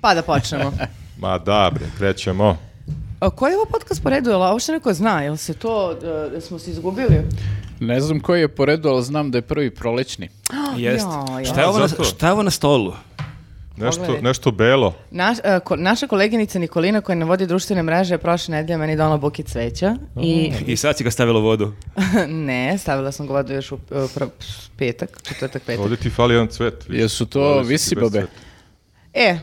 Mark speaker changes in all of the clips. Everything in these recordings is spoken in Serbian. Speaker 1: Pa da počnemo.
Speaker 2: Ma da, bre, krećemo.
Speaker 1: A, koji je ovo podcast po redu? Jel ovo što neko zna? Jel se to, e, jel smo se izgubili?
Speaker 3: Ne znam koji je po redu, ali znam da je prvi prolećni.
Speaker 4: Jest.
Speaker 1: Jao, jao.
Speaker 4: Šta je ovo na,
Speaker 2: Zato.
Speaker 4: šta je ovo na stolu?
Speaker 2: Nešto,
Speaker 1: Pogledaj.
Speaker 2: nešto belo.
Speaker 1: Naš, e, ko- naša koleginica Nikolina koja nam vodi društvene mreže je prošle nedelje meni donala buket cveća i
Speaker 4: I sad si ga stavila u vodu.
Speaker 1: ne, stavila sam ga vodu još u e, pr- petak, četvrtak, petak.
Speaker 2: Ovdje ti fali jedan cvet. vidiš.
Speaker 3: Jesu to
Speaker 2: Fali su ti
Speaker 3: visibabe?
Speaker 2: bez cveta.
Speaker 1: E,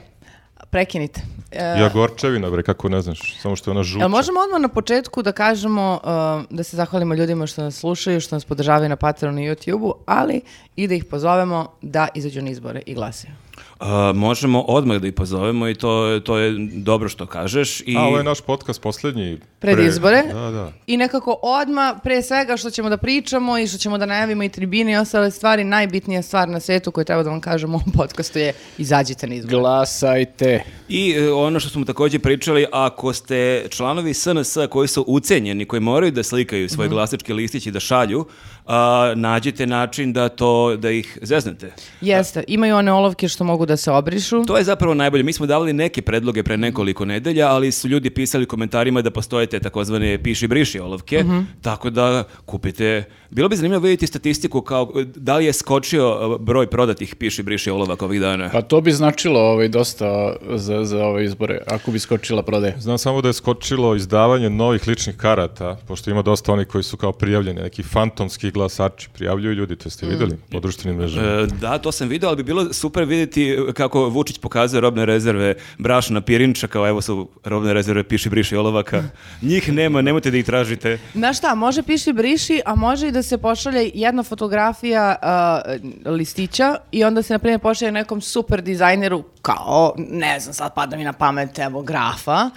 Speaker 1: prekinite. E,
Speaker 2: Jagorčevina, bre, kako ne znaš. Samo što je ona žuta.
Speaker 1: Jel možemo odmah na početku da kažemo um, da se zahvalimo ljudima što nas slušaju, što nas podržavaju na Patreonu i YouTubeu, ali i da ih pozovemo da izađu na izbore i glasaju.
Speaker 4: A, možemo odmah da ih pozovemo i to, to je dobro što kažeš. I...
Speaker 2: A, ovo je naš podcast posljednji.
Speaker 1: Pred izbore.
Speaker 2: Da, da.
Speaker 1: I nekako odma pre svega što ćemo da pričamo i što ćemo da najavimo i tribine i ostale stvari, najbitnija stvar na svetu koju treba da vam kažemo u ovom podcastu je izađite na izbore.
Speaker 3: Glasajte.
Speaker 4: I e, ono što smo također pričali, ako ste članovi SNS koji su ucenjeni, koji moraju da slikaju svoje glasačke listiće i da šalju, a, nađite način da to da ih zeznete.
Speaker 1: Jeste, imaju one olovke što mogu da se obrišu.
Speaker 4: To je zapravo najbolje. Mi smo davali neke predloge pre nekoliko nedelja, ali su ljudi pisali u komentarima da postoje te takozvane piši briši olovke,
Speaker 2: Mhm.
Speaker 4: tako da kupite. Bilo bi zanimljivo vidjeti statistiku kao e, da li je skočio e, broj prodatih piši briši olovaka ovih dana.
Speaker 3: Pa to bi značilo ovaj, dosta za, za ove izbore, ako bi skočila prodaja.
Speaker 2: Znam samo da je skočilo izdavanje novih ličnih karata, pošto ima dosta onih koji su kao prijavljeni, neki fantomski glasači. Prijavljuju ljudi, to
Speaker 1: Mm.
Speaker 2: ste vidjeli po društvenim mrežama.
Speaker 4: E, Da, to sam video, ali bi bilo super vidjeti kako Vučić pokazuje robne rezerve brašna, pirinča, kao evo su robne rezerve piši briši olovaka. Njih nema, nemojte da ih tražite.
Speaker 1: Znaš šta, može piši briši, a može i da se pošalje jedna fotografija a, listića i onda se, na primjer, pošalje nekom super dizajneru, kao, ne znam, sad pada mi na pamet, evo, grafa.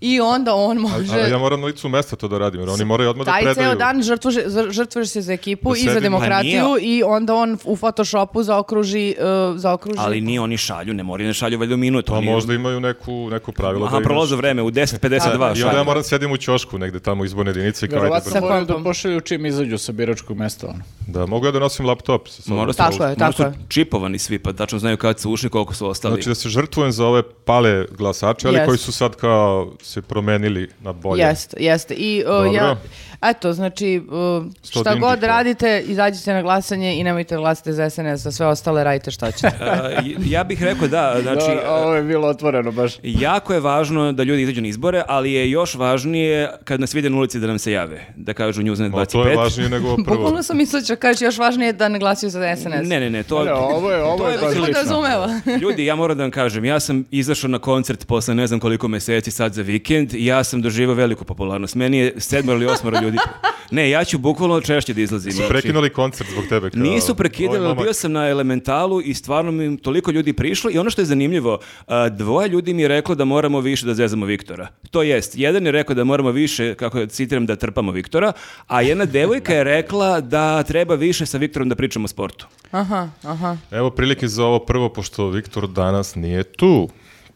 Speaker 1: I onda on može...
Speaker 2: Ali ja moram na licu mesta to da radim, jer oni moraju odmah da
Speaker 1: Taj
Speaker 2: predaju.
Speaker 1: ceo dan žrtvuže, zr- žrtvuješ se za ekipu
Speaker 2: Da
Speaker 1: i za
Speaker 2: sedim-
Speaker 1: demokratiju
Speaker 4: Pa nije-
Speaker 1: i onda on u Photoshopu zaokruži... Uh, zaokruži.
Speaker 4: Ali ni oni šalju, ne moraju ne šalju valjda u minut.
Speaker 2: Pa
Speaker 4: oni-
Speaker 2: možda imaju neku, neko pravilo.
Speaker 4: Aha,
Speaker 2: da imaš- E,
Speaker 4: prolaze vreme, u 10.52
Speaker 2: I onda ja
Speaker 4: šalju.
Speaker 2: moram sedim u ćošku negde tamo u izborne jedinice. i Kao, ajde,
Speaker 3: Verovatno
Speaker 1: Sa
Speaker 2: brzo.
Speaker 3: moraju da
Speaker 1: kompom.
Speaker 3: pošalju čim izađu sa biračkog mesta. Ono.
Speaker 2: da, mogu ja da nosim laptop. sa sobom.
Speaker 4: Mora su,
Speaker 1: Tako je,
Speaker 4: mora
Speaker 1: tako
Speaker 4: su
Speaker 1: je.
Speaker 4: čipovani svi, pa tačno znaju kad su ušli, koliko su ostali.
Speaker 2: Znači da se žrtvujem za ove pale glasače, ali
Speaker 1: Jest.
Speaker 2: koji su sad kao se promenili na bolje.
Speaker 1: Jeste, jeste. I, o,
Speaker 2: Dobro.
Speaker 1: ja, eto, znači, o,
Speaker 2: Sto
Speaker 1: šta
Speaker 2: dinđika.
Speaker 1: god radite, izađite na glasanje i nemojte glasati za SNS, za sve ostale radite šta ćete.
Speaker 4: A, j- E, ja bih rekao da, znači...
Speaker 3: Dobro, ovo je bilo otvoreno baš.
Speaker 4: Jako je važno da ljudi izađu na izbore, ali je još važnije kad nas vide na ulici da nam se jave, da kažu Newsnet 25.
Speaker 2: Ma, to je važnije nego ovo prvo.
Speaker 1: Bukvalno sam mislila ću kaži još važnije da ne glasaju za SNS.
Speaker 4: Ne, ne, ne, to,
Speaker 3: Ne, ovo je, ovo
Speaker 4: to
Speaker 3: je
Speaker 4: je
Speaker 3: baš
Speaker 4: već
Speaker 3: lično.
Speaker 1: Podrazumeva.
Speaker 4: Ljudi, ja moram da vam kažem, ja sam izašao na koncert posle ne znam koliko meseci sad za vikend i ja sam doživao veliku popularnost. Meni je sedmoro ili osmoro ljudi. Ne, ja ću bukvalno češće da izlazim. Znači,
Speaker 2: Prekinuli koncert zbog tebe. Kao,
Speaker 4: Nisu prekidali,
Speaker 2: ovaj
Speaker 4: ali
Speaker 2: momak-
Speaker 4: bio sam na elementalu i stvarno mi toliko ljudi prišlo i ono što je zanimljivo, a, dvoje ljudi mi je reklo da moramo više da zezamo Viktora. To jest, jedan je rekao da moramo više, kako je, citiram, da trpamo Viktora, a jedna devojka je rekla da treba više sa Viktorom da pričamo o sportu.
Speaker 1: Aha, aha.
Speaker 2: Evo prilike za ovo prvo, pošto Viktor danas nije tu.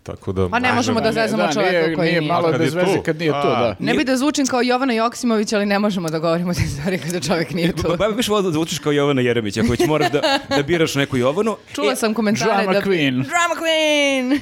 Speaker 2: Tako da...
Speaker 1: Pa ne možemo da zezamo
Speaker 3: Da,
Speaker 1: čoveka
Speaker 3: nije,
Speaker 1: koji
Speaker 3: nije
Speaker 1: nije.
Speaker 3: malo
Speaker 2: A kad je
Speaker 3: bez veze
Speaker 2: tu?
Speaker 3: kad nije tu,
Speaker 2: A.
Speaker 3: da.
Speaker 1: Ne bi da zvučim kao Jovana Joksimović, ali ne možemo da govorimo te stvari kada čovjek nije tu.
Speaker 4: Ba, ba, Pa više volim da zvučiš kao Jovana Jeremić, ako već moraš da, da biraš neku Jovanu.
Speaker 1: Čula
Speaker 4: E,
Speaker 1: sam komentare
Speaker 3: Drama
Speaker 1: da...
Speaker 3: queen.
Speaker 1: Drama queen!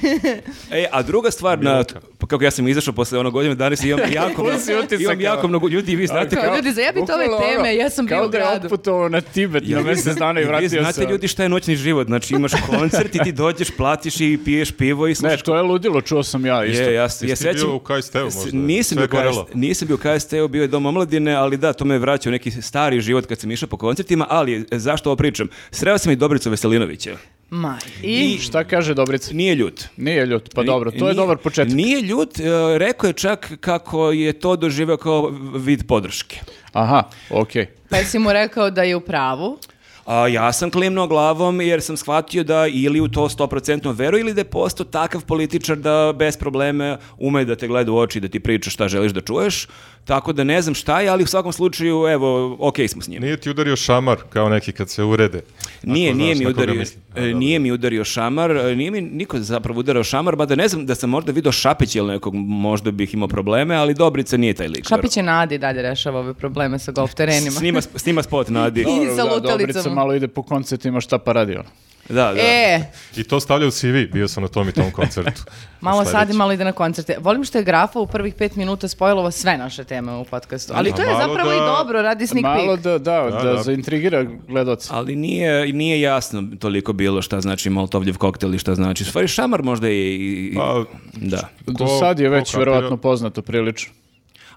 Speaker 4: E, a druga stvar, na, pa kako ja sam izašao posle onog godina, danas imam jako,
Speaker 3: Pun si utisaka.
Speaker 4: imam jako mnogo ljudi i vi znate
Speaker 1: Kao, ljudi, zajebite ove
Speaker 3: Bukvalno ono,
Speaker 1: teme, ja sam bio
Speaker 3: Kao
Speaker 1: u
Speaker 3: da je
Speaker 1: gradu.
Speaker 3: otputovao na Tibet na mjesec dana i
Speaker 4: vi
Speaker 3: vratio se.
Speaker 4: znate ljudi šta je noćni život, znači imaš koncert i ti dođeš, platiš i piješ pivo i
Speaker 3: Ne,
Speaker 4: slušaš.
Speaker 3: to je ludilo, čuo sam ja isto.
Speaker 4: je, ja, se- ja
Speaker 2: Jesi ti
Speaker 4: sećam-
Speaker 2: bio u KST-u možda?
Speaker 4: S- Nisam
Speaker 2: Sve
Speaker 4: bio,
Speaker 2: je gorelo.
Speaker 4: KST nisam bio u KST-u, bio je dom omladine, ali da, to me je vraćao u neki stari život kad sam išao po koncertima, ali e, zašto ovo pričam? Sreo sam i Dobricu Veselinovića.
Speaker 1: Ma, i...
Speaker 3: Šta kaže Dobrica?
Speaker 4: Nije ljut.
Speaker 3: Nije ljut, pa
Speaker 4: Ni-
Speaker 3: dobro, to je
Speaker 4: nije-
Speaker 3: dobar početak.
Speaker 4: Nije ljut, e, rekao je čak kako je to doživio kao vid podrške.
Speaker 3: Aha, okej.
Speaker 1: Pa si mu rekao da je u pravu.
Speaker 4: A ja sam klimnuo glavom jer sam shvatio da ili u to 100% veruje ili da je postao takav političar da bez probleme ume da te gleda u oči i da ti priča šta želiš da čuješ. Tako da ne znam šta je, ali u svakom slučaju, evo, okej smo s njim.
Speaker 2: Nije ti udario šamar kao neki kad se urede.
Speaker 4: Nije,
Speaker 2: Ako
Speaker 4: nije
Speaker 2: znaš
Speaker 4: mi
Speaker 2: na koga
Speaker 4: udario,
Speaker 2: mislim.
Speaker 4: e, nije mi udario šamar, e, nije mi niko zapravo udarao šamar, mada ne znam da sam možda vidio Šapić ili nekog, možda bih imao probleme, ali Dobrica nije taj lik.
Speaker 1: Šapić je nadi dalje rešava ove probleme sa golf terenima.
Speaker 4: Snima, snima spot, Nadi.
Speaker 1: I sa
Speaker 3: Dobro, da,
Speaker 1: lutalicama.
Speaker 3: Dobrica malo ide po koncertima šta pa radi ono.
Speaker 4: Da, da.
Speaker 1: E,
Speaker 2: I to stavlja u CV, bio sam na tom i tom koncertu.
Speaker 1: malo
Speaker 2: Sledeći.
Speaker 1: sadi, malo ide na koncerte. Volim što je Grafa u prvih pet minuta spojlova sve naše teme u podcastu. Ali
Speaker 2: A
Speaker 1: to je
Speaker 2: malo
Speaker 1: zapravo
Speaker 2: da-
Speaker 1: i dobro, radi sneak peek.
Speaker 3: Malo da, da, da,
Speaker 2: da.
Speaker 3: zaintrigira gledoca.
Speaker 4: Ali nije, nije jasno toliko bilo šta znači Molotovljev koktel i šta znači. U stvari šamar možda je i... i-
Speaker 2: Pa,
Speaker 4: da.
Speaker 3: Do
Speaker 2: Ko-
Speaker 3: sad je
Speaker 2: ko
Speaker 3: već
Speaker 2: kapira?
Speaker 3: verovatno poznato prilično.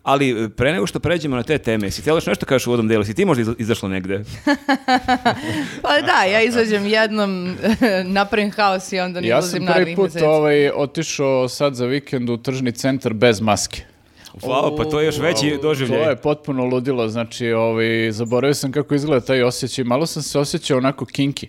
Speaker 4: Ali e, pre nego što pređemo na te teme, si htjela još nešto kažeš u uvodnom delu? Si ti možda iza- izašla negde?
Speaker 1: Pa da, ja izađem jednom, napravim haos i onda ne
Speaker 3: Ja
Speaker 1: izlazim
Speaker 3: sam
Speaker 1: narednih
Speaker 3: prvi put
Speaker 1: meseci.
Speaker 3: ovaj, otišao sad za vikend u tržni centar bez maske.
Speaker 4: Wow, pa to je još veći
Speaker 3: To
Speaker 4: doživljaj.
Speaker 3: je potpuno ludilo, znači ovaj, zaboravio sam kako izgleda taj osjećaj. Malo sam se osjećao onako kinki.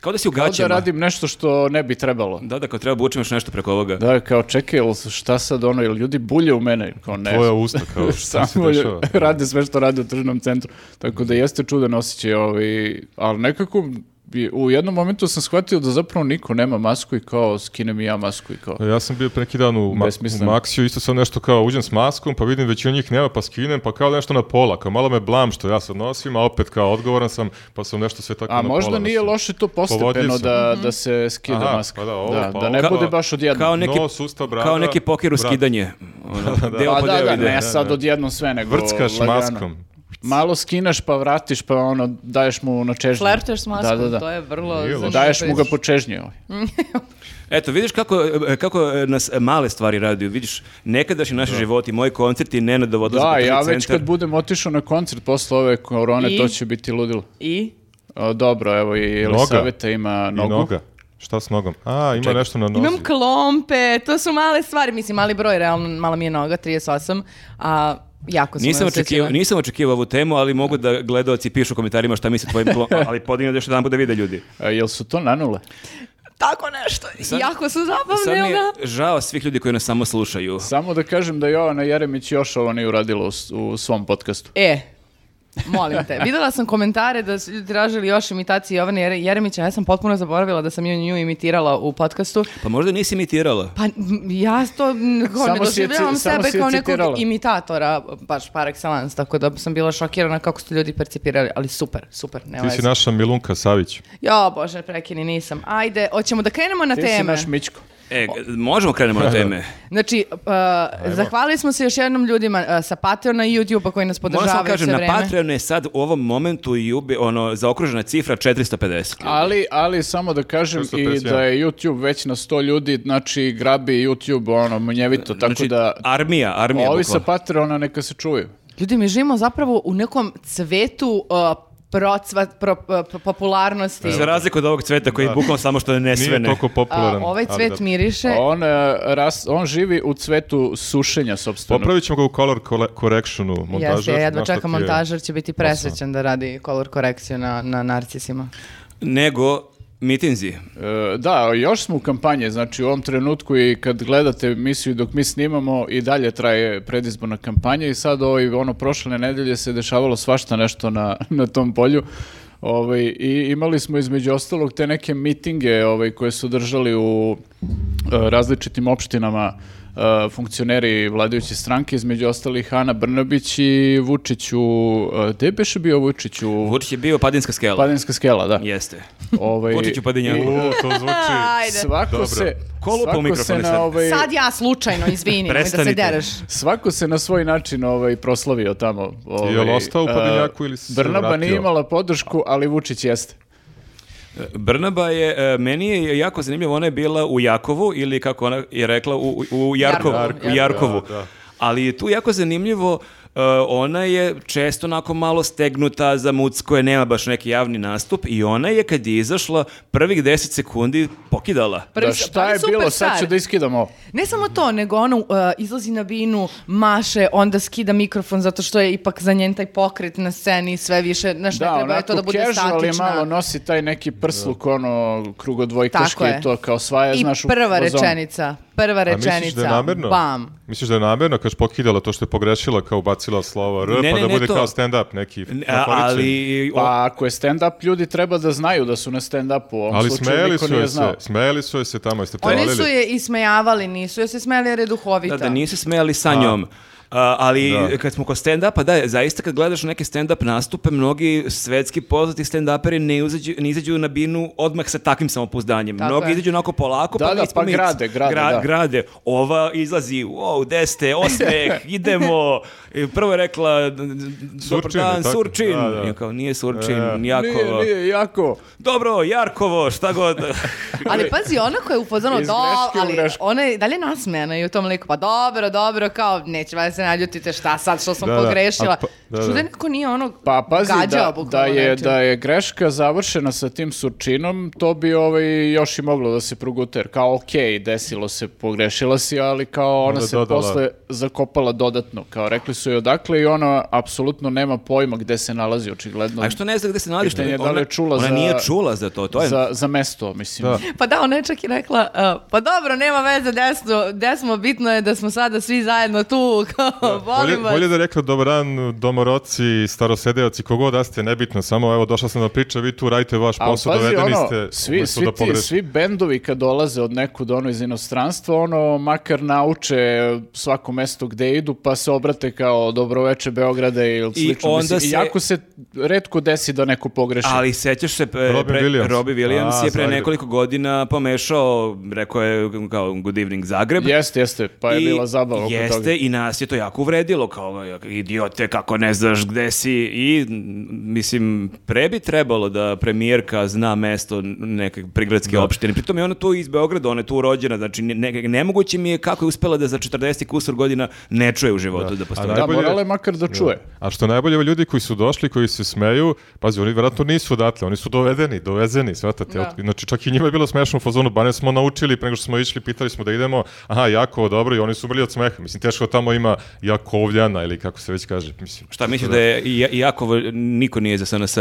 Speaker 4: Kao da si u
Speaker 3: Kao da
Speaker 4: gaćama.
Speaker 3: radim nešto što ne bi trebalo.
Speaker 4: Da, da, kao treba obučem još nešto preko ovoga.
Speaker 3: Da, kao čekaj, jel šta sad ono, jel ljudi bulje u mene? Kao ne.
Speaker 2: Tvoja usta, kao šta se
Speaker 3: Samo
Speaker 2: dešava?
Speaker 3: rade sve što rade u tržnom centru. Tako da jeste čudan osjećaj, ovaj, ali nekako bi- u jednom momentu sam shvatio da zapravo niko nema masku i kao skinem i ja masku i kao.
Speaker 2: Pa Ja sam bio pre neki dan u, ma u
Speaker 3: Besmisleno.
Speaker 2: Maxiju, isto sam nešto kao uđem s maskom, pa vidim većinu njih nema, pa skinem, pa kao nešto na pola, kao malo me blam što ja sad nosim, a opet kao odgovoran sam, pa sam nešto sve tako
Speaker 3: A
Speaker 2: na
Speaker 3: možda
Speaker 2: pola
Speaker 3: nije
Speaker 2: nosio.
Speaker 3: loše to postepeno
Speaker 2: Povodljiv sam.
Speaker 3: da, da se skida
Speaker 2: Aha,
Speaker 3: maska.
Speaker 2: pa da, ovo,
Speaker 3: da,
Speaker 2: pa
Speaker 3: da ne
Speaker 2: ovo.
Speaker 3: bude baš odjednom.
Speaker 4: Kao neki,
Speaker 2: Nos, usta, brada,
Speaker 4: kao neki poker u
Speaker 2: vrat.
Speaker 4: skidanje. Ono, deo
Speaker 3: Pa
Speaker 4: po
Speaker 3: da,
Speaker 4: deo
Speaker 3: da,
Speaker 4: ide.
Speaker 3: ne sad odjednom sve, nego
Speaker 2: Vrckaš
Speaker 3: lagano.
Speaker 2: maskom.
Speaker 3: Malo skinaš pa vratiš pa ono daješ mu na čežnju.
Speaker 1: Flerteš s maskom,
Speaker 3: Da, da, da.
Speaker 1: to je vrlo
Speaker 2: Nije loše.
Speaker 1: zanimljivo.
Speaker 3: Daješ mu ga po čežnji ovaj.
Speaker 4: Eto, vidiš kako, e, kako e, nas male stvari raduju. Vidiš, nekadašnji naši životi, moji koncerti, Nenadov odlazak u
Speaker 3: Da,
Speaker 4: tržni
Speaker 3: ja već
Speaker 4: centar.
Speaker 3: kad budem otišao na koncert posle ove korone,
Speaker 1: I?
Speaker 3: to će biti ludilo.
Speaker 1: I?
Speaker 3: O, dobro, evo i Elisaveta ima
Speaker 2: I
Speaker 3: nogu.
Speaker 2: noga. Šta s nogom? A, ima nešto na nozi.
Speaker 1: Imam klompe, to su male stvari, mislim mali broj, realno mala mi je noga, 38, a jako sam
Speaker 4: Nisam
Speaker 1: neosjetljiva.
Speaker 4: očekivao, nisam očekivao ovu temu, ali mogu da gledaoci pišu u komentarima šta misle tvojim klon, ali podignu da još jedan da vide ljudi.
Speaker 3: A, E, jel su to nanule?
Speaker 1: Tako nešto,
Speaker 4: Sad-
Speaker 1: jako su
Speaker 4: Sad
Speaker 1: zabavne,
Speaker 4: Pa mi je
Speaker 1: ona.
Speaker 4: žao svih ljudi koji nas samo slušaju.
Speaker 3: Samo da kažem da Jovana Jeremić još ovo nije uradila u, s- u svom podcastu.
Speaker 1: E, molim te. Videla sam komentare da su ljudi tražili još imitacije Jovane Jere- Jeremića, ja sam potpuno zaboravila da sam nju, nju imitirala u podcastu.
Speaker 4: Pa možda nisi imitirala.
Speaker 1: Pa m, ja to m, kao
Speaker 3: Samo
Speaker 1: ne
Speaker 3: si je
Speaker 1: doživljavam
Speaker 3: ci- samo
Speaker 1: sebe
Speaker 3: si je
Speaker 1: kao nekog
Speaker 3: citirala.
Speaker 1: imitatora, baš par excellence, tako da sam bila šokirana kako su to ljudi percipirali, ali super, super, ne
Speaker 2: Ti si naša Milunka Savić.
Speaker 1: Jo, bože, prekini nisam. Ajde, hoćemo da krenemo na
Speaker 3: Ti si
Speaker 1: teme.
Speaker 3: naš Mičko.
Speaker 4: E, g- možemo krenemo na teme.
Speaker 1: Znači, uh, zahvalili smo se još jednom ljudima uh, sa Patreona i YouTube-a koji nas
Speaker 4: Moram samo
Speaker 1: podržavaju sve
Speaker 4: kažem, na
Speaker 1: vreme.
Speaker 4: Patreonu je sad u ovom momentu i ubi, ono, zaokružena cifra 450.
Speaker 3: Ali, ali samo da kažem i
Speaker 2: 351.
Speaker 3: da je YouTube već na 100 ljudi, znači grabi YouTube ono munjevito, tako
Speaker 4: znači,
Speaker 3: da
Speaker 4: armija, armija.
Speaker 3: ovi sa pa-
Speaker 4: bukvalno.
Speaker 3: Patreona neka se čuju.
Speaker 1: Ljudi, mi živimo zapravo u nekom cvetu uh, procvat, pro- pro- pro- popularnosti.
Speaker 4: Za razliku od ovog cveta koji je bukvalno samo što je
Speaker 2: Nije
Speaker 4: nesvene.
Speaker 2: toliko
Speaker 1: A,
Speaker 2: popularan.
Speaker 1: ovaj
Speaker 2: ali
Speaker 1: cvet
Speaker 2: da.
Speaker 1: miriše.
Speaker 3: On, e, ras, on živi u cvetu sušenja sobstvenog.
Speaker 2: Popravit ćemo ga u color cole- correctionu montaža.
Speaker 1: Jeste, jedva
Speaker 2: znaš šta
Speaker 1: čeka
Speaker 2: ti je.
Speaker 1: montažer, će biti presrećen da radi color korekciju na, na narcisima.
Speaker 4: Nego mitinzi.
Speaker 3: E, Da, još smo u kampanji, znači u ovom trenutku i kad gledate emisiju dok mi snimamo i dalje traje predizborna kampanja i sad ovaj, ono prošle nedelje se dešavalo svašta nešto na, na tom polju. Ovaj, I imali smo između ostalog te neke mitinge ovaj, koje su držali u e, različitim opštinama e, funkcioneri vladajuće stranke, između ostalih Ana Brnabić i Vučić u... e, Gde je beše bio Vučić u...
Speaker 4: Vučić je bio padinska skela.
Speaker 3: Padinska skela, da.
Speaker 4: Jeste.
Speaker 3: Ovaj,
Speaker 4: Vučić u Padinjaku.
Speaker 2: U, to zvuči...
Speaker 1: Ajde.
Speaker 3: Svako
Speaker 2: Dobro.
Speaker 3: se,
Speaker 4: Ko lupa u
Speaker 3: svako se
Speaker 4: mikrofone
Speaker 3: na
Speaker 4: sad?
Speaker 3: ovaj,
Speaker 1: Sad ja slučajno, izvini, nemoj da se
Speaker 4: Prestanite.
Speaker 1: dereš.
Speaker 3: svako se na svoj način ovaj proslavio tamo. Ovaj,
Speaker 2: Jel ostao u
Speaker 3: eh,
Speaker 2: Podiljaku ili se
Speaker 3: Brnaba
Speaker 2: vratio?
Speaker 3: nije imala podršku, ali Vučić jeste.
Speaker 4: Brnaba je, e, meni je jako zanimljivo, ona je bila u Jakovu ili kako ona je rekla, u, u Jarkovu.
Speaker 1: Jarkovu,
Speaker 4: u Jarkovu.
Speaker 2: da, da.
Speaker 4: Ali je tu jako zanimljivo, e, ona je često onako malo stegnuta za mucko, je nema baš neki javni nastup i ona je kad je izašla prvih 10 sekundi pokidala.
Speaker 1: Prvi
Speaker 3: da
Speaker 1: su-
Speaker 3: šta
Speaker 1: ali
Speaker 3: je bilo, sad
Speaker 1: superstar.
Speaker 3: ću da iskidam ovo.
Speaker 1: Ne samo to, nego ono uh, izlazi na binu, maše, onda skida mikrofon zato što je ipak za njen taj pokret na sceni sve više, znaš, ne
Speaker 3: Da,
Speaker 1: treba je to da
Speaker 3: onako
Speaker 1: bude
Speaker 3: casual je
Speaker 1: statična.
Speaker 3: malo, nosi taj neki prsluk, ono, krugodvojkaški
Speaker 1: Tako je.
Speaker 3: i to kao svaja,
Speaker 1: I
Speaker 3: znaš, u
Speaker 1: prva
Speaker 3: fazonu.
Speaker 1: rečenica, prva
Speaker 2: A misliš da je
Speaker 1: rečenica,
Speaker 2: namerno?
Speaker 1: bam.
Speaker 2: Misliš da je namerno kad pokidala to što je pogrešila kao bacila slova R,
Speaker 4: Ne,
Speaker 2: pa
Speaker 4: ne,
Speaker 2: da
Speaker 4: ne
Speaker 2: bude
Speaker 4: to.
Speaker 2: kao stand-up neki
Speaker 4: N- a-
Speaker 2: lakoničan?
Speaker 4: ali o-
Speaker 3: Pa ako je stand-up, ljudi treba da znaju da su na stand-upu. U ovom
Speaker 2: Ali
Speaker 3: slučaju
Speaker 2: smejali
Speaker 3: niko
Speaker 2: su
Speaker 3: nije
Speaker 2: je
Speaker 3: znao.
Speaker 2: se, smejali su je se tamo, jeste
Speaker 1: Oni
Speaker 2: provalili.
Speaker 1: su je ismejavali, nisu je se smejali jer je duhovita.
Speaker 4: da, da nisu smejali sa njom. A, ali
Speaker 2: Da.
Speaker 4: kad smo kod stand-upa, da, zaista kad gledaš neke stand-up nastupe, mnogi svetski poznati stand-uperi ne, izađu- ne izađu na binu odmah sa takvim samopouzdanjem.
Speaker 1: Tako
Speaker 4: mnogi
Speaker 1: je.
Speaker 4: izađu onako polako,
Speaker 3: Da,
Speaker 4: pa
Speaker 3: da,
Speaker 4: mi smo
Speaker 3: pa
Speaker 4: mi-
Speaker 3: grade, grade, da.
Speaker 4: grade. Ova izlazi, wow, gde ste, osmeh, idemo. I Prvo je rekla, dobar
Speaker 2: Surčin,
Speaker 4: dan,
Speaker 2: tako?
Speaker 4: Surčin.
Speaker 2: Da, da.
Speaker 4: Ja kao, nije Surčin,
Speaker 2: E.
Speaker 4: jako...
Speaker 3: Nije, nije, jako.
Speaker 4: Dobro, Jarkovo, šta god.
Speaker 1: Ali pazi, ona koja je upozorna,
Speaker 3: Iz
Speaker 1: do,
Speaker 3: greške u
Speaker 1: ali
Speaker 3: grešku."
Speaker 1: ona je dalje nasmena i u tom liku, pa dobro, dobro, kao, neće valjda se naljutite šta sad, što sam
Speaker 2: Da, da,
Speaker 1: pogrešila.
Speaker 2: a pa- da, da.
Speaker 1: Što da niko nije ono
Speaker 3: Pa pazi,
Speaker 1: gađao
Speaker 3: da, da,
Speaker 1: bukvalno
Speaker 3: je,
Speaker 1: nečim.
Speaker 3: da je greška završena sa tim surčinom, to bi ovaj, još i moglo da se proguter. Kao, okej, desilo se, pogrešila si, ali kao ona
Speaker 2: Onda
Speaker 3: se
Speaker 2: dodala.
Speaker 3: posle zakopala dodatno. Kao, rekli su joj odakle i ona apsolutno nema pojma gde se nalazi, očigledno.
Speaker 4: A što ne zna gde se nalazi? što
Speaker 3: Pitanje je da li
Speaker 4: ona-
Speaker 3: je čula
Speaker 4: ona
Speaker 3: za-
Speaker 4: nije čula za to, to je...
Speaker 3: za, za mesto, mislim.
Speaker 2: Da.
Speaker 1: Pa da, ona je čak i rekla, uh, pa dobro, nema veze desno, desmo, bitno je da smo sada svi zajedno tu, kao,
Speaker 2: Bolje,
Speaker 1: volim vas.
Speaker 2: bolje da je rekla dobar dan domoroci, starosedeoci, kogod da ste, nebitno, samo evo došla sam da priča, vi tu radite vaš
Speaker 3: A
Speaker 2: posao,
Speaker 3: pazi,
Speaker 2: dovedeni
Speaker 3: ono,
Speaker 2: ste
Speaker 3: svi,
Speaker 2: umesto
Speaker 3: svi,
Speaker 2: da
Speaker 3: ti,
Speaker 2: pogrešite.
Speaker 3: svi bendovi kad dolaze od nekud ono iz inostranstva, ono makar nauče svako mesto gde idu, pa se obrate kao dobroveče Beograde ili
Speaker 4: I
Speaker 3: slično.
Speaker 4: onda
Speaker 3: Mislim,
Speaker 4: se-
Speaker 3: Iako se retko desi da neko pogreši.
Speaker 4: Ali sećaš se, pre,
Speaker 2: Robin
Speaker 4: pre-
Speaker 2: Znači, Williams.
Speaker 4: Robin Williams
Speaker 2: A,
Speaker 4: je pre
Speaker 2: Zagreb.
Speaker 4: nekoliko godina pomešao, rekao je kao Good Evening Zagreb.
Speaker 3: Jeste, jeste, pa je
Speaker 4: I
Speaker 3: bila zabava oko
Speaker 4: Jeste,
Speaker 3: toga.
Speaker 4: i nas je to jako uvredilo, kao idiote, kako ne znaš gde si. I, m, mislim, pre bi trebalo da premijerka zna mesto neke prigradske opštine. Pritom je ona tu iz Beograda, ona je tu rođena, znači ne, nemoguće mi je kako je uspela da za 40 kusur godina ne čuje u životu da,
Speaker 2: A
Speaker 4: postoji.
Speaker 3: Da,
Speaker 2: najbolje-
Speaker 3: morala je makar da čuje.
Speaker 2: A što je najbolje, ovi ljudi koji su došli, koji se smeju, pazi, oni vjerojatno nisu odatle, oni su dovedeni, dovezeni, shvatate.
Speaker 1: Da.
Speaker 2: Znači, čak i njima je bilo smešno u fazonu, ba ne smo naučili, pre nego što smo išli, pitali smo da idemo, aha, jako dobro, i oni su umrli od smeha. Mislim, teško da tamo ima Jakovljana, ili kako se već kaže. Mislim,
Speaker 4: Šta misliš da je Ja- Jakovo niko nije za SNS?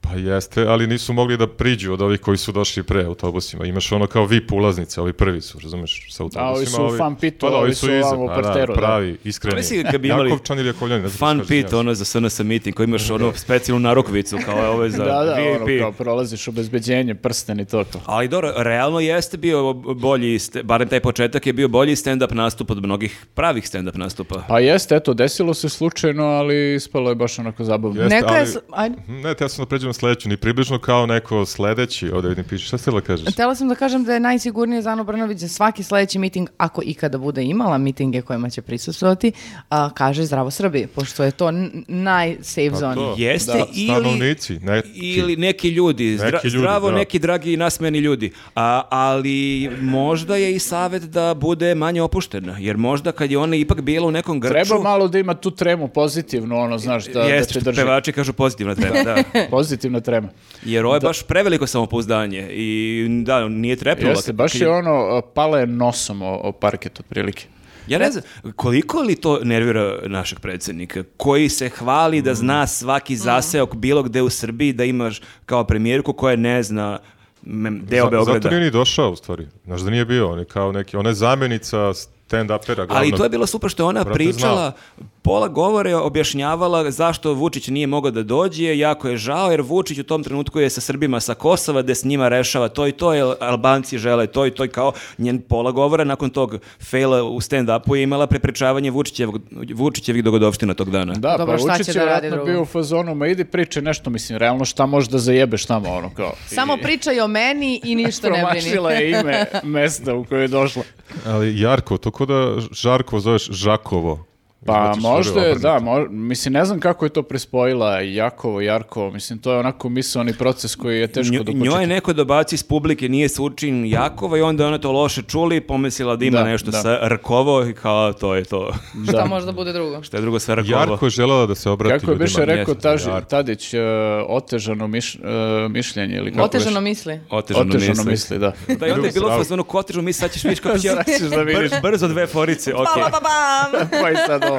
Speaker 2: Pa jeste, ali nisu mogli da priđu od ovih koji su došli pre autobusima. Imaš ono kao VIP ulaznice, ovi prvi su, razumeš, sa autobusima.
Speaker 3: su u fan pitu, ovi su
Speaker 2: iza.
Speaker 3: ovamo u
Speaker 2: Pa da,
Speaker 3: parteru, da.
Speaker 2: pravi, iskreni.
Speaker 4: Mislim, kad bi imali
Speaker 2: Jakovčan ili Jakovljan, ne znam
Speaker 4: Fan
Speaker 2: kako se kaže,
Speaker 4: pit, ono za SNS meeting, koji imaš ono specijalnu narukvicu, kao je ovo za
Speaker 3: Da, da, ono
Speaker 4: VIP.
Speaker 3: kao prolaziš obezbeđenje, prsten i to to.
Speaker 4: Ali dobro, realno jeste bio bolji, ste- barem taj početak je bio bolji stand-up nastup od mnogih pravih stand-up nastupa.
Speaker 3: Pa jeste, eto, desilo se slučajno, ali ispalo je baš onako zabavno.
Speaker 2: Jeste,
Speaker 1: Neko je
Speaker 2: ali-
Speaker 1: s- ajde.
Speaker 2: Mhm, Ne, te ja sam da pređem na sledeću, ni približno kao neko sledeći, ovde vidim piše, šta ste da kažeš?
Speaker 1: Htela sam da kažem da je najsigurnije za Anu Brnović za svaki sledeći miting, ako ikada bude imala mitinge kojima će prisustvovati, a, kaže Zdravo Srbiji, pošto je to n- najsafe
Speaker 2: Pa
Speaker 1: zone.
Speaker 2: to.
Speaker 4: Jeste
Speaker 3: Da.
Speaker 4: ili...
Speaker 2: Stanovnici, neki.
Speaker 4: Ili neki ljudi, zdra-
Speaker 2: Neki ljudi,
Speaker 4: zdravo
Speaker 2: da.
Speaker 4: neki dragi i nasmeni ljudi, A, ali možda je i savjet da bude manje opuštena, jer možda kad je ona ipak bila u nekom grču,
Speaker 3: Treba malo da ima tu tremu pozitivnu, ono, znaš, da, da
Speaker 4: jeste,
Speaker 3: te drži.
Speaker 4: pevači kažu pozitivna treba, da.
Speaker 3: Pozitivna trema.
Speaker 4: Jer ovo je baš preveliko samopouzdanje i da, nije trepnula.
Speaker 3: Jeste, baš je ono, a, pala je nosom o, o parket, otprilike.
Speaker 4: Ja ne znam, koliko li to nervira našeg predsjednika, koji se hvali da
Speaker 3: Mm.
Speaker 4: zna svaki zaseok bilo gde u Srbiji, da imaš kao premijerku koja ne zna mem- deo
Speaker 2: Za-
Speaker 4: Beograda.
Speaker 2: Zato nije ni došao, u stvari. Znaš da nije bio, on je kao neki, ona je zamenica stand-upera.
Speaker 4: Ali
Speaker 2: glavnog.
Speaker 4: to je bilo super što je ona
Speaker 2: Brate,
Speaker 4: pričala,
Speaker 2: znao.
Speaker 4: pola govore je objašnjavala zašto Vučić nije mogao da dođe, jako je žao jer Vučić u tom trenutku je sa Srbima sa Kosova gde s njima rešava to i to, jer Albanci žele to i to i kao njen pola govora nakon tog fejla u stand-upu je imala prepričavanje Vučićevog, Vučićevih dogodovština tog dana.
Speaker 3: Da,
Speaker 1: Dobro,
Speaker 3: pa
Speaker 1: šta će
Speaker 3: Vučić je
Speaker 1: da radi
Speaker 3: vjerojatno
Speaker 1: drugo?
Speaker 3: bio u fazonu, ma idi priče nešto, mislim, realno šta možeš da zajebeš tamo, ono, kao.
Speaker 1: Samo pričaj o meni i ništa ne brini.
Speaker 3: Promašila je ime mesta u koje je došla.
Speaker 2: Ali Jarko, to ko da Žarko zoveš Žakovo.
Speaker 3: Pa
Speaker 2: Znači, što je
Speaker 3: možda je,
Speaker 2: obrnuto.
Speaker 3: da, mo- mislim, ne znam kako je to prispojila Jakovo, Jarkovo, mislim, to je onako misloni proces koji je teško
Speaker 4: Njo- Njoj je
Speaker 3: dokučiti.
Speaker 4: neko dobaci iz publike, nije Surčin Jakova i onda ona to loše čuli, pomislila da ima
Speaker 3: Da,
Speaker 4: nešto
Speaker 3: da.
Speaker 4: sa Rkovo i kao to je to.
Speaker 1: Šta može da bude drugo?
Speaker 4: Šta je drugo sa Rkovo?
Speaker 2: Jarko je želela da se obrati
Speaker 3: Kako je
Speaker 2: ljudima.
Speaker 3: Beše rekao
Speaker 4: mjesto,
Speaker 3: Taži-
Speaker 2: Jarko.
Speaker 3: Tadić, e, otežano miš- e, mišljenje ili kako
Speaker 1: Otežano
Speaker 3: beše?
Speaker 1: misli.
Speaker 4: Otežano,
Speaker 3: Otežano
Speaker 4: misli.
Speaker 3: misli, da.
Speaker 4: Da, i onda je bilo
Speaker 2: Bravo.
Speaker 4: fazonu kotežu, mi sad ćeš vidiš kako će...
Speaker 3: Sad ćeš da vidiš.
Speaker 4: Brz- brzo dve forice, ok.
Speaker 1: Pa, pa, pa, bam!
Speaker 3: pa i sad ovo.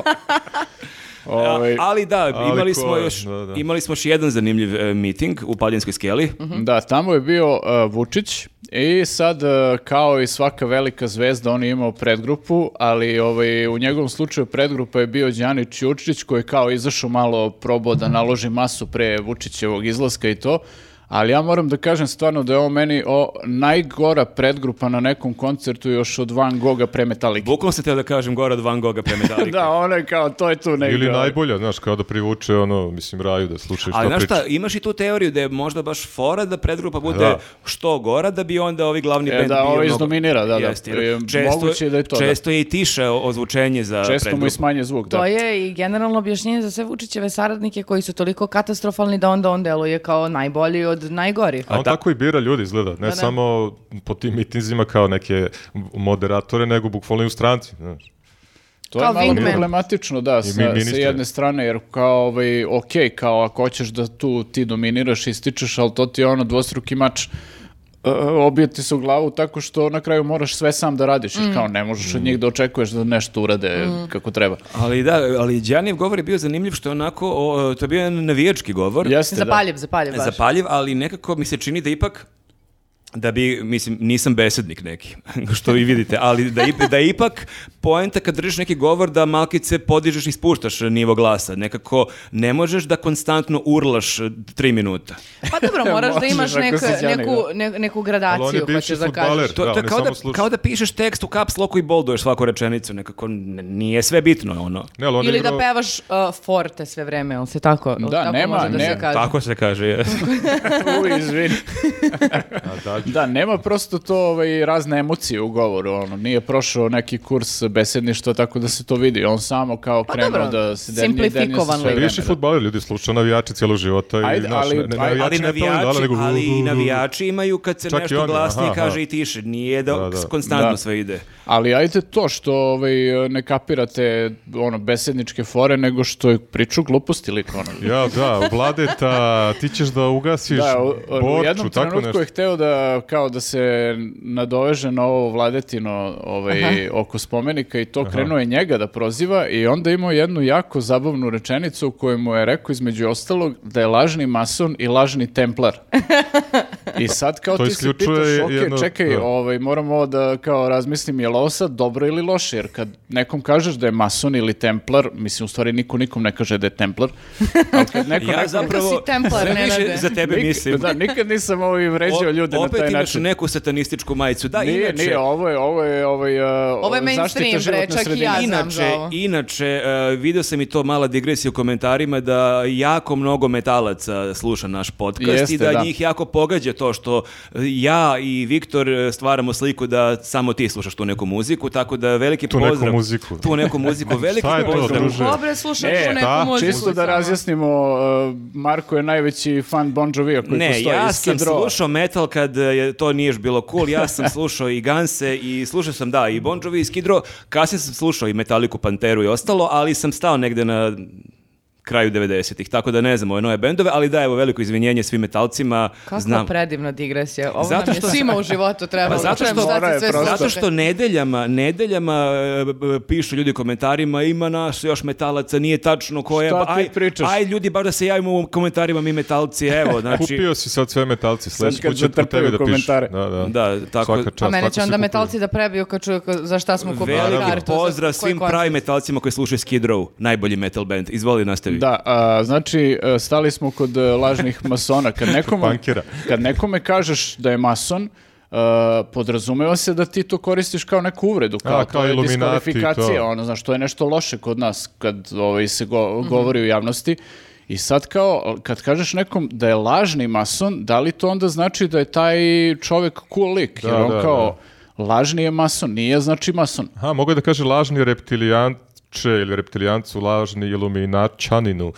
Speaker 4: A-
Speaker 3: Ovaj,
Speaker 4: ali da,
Speaker 2: Ali
Speaker 4: imali
Speaker 2: ko
Speaker 4: smo
Speaker 2: je,
Speaker 4: još,
Speaker 2: da, da.
Speaker 4: imali smo još jedan zanimljiv e, miting u Paljanskoj skeli.
Speaker 2: Mhm.
Speaker 3: Da, tamo je bio uh, Vučić i sad uh, kao i svaka velika zvezda on je imao predgrupu, ali ovaj, u njegovom slučaju predgrupa je bio Đani Ćučić koji je kao izašao malo probao da naloži masu pre Vučićevog izlaska i to, Ali ja moram da kažem stvarno da je ovo meni o, najgora predgrupa na nekom koncertu još od Van Goga pre Metallica.
Speaker 4: Bukom se teo da kažem Gorad Van Goga pre Metallica.
Speaker 3: da, ono je kao, to je tu negdje. ovaj.
Speaker 2: Ili najbolja, znaš, kao da privuče ono, mislim, raju da slušaju što
Speaker 4: Ali znaš
Speaker 2: priča.
Speaker 4: šta, imaš i tu teoriju da je možda baš fora da predgrupa bude
Speaker 2: Da.
Speaker 4: što gora da bi onda ovi glavni
Speaker 3: E,
Speaker 4: bend
Speaker 3: da,
Speaker 4: bio
Speaker 3: ovo
Speaker 4: mnogo-
Speaker 3: izdominira, da, da.
Speaker 4: Jeste, jer
Speaker 3: E, moguće da je to, da.
Speaker 4: Često je i tiše o- ozvučenje za
Speaker 3: Često mu
Speaker 4: predgrupu.
Speaker 3: i smanje zvuk, da.
Speaker 1: To je i generalno objašnjenje za sve Vučićeve saradnike koji su toliko katastrofalni da onda on deluje kao najbolji od najgorih.
Speaker 2: A on tako i bira ljudi, izgleda. Ne, samo po tim mitinzima kao neke moderatore, nego bukvalno i u stranci. Znaš.
Speaker 3: To je
Speaker 1: Kao
Speaker 3: malo
Speaker 1: wingman.
Speaker 3: problematično, da, sa, sa
Speaker 2: ministre.
Speaker 3: jedne strane, jer kao, ovaj, ok, kao ako hoćeš da tu ti dominiraš i stičeš, ali to ti je ono dvostruki mač, e, obije ti se u glavu tako što na kraju moraš sve sam da radiš,
Speaker 1: Mm.
Speaker 3: jer kao ne možeš od njih da očekuješ da nešto urade kako treba.
Speaker 4: Ali da, ali Đanijev govor je bio zanimljiv što je onako, o, to je bio jedan navijački govor.
Speaker 3: Jeste, da.
Speaker 1: zapaljiv, zapaljiv baš.
Speaker 4: E, zapaljiv, ali nekako mi se čini da ipak da bi, mislim, nisam besednik neki, što vi vidite, ali da, ip- da ipak poenta kad držiš neki govor da malkice podižeš i spuštaš nivo glasa. Nekako ne možeš da konstantno urlaš e, tri minuta.
Speaker 1: Pa dobro, moraš da
Speaker 3: Možeš
Speaker 1: imaš
Speaker 3: ako
Speaker 1: neku,
Speaker 3: si đanik,
Speaker 1: neku, ne- neku
Speaker 2: Ali on je
Speaker 1: gradaciju,
Speaker 2: bivši
Speaker 1: hoćeš da kažeš.
Speaker 2: futbaler.
Speaker 4: To,
Speaker 2: Da,
Speaker 4: to je
Speaker 2: on je
Speaker 4: kao,
Speaker 2: samo
Speaker 4: da,
Speaker 2: sluša.
Speaker 4: kao da pišeš tekst u caps locku i bolduješ svaku rečenicu. Nekako n- nije sve bitno ono.
Speaker 2: Ne, ali on je
Speaker 1: Ili da
Speaker 2: igrao-
Speaker 1: pevaš uh, forte sve vreme, jel se tako? jel
Speaker 3: Da,
Speaker 1: tako
Speaker 3: nema,
Speaker 1: može da
Speaker 3: ne-
Speaker 1: se kaže?
Speaker 4: Tako se kaže. je.
Speaker 3: U, izvini.
Speaker 2: A dalje.
Speaker 3: Da, nema prosto to ovaj, razne emocije u govoru, ono, nije prošao neki kurs besedništva tako da se to vidi, on samo kao krenuo
Speaker 1: Pa dobro,
Speaker 3: da se denje, denje sa
Speaker 1: simplifikovano.
Speaker 3: svoje vreme,
Speaker 2: Bivši
Speaker 3: da.
Speaker 2: fudbaler ljudi sluša navijači cijelog života i
Speaker 3: Ajde,
Speaker 2: znaš,
Speaker 3: ali-
Speaker 2: ne, ne,
Speaker 3: ajde,
Speaker 2: navijači
Speaker 4: ali
Speaker 2: ne pevaju
Speaker 4: navijači,
Speaker 2: dale, nego-
Speaker 4: ali i navijači imaju kad se
Speaker 2: Čak i
Speaker 4: nešto
Speaker 2: oni,
Speaker 4: glasnije
Speaker 2: aha, aha.
Speaker 4: kaže i tiše. Nije da,
Speaker 2: Da, da.
Speaker 4: konstantno
Speaker 3: Da.
Speaker 4: sve ide.
Speaker 3: Ali ajde to što ovaj, ne kapirate ono, besedničke fore, nego što je priču gluposti lik ono.
Speaker 2: Ja, da, Vladeta, ti ćeš da ugasiš
Speaker 3: Da, u, u
Speaker 2: borču,
Speaker 3: jednom
Speaker 2: tako
Speaker 3: trenutku
Speaker 2: nešto.
Speaker 3: je hteo da, kao da se nadoveže na ovo vladetino ovaj, oko spomenika i to krenuo je njega da proziva i onda je imao jednu jako zabavnu rečenicu u kojoj mu je rekao između ostalog da je lažni mason i lažni templar. I sad kao
Speaker 2: To
Speaker 3: ti se
Speaker 2: isključuje
Speaker 3: pitaš, ok,
Speaker 2: jedno-
Speaker 3: čekaj,
Speaker 2: da.
Speaker 3: ovaj, moram ovo da kao razmislim, je li ovo sad dobro ili loše, jer kad nekom kažeš da je mason ili templar, mislim, u stvari niko nikom ne kaže da je templar, ali kad neko
Speaker 4: Ja
Speaker 3: nekom-
Speaker 4: zapravo
Speaker 1: si templar,
Speaker 4: sve više
Speaker 1: Nenade.
Speaker 4: za tebe
Speaker 3: Nik-
Speaker 4: mislim.
Speaker 3: Da, nikad nisam ovaj vređao
Speaker 4: O-
Speaker 3: ljude na
Speaker 4: opet
Speaker 3: taj
Speaker 4: imaš
Speaker 3: način.
Speaker 4: neku satanističku majicu. Da,
Speaker 3: nije,
Speaker 4: inače,
Speaker 3: nije, ovo je, ovo je, ovo je, uh,
Speaker 1: Ovo je
Speaker 3: zaštita
Speaker 1: mainstream, bre,
Speaker 3: životne
Speaker 1: čak i
Speaker 3: sredine.
Speaker 1: ja Pa znam.
Speaker 4: inače,
Speaker 1: za ovo.
Speaker 4: inače e, video sam i to mala digresija u komentarima da jako mnogo metalaca sluša naš podcast i
Speaker 3: Jeste,
Speaker 4: da,
Speaker 3: da.
Speaker 4: njih jako pogađa to što e, ja i Viktor e, stvaramo sliku da samo ti slušaš tu neku muziku, tako da veliki
Speaker 2: Tu neku
Speaker 4: pozdrav.
Speaker 2: muziku.
Speaker 4: Tu neku muziku, veliki
Speaker 2: Šta je to,
Speaker 4: pozdrav.
Speaker 2: druže?
Speaker 1: Dobre, slušam
Speaker 3: E,
Speaker 1: tu neku
Speaker 2: da,
Speaker 1: muziku.
Speaker 3: Čisto da
Speaker 1: samo.
Speaker 3: razjasnimo, uh, Marko je najveći fan Bon Jovija koji
Speaker 4: Ne,
Speaker 3: postoji.
Speaker 4: ja
Speaker 3: iz
Speaker 4: sam
Speaker 3: Skid Rowa.
Speaker 4: slušao metal kad e, je to nije još bilo cool, ja sam slušao i Ganse i slušao sam, da, i Bon Jovi i Skid Row, kasnije sam slušao i Metalliku, Panteru i ostalo, ali sam stao negde na kraju 90-ih, tako da ne znam ove nove bendove, ali da, evo, veliko izvinjenje svim metalcima,
Speaker 1: Kako
Speaker 4: znam.
Speaker 1: predivna digresija. Ovo
Speaker 4: Zato
Speaker 1: nam je
Speaker 4: što-
Speaker 1: svima u životu trebalo.
Speaker 4: Pa zato
Speaker 1: Čujem
Speaker 4: što-
Speaker 1: šta
Speaker 3: Mora
Speaker 1: se
Speaker 3: je
Speaker 1: sve
Speaker 3: prosto.
Speaker 4: Zato
Speaker 1: sluša.
Speaker 4: što nedeljama, nedeljama e, b- b- pišu ljudi u komentarima, ima nas još metalaca, nije tačno ko je.
Speaker 3: Šta
Speaker 4: ba-
Speaker 3: ti pričaš?
Speaker 4: aj ljudi, bar da se javimo u komentarima, mi metalci, evo, znači...
Speaker 2: Kupio si sad sve metalci, sledeći
Speaker 3: kad
Speaker 2: put će po
Speaker 3: zatrpaju
Speaker 2: tebi da pišu.
Speaker 3: komentare.
Speaker 2: Da, da.
Speaker 4: Da, tako-
Speaker 2: Svaka čast,
Speaker 1: A mene
Speaker 2: tako
Speaker 1: Pa će
Speaker 2: se
Speaker 1: onda
Speaker 2: kupuje.
Speaker 1: metalci da prebiju kad čuju ko- za šta smo kupili
Speaker 4: Veliki
Speaker 1: kartu. za
Speaker 4: pozdrav
Speaker 1: koji
Speaker 4: svim
Speaker 1: koncert.
Speaker 4: pravi metalcima koji slušaju Skid Row, najbolji metal band. Izvoli nastavi.
Speaker 3: Da, a, znači e, stali smo kod e, lažnih masona. Kad nekome,
Speaker 2: Punkira.
Speaker 3: kad nekome kažeš da je mason, e, podrazumeva se da ti to koristiš kao neku uvredu, kao,
Speaker 2: A, kao
Speaker 3: to je
Speaker 2: iluminati,
Speaker 3: diskvalifikacija,
Speaker 2: to.
Speaker 3: ono, znaš, to je nešto loše kod nas kad ovaj, se go- govori u javnosti. I sad kao, kad kažeš nekom da je lažni mason, da li to onda znači da je taj čovjek cool lik?
Speaker 2: Da,
Speaker 3: Jer on
Speaker 2: da,
Speaker 3: kao, lažni je mason, nije znači mason.
Speaker 2: Aha, mogu da kaže lažni reptilijanče ili reptilijancu, lažni iluminačaninu.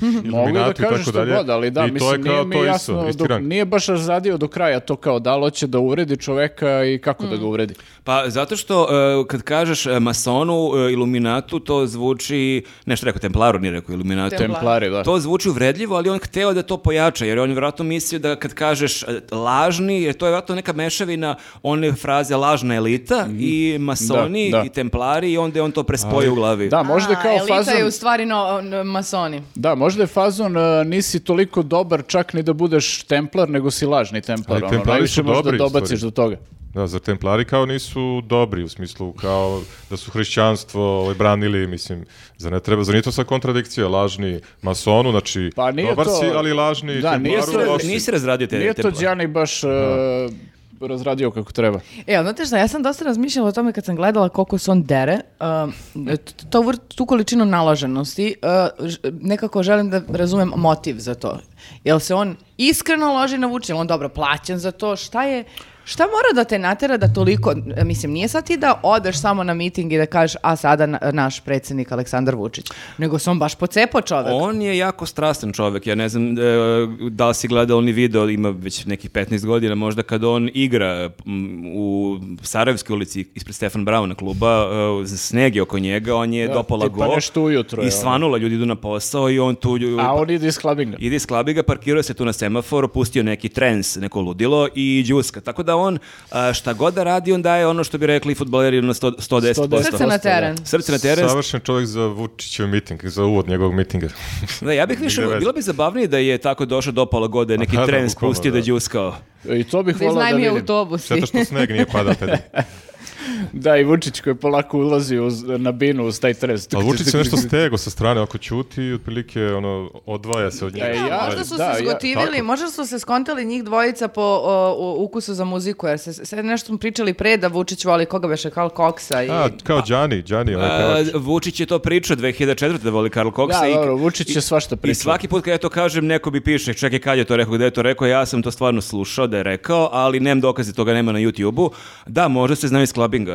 Speaker 3: Mogu da
Speaker 2: Iluminatu i
Speaker 3: kažeš
Speaker 2: tako
Speaker 3: što
Speaker 2: dalje.
Speaker 3: god, ali da,
Speaker 2: I to je
Speaker 3: mislim,
Speaker 2: kao
Speaker 3: nije mi
Speaker 2: to isto,
Speaker 3: jasno, dok
Speaker 2: istiran.
Speaker 3: nije baš razradio do kraja to kao da li hoće da uredi čoveka i kako da
Speaker 1: Mm.
Speaker 3: ga uredi.
Speaker 4: Pa zato što e, kad kažeš e, masonu, e, iluminatu, to zvuči, nešto rekao templaru, nije rekao iluminatu.
Speaker 1: Templar.
Speaker 3: Templari, da.
Speaker 4: To zvuči uvredljivo, ali on hteo da to pojača, jer on je vjerojatno mislio da kad kažeš e, lažni, jer to je vjerojatno neka mešavina one fraze lažna elita i masoni
Speaker 3: Mhm. Da, da.
Speaker 4: i templari i onda je on to prespojio u glavi.
Speaker 3: Da, možda je
Speaker 1: A,
Speaker 3: kao
Speaker 1: elita
Speaker 3: fazon,
Speaker 1: je u stvari no, no, masoni.
Speaker 3: da, možda je fazon e, nisi toliko dobar čak ni da budeš templar, nego si lažni templar.
Speaker 2: Ali
Speaker 3: ono,
Speaker 2: templari
Speaker 3: najviše
Speaker 2: su
Speaker 3: možda
Speaker 2: dobri, u
Speaker 3: dobaciš
Speaker 2: stvari.
Speaker 3: do toga.
Speaker 2: Da, zar templari kao nisu dobri, u smislu kao da su hrišćanstvo ovaj, branili, mislim, zar ne treba, zar nije to sad kontradikcija, lažni masonu, znači,
Speaker 3: Pa nije
Speaker 2: dobar
Speaker 3: to-
Speaker 2: si, ali lažni
Speaker 3: Da, nije
Speaker 2: templaru,
Speaker 4: Nisi,
Speaker 3: Naravno,
Speaker 4: raz-
Speaker 2: loš si.
Speaker 4: nisi razradio te
Speaker 3: Nije to
Speaker 4: templare.
Speaker 3: Đani baš e, razradio kako treba.
Speaker 1: E, ali znate šta, ja sam dosta razmišljala o tome kad sam gledala koliko se on dere, um, t- to, vr- tu količinu nalaženosti, uh, ž- nekako želim da razumem motiv za to. Jel se on iskreno loži na Vučića, jel on dobro plaćen za to, šta je... Šta mora da te natera da toliko, mislim, nije sad ti da odeš samo na miting i da kažeš, a sada na- naš predsjednik Aleksandar Vučić, nego se on baš pocepao čovek.
Speaker 4: On je jako strastan čovjek, ja ne znam e, da li si gledao ni video, ima već nekih 15 godina možda kad on igra m, u Sarajevskoj ulici ispred Stefan Brauna kluba, e, sneg je oko njega, on je
Speaker 3: Da,
Speaker 4: dopala
Speaker 3: tipa
Speaker 4: go
Speaker 3: nešto ujutro je
Speaker 4: i
Speaker 3: on.
Speaker 4: svanula, ljudi idu na posao i on tu lju-
Speaker 3: A on ide iz klabinga.
Speaker 4: Ide iz klabiga, parkirao se tu na semaforu, pustio neki trens, neko ludilo i džuska. Tako da on a, šta god da radi, on daje ono što bi rekli futboleri na 100, 110%.
Speaker 3: 110%.
Speaker 1: Srce na teren.
Speaker 4: Srce na teren,
Speaker 2: Savršen čovjek za Vučićev miting, za uvod njegovog mitinga.
Speaker 4: Da, ja bih više,
Speaker 2: Ide veze.
Speaker 4: bilo bi zabavnije da je tako došao do pola godine, neki
Speaker 2: da,
Speaker 4: tren
Speaker 2: Pa bukvalno,
Speaker 4: spustio da
Speaker 2: da.
Speaker 4: je đuskao.
Speaker 3: I to bih
Speaker 1: Da
Speaker 3: volao da
Speaker 1: iznajmi
Speaker 3: vidim.
Speaker 1: autobus.
Speaker 2: Šteta što sneg nije pada tada.
Speaker 3: Da, i Vučić koji polako ulazi uz, na binu uz taj trez.
Speaker 2: Ali Vučić se nešto stego sa strane, ako ćuti, otprilike ono, odvaja se od njega. Ovaj.
Speaker 1: Da,
Speaker 3: E, ja-
Speaker 1: možda su
Speaker 3: da, ja-
Speaker 1: se zgotivili,
Speaker 2: tako.
Speaker 1: možda su se skontali njih dvojica po o, u- ukusu za muziku, jer se sve nešto smo pričali pre da Vučić voli koga beše Karl Koksa i...
Speaker 2: A, kao
Speaker 3: Pa-
Speaker 2: Đani, Đani, ovaj, onaj
Speaker 4: A,
Speaker 2: pevač.
Speaker 4: Vučić je to pričao 2004. da voli Karl Coxa.
Speaker 3: Da,
Speaker 4: i-
Speaker 3: dobro, Vučić je svašta
Speaker 4: I
Speaker 3: pričao.
Speaker 4: svaki put kad ja to kažem, neko bi piše, čekaj kad je to rekao, gde je to rekao, ja sam to stvarno slušao da je rekao, ali nemam dokaze, toga nema na YouTube-u. Da, možda se znam iz klabinga.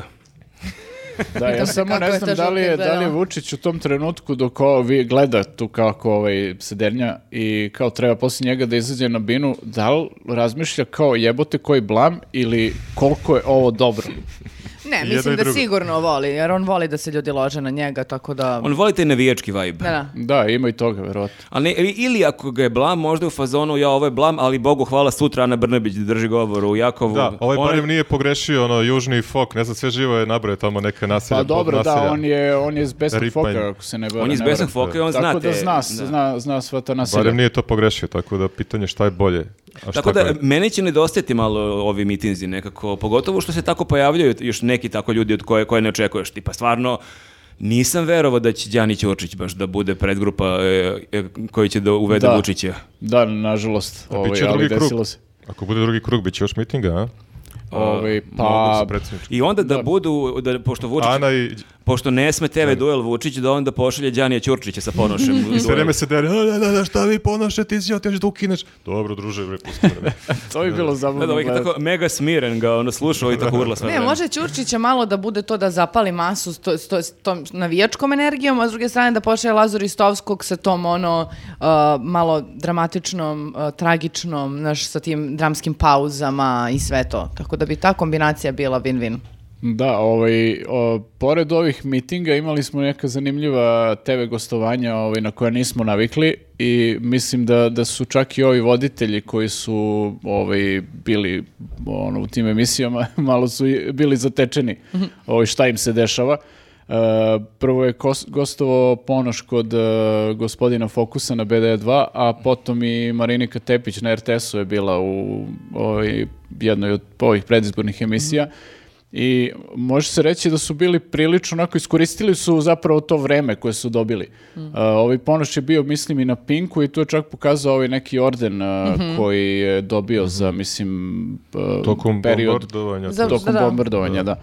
Speaker 3: Da, ja samo
Speaker 1: kako
Speaker 3: ne
Speaker 1: je
Speaker 3: znam
Speaker 1: to
Speaker 3: da li, je,
Speaker 1: žuti
Speaker 3: da li je
Speaker 1: beo.
Speaker 3: Vučić u tom trenutku dok ovo vi gleda tu kako ovaj sedernja i kao treba poslije njega da izađe na binu, da li razmišlja kao jebote koji blam ili koliko je ovo dobro?
Speaker 1: Ne,
Speaker 2: jedno i
Speaker 1: mislim da
Speaker 2: drugo.
Speaker 1: sigurno voli, jer on voli da se ljudi lože na njega, tako da...
Speaker 4: On voli taj navijački vibe.
Speaker 1: Da, da.
Speaker 3: Da, ima i toga, verovatno.
Speaker 4: Ali ne- ili- ili ako ga je blam, možda je u fazonu, ja ovo je blam, ali Bogu hvala sutra Ana Brnabić drži govor u Jakovu.
Speaker 2: Da, ovaj
Speaker 4: Ona-
Speaker 2: barem nije pogrešio, ono, južni fok, ne znam, sve živo je nabrao tamo neke naselja.
Speaker 3: Pa dobro, da,
Speaker 2: podnaselja.
Speaker 3: on je, on je iz besnog
Speaker 2: Ripanj.
Speaker 3: foka, ako se ne varam.
Speaker 4: On je iz
Speaker 3: ne
Speaker 4: besnog
Speaker 3: varam.
Speaker 4: foka i on
Speaker 3: Tako
Speaker 4: zna
Speaker 3: da
Speaker 4: te-
Speaker 3: zna,
Speaker 4: da.
Speaker 3: zna, zna sva ta naselja.
Speaker 2: Barem nije to pogrešio, tako da pitanje šta je bolje. A Pa šta
Speaker 4: Tako da,
Speaker 2: gore?
Speaker 4: meni će nedostajati malo ovi mitinzi nekako, pogotovo što se tako pojavljaju još neki tako ljudi od koje, koje ne očekuješ. Tipa, stvarno, nisam verovao da će Đani Ćorčić baš da bude predgrupa e, e, koji će da uvede
Speaker 3: Da.
Speaker 4: Vučića.
Speaker 3: Da, nažalost,
Speaker 2: A
Speaker 3: ovaj,
Speaker 2: bit će
Speaker 3: ali
Speaker 2: drugi
Speaker 3: desilo
Speaker 2: krug.
Speaker 3: se.
Speaker 2: Ako bude drugi krug, bit će još mitinga, a?
Speaker 3: Ovaj,
Speaker 2: Mogu
Speaker 3: pa,
Speaker 2: se predsjednički.
Speaker 4: I onda da, budu, da, pošto Vučić...
Speaker 2: Ana i...
Speaker 4: Pošto ne sme TV duel Vučić, da onda pošalje Đanija Ćorčića sa ponošem. u
Speaker 2: Sve
Speaker 4: duel.
Speaker 2: vreme se dere, da, da, da, šta vi ponašate, ti si, ja ti hoćeš da ukineš. Dobro, druže, bre, pusti me.
Speaker 3: to bi bilo zabavno.
Speaker 4: Da, da, uvijek je
Speaker 3: gledati.
Speaker 4: tako mega smiren ga, ono, slušao i tako urla sve
Speaker 1: Ne,
Speaker 4: vreme.
Speaker 1: može Ćurčića malo da bude to da zapali masu s, to, s, to- s tom navijačkom energijom, a s druge strane da počne Lazar Istovskog sa tom ono uh, malo dramatičnom, uh, tragičnom, znaš, sa tim dramskim pauzama i sve to. Tako da bi ta kombinacija bila win-win.
Speaker 3: Da, ovaj, o, pored ovih mitinga imali smo neka zanimljiva TV gostovanja ovaj, na koja nismo navikli i mislim da, da su čak i ovi voditelji koji su ovaj, bili ono, u tim emisijama malo su i bili zatečeni ovaj, šta im se dešava. E, prvo je kos- gostovao Ponoš kod e, gospodina Fokusa na BD2, a potom i Marinika Tepić na RTS-u je bila u ovaj, jednoj od ovih predizbornih emisija. I može se reći da su bili prilično onako iskoristili su zapravo to vreme koje su dobili.
Speaker 1: Mm.
Speaker 3: Uh, ovaj ponoš je bio mislim i na Pinku i tu je čak pokazao ovaj neki orden uh,
Speaker 1: Mhm.
Speaker 3: koji je dobio za mislim uh,
Speaker 2: Tokom
Speaker 3: period
Speaker 2: bombardovanja.
Speaker 1: Za-
Speaker 2: to-
Speaker 1: Da,
Speaker 3: tokom
Speaker 1: da.
Speaker 3: bombardovanja, da.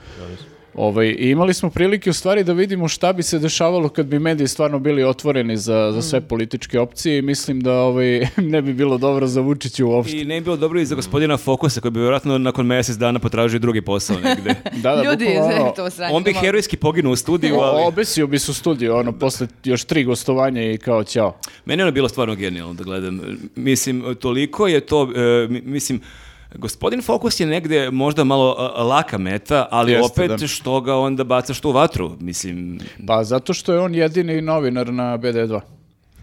Speaker 3: Ovaj, i imali smo prilike u stvari da vidimo šta bi se dešavalo kad bi mediji stvarno bili otvoreni za, za
Speaker 1: Mm.
Speaker 3: sve političke opcije i mislim da ovaj, ne bi bilo dobro za Vučića uopšte.
Speaker 4: I ne bi bilo dobro i za gospodina Fokusa, koji bi vjerojatno nakon mjesec dana potražio drugi posao negde.
Speaker 3: Da, da,
Speaker 1: Ljudi,
Speaker 3: bukvalno ono-
Speaker 1: to sranje.
Speaker 4: On bi
Speaker 1: malo.
Speaker 4: herojski poginuo u studiju, ali...
Speaker 3: O- Obesio bi se u studiju, ono, posle još tri gostovanja i kao ćao.
Speaker 4: Meni je ono bilo stvarno genijalno da gledam. Mislim, toliko je to, e, mi- mislim, gospodin Fokus je negde možda malo a, laka meta, ali
Speaker 3: Jeste,
Speaker 4: opet
Speaker 3: da.
Speaker 4: što ga onda bacaš tu u vatru, mislim.
Speaker 3: Pa zato što je on jedini novinar na BD2.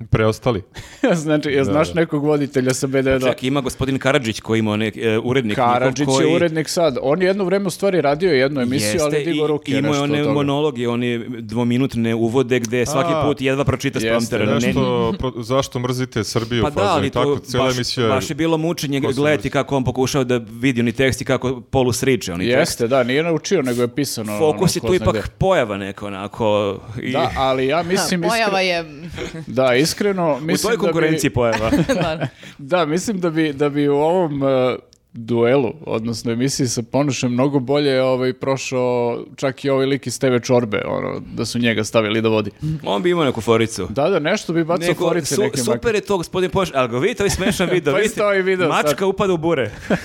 Speaker 2: Preostali.
Speaker 3: znači, ja znaš nekog voditelja sa B92?
Speaker 4: Čak ima gospodin Karadžić koji ima onaj e, urednik. njihov
Speaker 3: Karadžić
Speaker 4: koji...
Speaker 3: je urednik sad. On je jedno vreme u stvari radio jednu emisiju,
Speaker 4: Jeste,
Speaker 3: ali digo
Speaker 4: i-
Speaker 3: ruke
Speaker 4: imao je
Speaker 3: nešto
Speaker 4: one
Speaker 3: od toga.
Speaker 4: monologe, one dvominutne uvode gde svaki
Speaker 2: A,
Speaker 4: put jedva pročita
Speaker 3: jeste,
Speaker 4: promptera. Ne-
Speaker 2: Nešto, pro- zašto mrzite Srbiju,
Speaker 4: Pa da,
Speaker 2: fazon
Speaker 4: ali
Speaker 2: i tako,
Speaker 4: to
Speaker 2: cijela
Speaker 4: baš,
Speaker 2: emisija je-
Speaker 4: baš je bilo mučenje
Speaker 2: Ko se
Speaker 4: gledati
Speaker 2: mrzi?
Speaker 4: kako on pokušao da vidi oni tekst i kako polu sriče oni tekst.
Speaker 3: Jeste, da, nije naučio, nego je pisano.
Speaker 4: Fokus
Speaker 3: ono,
Speaker 4: je
Speaker 3: ko
Speaker 4: tu
Speaker 3: zna
Speaker 4: ipak
Speaker 3: gde.
Speaker 4: pojava neka onako. I...
Speaker 3: Da, ali ja
Speaker 1: Ha,
Speaker 3: mislim
Speaker 1: Pojava
Speaker 3: iskreno,
Speaker 1: je...
Speaker 3: da, iskreno
Speaker 4: u
Speaker 3: mislim
Speaker 4: toj konkurenciji
Speaker 3: da bi,
Speaker 4: pojava.
Speaker 1: Dobro.
Speaker 3: da, mislim da bi, da bi u ovom e, duelu, odnosno emisiji sa Ponošem, mnogo bolje ovaj, prošao čak i ovaj lik iz TV Čorbe, ono, da su njega stavili da vodi.
Speaker 4: on bi imao neku foricu.
Speaker 3: Da, da, nešto bi bacao
Speaker 4: Nego,
Speaker 3: forice
Speaker 4: su-
Speaker 3: neke makar.
Speaker 4: super je to gospodin Ponoš, ali ga vidite, ovaj smešan video.
Speaker 3: Pa
Speaker 4: vidite,
Speaker 3: isto ovaj video sad.
Speaker 4: mačka upada u bure.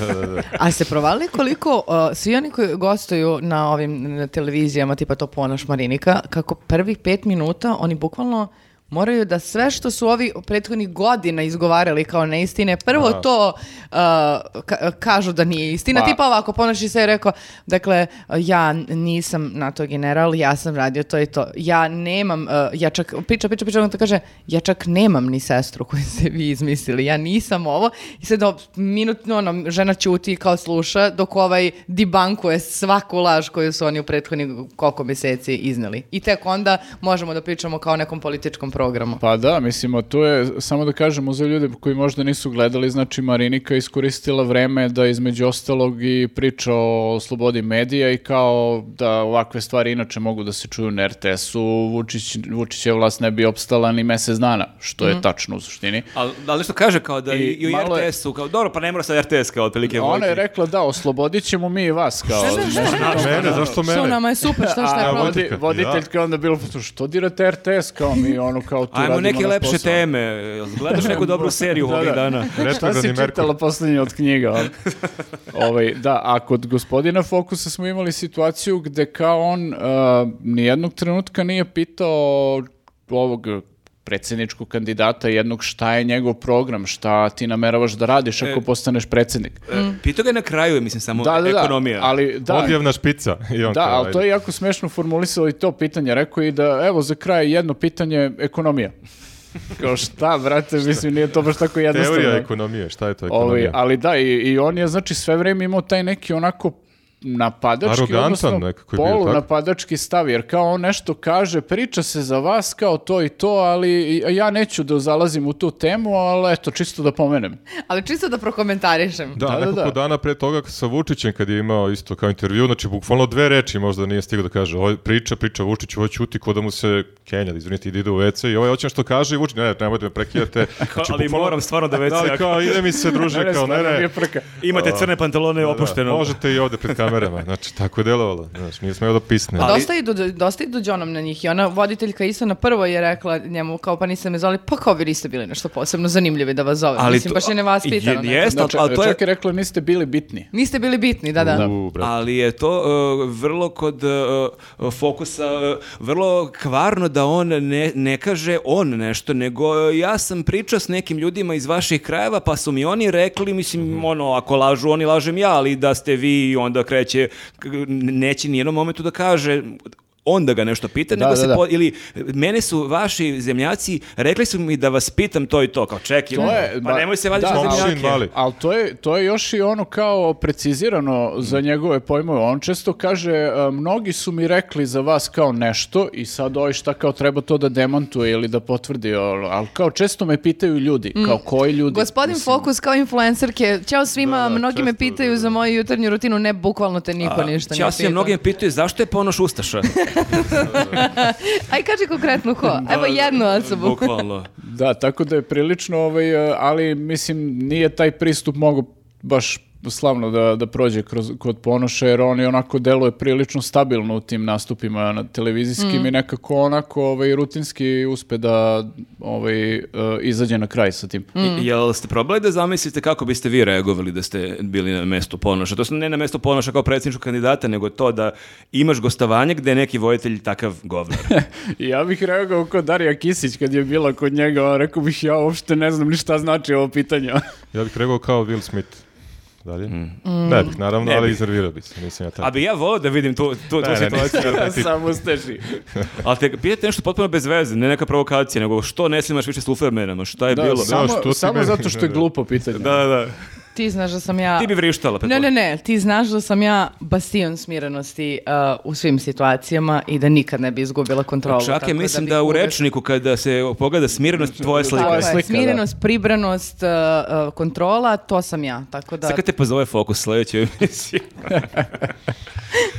Speaker 2: Da, da, da.
Speaker 1: A se provalili koliko uh, svi oni koji gostuju na ovim na televizijama, tipa to Ponoš Marinika, kako prvih pet minuta oni bukvalno moraju da sve što su ovi prethodnih godina izgovarali kao neistine, prvo to uh, ka- kažu da nije istina.
Speaker 3: Pa-
Speaker 1: Tipa ovako, Ponoš je sve rekao, dakle, ja nisam NATO general, ja sam radio to i to. Ja nemam, uh, ja čak, priča, priča, priča, on to kaže, ja čak nemam ni sestru koju ste vi izmislili, ja nisam ovo. I sad ob- minutno ono, žena ćuti i kao sluša, dok ovaj dibankuje svaku laž koju su oni u prethodnih koliko meseci izneli. I tek onda možemo da pričamo kao o nekom političkom programu.
Speaker 3: Pa da, mislim, a tu je, samo da kažemo za ljude koji možda nisu gledali, znači Marinika je iskoristila vreme da između ostalog i priča o slobodi medija i kao da ovakve stvari inače mogu da se čuju na RTS-u, Vučić, Vučićeva vlast ne bi opstala ni mesec dana, što
Speaker 4: Mhm.
Speaker 3: je tačno u suštini.
Speaker 4: Ali, ali nešto kaže kao da i,
Speaker 3: I
Speaker 4: i u
Speaker 3: malo je-
Speaker 4: RTS-u, kao, dobro, pa ne mora sad RTS kao otprilike.
Speaker 3: Ona je
Speaker 4: voliti.
Speaker 3: rekla da, oslobodit ćemo mi i vas, kao... nešto
Speaker 2: Mene, zašto
Speaker 1: Što
Speaker 2: mene?
Speaker 1: nama je super, što šta je
Speaker 3: A
Speaker 2: vodi-
Speaker 1: problem?
Speaker 3: vodi,
Speaker 2: politika,
Speaker 3: voditeljka je onda bilo, što dirate RTS, kao mi ono kao tu
Speaker 4: Ajmo
Speaker 3: radimo
Speaker 4: neke
Speaker 3: naš
Speaker 4: lepše
Speaker 3: posao.
Speaker 4: teme. Jel Gledaš neku dobru seriju
Speaker 3: Da,
Speaker 4: ovih
Speaker 3: da.
Speaker 4: dana?
Speaker 3: Šta si
Speaker 2: Retrogradni Merkur.
Speaker 3: čitala poslednje od knjiga? ono? ovaj, da, a kod gospodina Fokusa smo imali situaciju gde kao on uh, nijednog trenutka nije pitao ovog predsjedničkog kandidata jednog šta je njegov program, šta ti nameravaš da radiš ako
Speaker 4: E.
Speaker 3: postaneš predsjednik.
Speaker 1: Mm.
Speaker 4: E, Pitao ga je na kraju, mislim, samo
Speaker 3: Da, da, da,
Speaker 4: ekonomija.
Speaker 3: ali da,
Speaker 2: Odjevna špica. I on
Speaker 3: da,
Speaker 2: kao,
Speaker 3: ali to je
Speaker 2: ajde.
Speaker 3: jako smešno formulisalo i to pitanje. Rekao je i da, evo, za kraj jedno pitanje, ekonomija. Kao šta, brate, mislim, nije to baš tako jednostavno. Ovaj,
Speaker 2: Teorija ekonomije, šta je to
Speaker 3: Ovi,
Speaker 2: ekonomija?
Speaker 3: ali da, i, i on je znači sve vrijeme imao taj neki onako napadački,
Speaker 2: Arogantan
Speaker 3: odnosno
Speaker 2: nekako je bio, tako?
Speaker 3: polunapadački stav, jer kao on nešto kaže, priča se za vas kao to i to, ali ja neću da zalazim u tu temu, ali eto, čisto da pomenem.
Speaker 1: Ali čisto da prokomentarišem.
Speaker 2: Da,
Speaker 3: Da, da,
Speaker 2: nekoliko
Speaker 3: da.
Speaker 2: dana pre toga sa Vučićem kad je imao isto kao intervju, znači bukvalno dve reči možda nije stigao da kaže. Ovo priča, priča Vučić, ovo ćuti ko da mu se Kenja, da izvinite, ide u WC i ovaj hoće što kaže i Vučić, ne, ne, nemojte me prekidate. Znači,
Speaker 4: ali
Speaker 2: bukvalno-
Speaker 4: moram stvarno da WC
Speaker 2: Da, ali
Speaker 4: ako-
Speaker 2: kao ide mi se druže, E, kao ne,
Speaker 3: stvarno mi je
Speaker 2: ne.
Speaker 3: frka.
Speaker 4: Imate crne pantalone
Speaker 2: Da, možete i ovde pred kamerama, znači tako je delovalo, znači nije smeo da pisne.
Speaker 4: Ali-
Speaker 1: Dosta idu, dosta idu đonom na njih i ona voditeljka isto na prvo je rekla njemu kao pa niste me zvali, pa kao vi niste bili nešto posebno zanimljivi da vas zovem. Mislim, baš je nevaspitano.
Speaker 4: je-
Speaker 1: nekako.
Speaker 4: Jeste,
Speaker 3: Znači,
Speaker 4: E, ali to je...
Speaker 3: čak je rekla, niste bili bitni.
Speaker 1: Niste bili bitni, da, da.
Speaker 2: U, brate.
Speaker 4: Ali je to uh, vrlo kod uh, fokusa, uh, vrlo kvarno da on ne, ne kaže on nešto, nego uh, ja sam pričao s nekim ljudima iz vaših krajeva, pa su mi oni rekli, mislim,
Speaker 3: Mhm.
Speaker 4: ono, ako lažu, oni lažem ja, ali da ste vi, onda kreće, k- neće nijednom momentu da kaže onda ga nešto pita,
Speaker 3: Da,
Speaker 4: nego
Speaker 3: da,
Speaker 4: se
Speaker 3: da.
Speaker 4: po- ili mene su vaši zemljaci, rekli su mi da vas pitam to i to, kao čekaj,
Speaker 3: je,
Speaker 4: pa
Speaker 3: ba-
Speaker 4: nemoj se vaditi
Speaker 3: da,
Speaker 4: na
Speaker 3: ali-
Speaker 4: zemljake.
Speaker 2: Mašin mali.
Speaker 3: Ali to je, to je još i ono kao precizirano za njegove pojmove. On često kaže, e, mnogi su mi rekli za vas kao nešto i sad ovaj šta kao treba to da demantuje ili da potvrdi, ono, ali kao često me pitaju ljudi, kao koji ljudi.
Speaker 1: Gospodin
Speaker 3: Mislim,
Speaker 1: Fokus kao influencerke, čao svima,
Speaker 2: Da, da,
Speaker 1: mnogi me
Speaker 2: često,
Speaker 1: pitaju
Speaker 2: da, da.
Speaker 1: za moju jutarnju rutinu, ne, bukvalno te niko ništa ne
Speaker 4: Ja se
Speaker 1: pita.
Speaker 4: mnogi me pitaju zašto je ponoš Ustaša.
Speaker 1: Aj, kaži konkretno ko, evo jednu osobu.
Speaker 4: Bukvalno.
Speaker 3: Da, tako da je prilično, ovaj, e, ali mislim nije taj pristup mogu baš slavno da, da prođe kroz, kod Ponoša, jer on je onako deluje prilično stabilno u tim nastupima na televizijskim i nekako onako ovaj, rutinski uspe da ovaj, e, izađe na kraj sa tim.
Speaker 1: Mm.
Speaker 4: I- Jel ste probali da zamislite kako biste vi reagovali da ste bili na mestu ponoša? To ne na mestu ponoša kao predsjedničkog kandidata, nego to da imaš gostovanje gde je neki vojitelj takav govnar.
Speaker 3: I ja bih reagovao kod Darija Kisić kad je bila kod njega, rekao bih ja uopšte ne znam ni šta znači ovo pitanje.
Speaker 2: Ja bih rekao kao Will Smith. dalje.
Speaker 3: Mm.
Speaker 2: Ne bih, naravno,
Speaker 4: Ne
Speaker 2: ali
Speaker 4: bih.
Speaker 2: iznervirao bi se, nisam ja tako.
Speaker 4: A bi ja volao da vidim tu, tu, tu
Speaker 2: Pa, Ne, ne,
Speaker 4: situaciju.
Speaker 2: nisam ja taj tip.
Speaker 3: Samo steži.
Speaker 4: Ali te pitate nešto potpuno bez veze, ne neka provokacija, nego što ne snimaš više s Lufermenama, šta je
Speaker 3: Da,
Speaker 4: bilo?
Speaker 2: Da,
Speaker 3: samo,
Speaker 2: što ti
Speaker 3: samo
Speaker 2: meni-
Speaker 3: zato što je glupo pitanje.
Speaker 4: Da, da, da.
Speaker 1: Ti znaš da sam ja...
Speaker 4: Ti bi vrištala.
Speaker 1: Ne, ne,
Speaker 4: pretpostavljam.
Speaker 1: ne, ti znaš da sam ja bastion smirenosti uh, u svim situacijama i da nikad ne bi izgubila kontrolu.
Speaker 4: Čak
Speaker 1: tako
Speaker 4: je mislim
Speaker 1: bih
Speaker 4: da u
Speaker 1: uvek-
Speaker 4: rečniku kada se pogleda smirenost tvoje
Speaker 1: Tako
Speaker 4: slika.
Speaker 1: je,
Speaker 3: slika, da.
Speaker 1: smirenost, pribranost, uh, uh, kontrola, to sam ja, tako da...
Speaker 4: Sad kad te pozove Fokus sledećoj emisiji.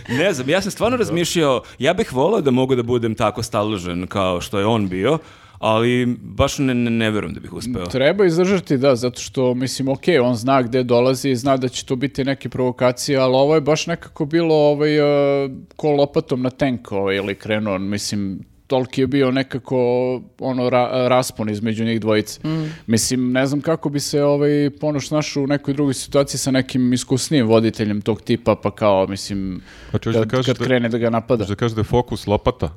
Speaker 4: ne znam, ja sam stvarno razmišljao, ja bih volao da mogu da budem tako staložen kao što je on bio, ali baš ne, ne, ne verujem da bih uspeo.
Speaker 3: Treba izdržati, da, zato što, mislim, ok, on zna gde dolazi, zna da će tu biti neke provokacije, ali ovo je baš nekako bilo ovaj, e, ko lopatom na tenk ovaj, ili krenuo, mislim, toliki je bio nekako ono ra- raspon između njih dvojice. Mislim, ne znam kako bi se ovaj ponoš našao u nekoj drugoj situaciji sa nekim iskusnijim voditeljem tog tipa, pa kao, mislim,
Speaker 2: Znači, hoćeš da
Speaker 3: kad,
Speaker 2: kažeš
Speaker 3: kad
Speaker 2: da-
Speaker 3: krene da ga napada.
Speaker 2: Možeš da kažeš da je fokus lopata,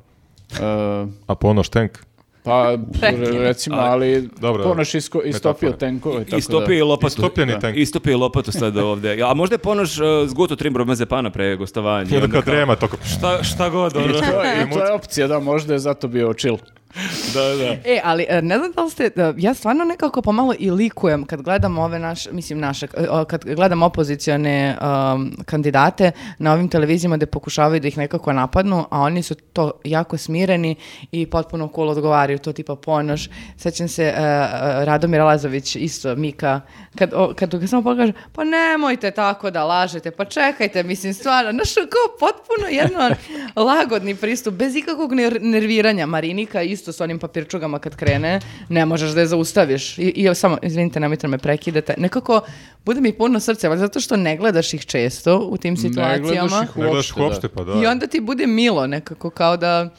Speaker 3: E,
Speaker 2: a ponoš tank.
Speaker 3: pa, recimo, ali
Speaker 2: Dobro,
Speaker 3: ponoš isko, istopio
Speaker 2: metafora.
Speaker 3: tenkove. tako da-
Speaker 4: Istopio i lopatu.
Speaker 2: Istopljeni tank.
Speaker 4: Istopio i lopatu sad ovde. A možda je ponoš uh, zguto tri bromazepana pre gostovanja.
Speaker 2: I
Speaker 4: ono
Speaker 2: onda kad
Speaker 4: kao,
Speaker 2: trema, toko...
Speaker 4: Šta, šta god, ono.
Speaker 3: To je, to je opcija, da, možda je zato bio chill.
Speaker 4: da, da.
Speaker 1: E, ali e, ne znam da li ste, e, ja stvarno nekako pomalo i likujem kad gledam ove naše, mislim naše, e, o, kad gledam opozicione um, kandidate na ovim televizijama gde pokušavaju da ih nekako napadnu, a oni su to jako smireni i potpuno cool odgovaraju, to tipa ponoš. Sećam se, e, e, Radomir Lazović, isto Mika, kad, o, kad ga samo pokaže, pa nemojte tako da lažete, pa čekajte, mislim stvarno, znaš, kao potpuno jedno lagodni pristup, bez ikakvog ner- nerviranja. Marinika isto s onim papirčugama kad krene, ne možeš da je zaustaviš. I, i evo samo, izvinite, nemojte da me prekidate. Nekako, bude mi puno srce, valjda zato što ne gledaš ih često u tim situacijama.
Speaker 3: gledaš ih
Speaker 2: Ne gledaš
Speaker 3: Uopšte,
Speaker 2: uopšte,
Speaker 3: da.
Speaker 2: pa da.
Speaker 1: I onda ti bude milo nekako, kao da...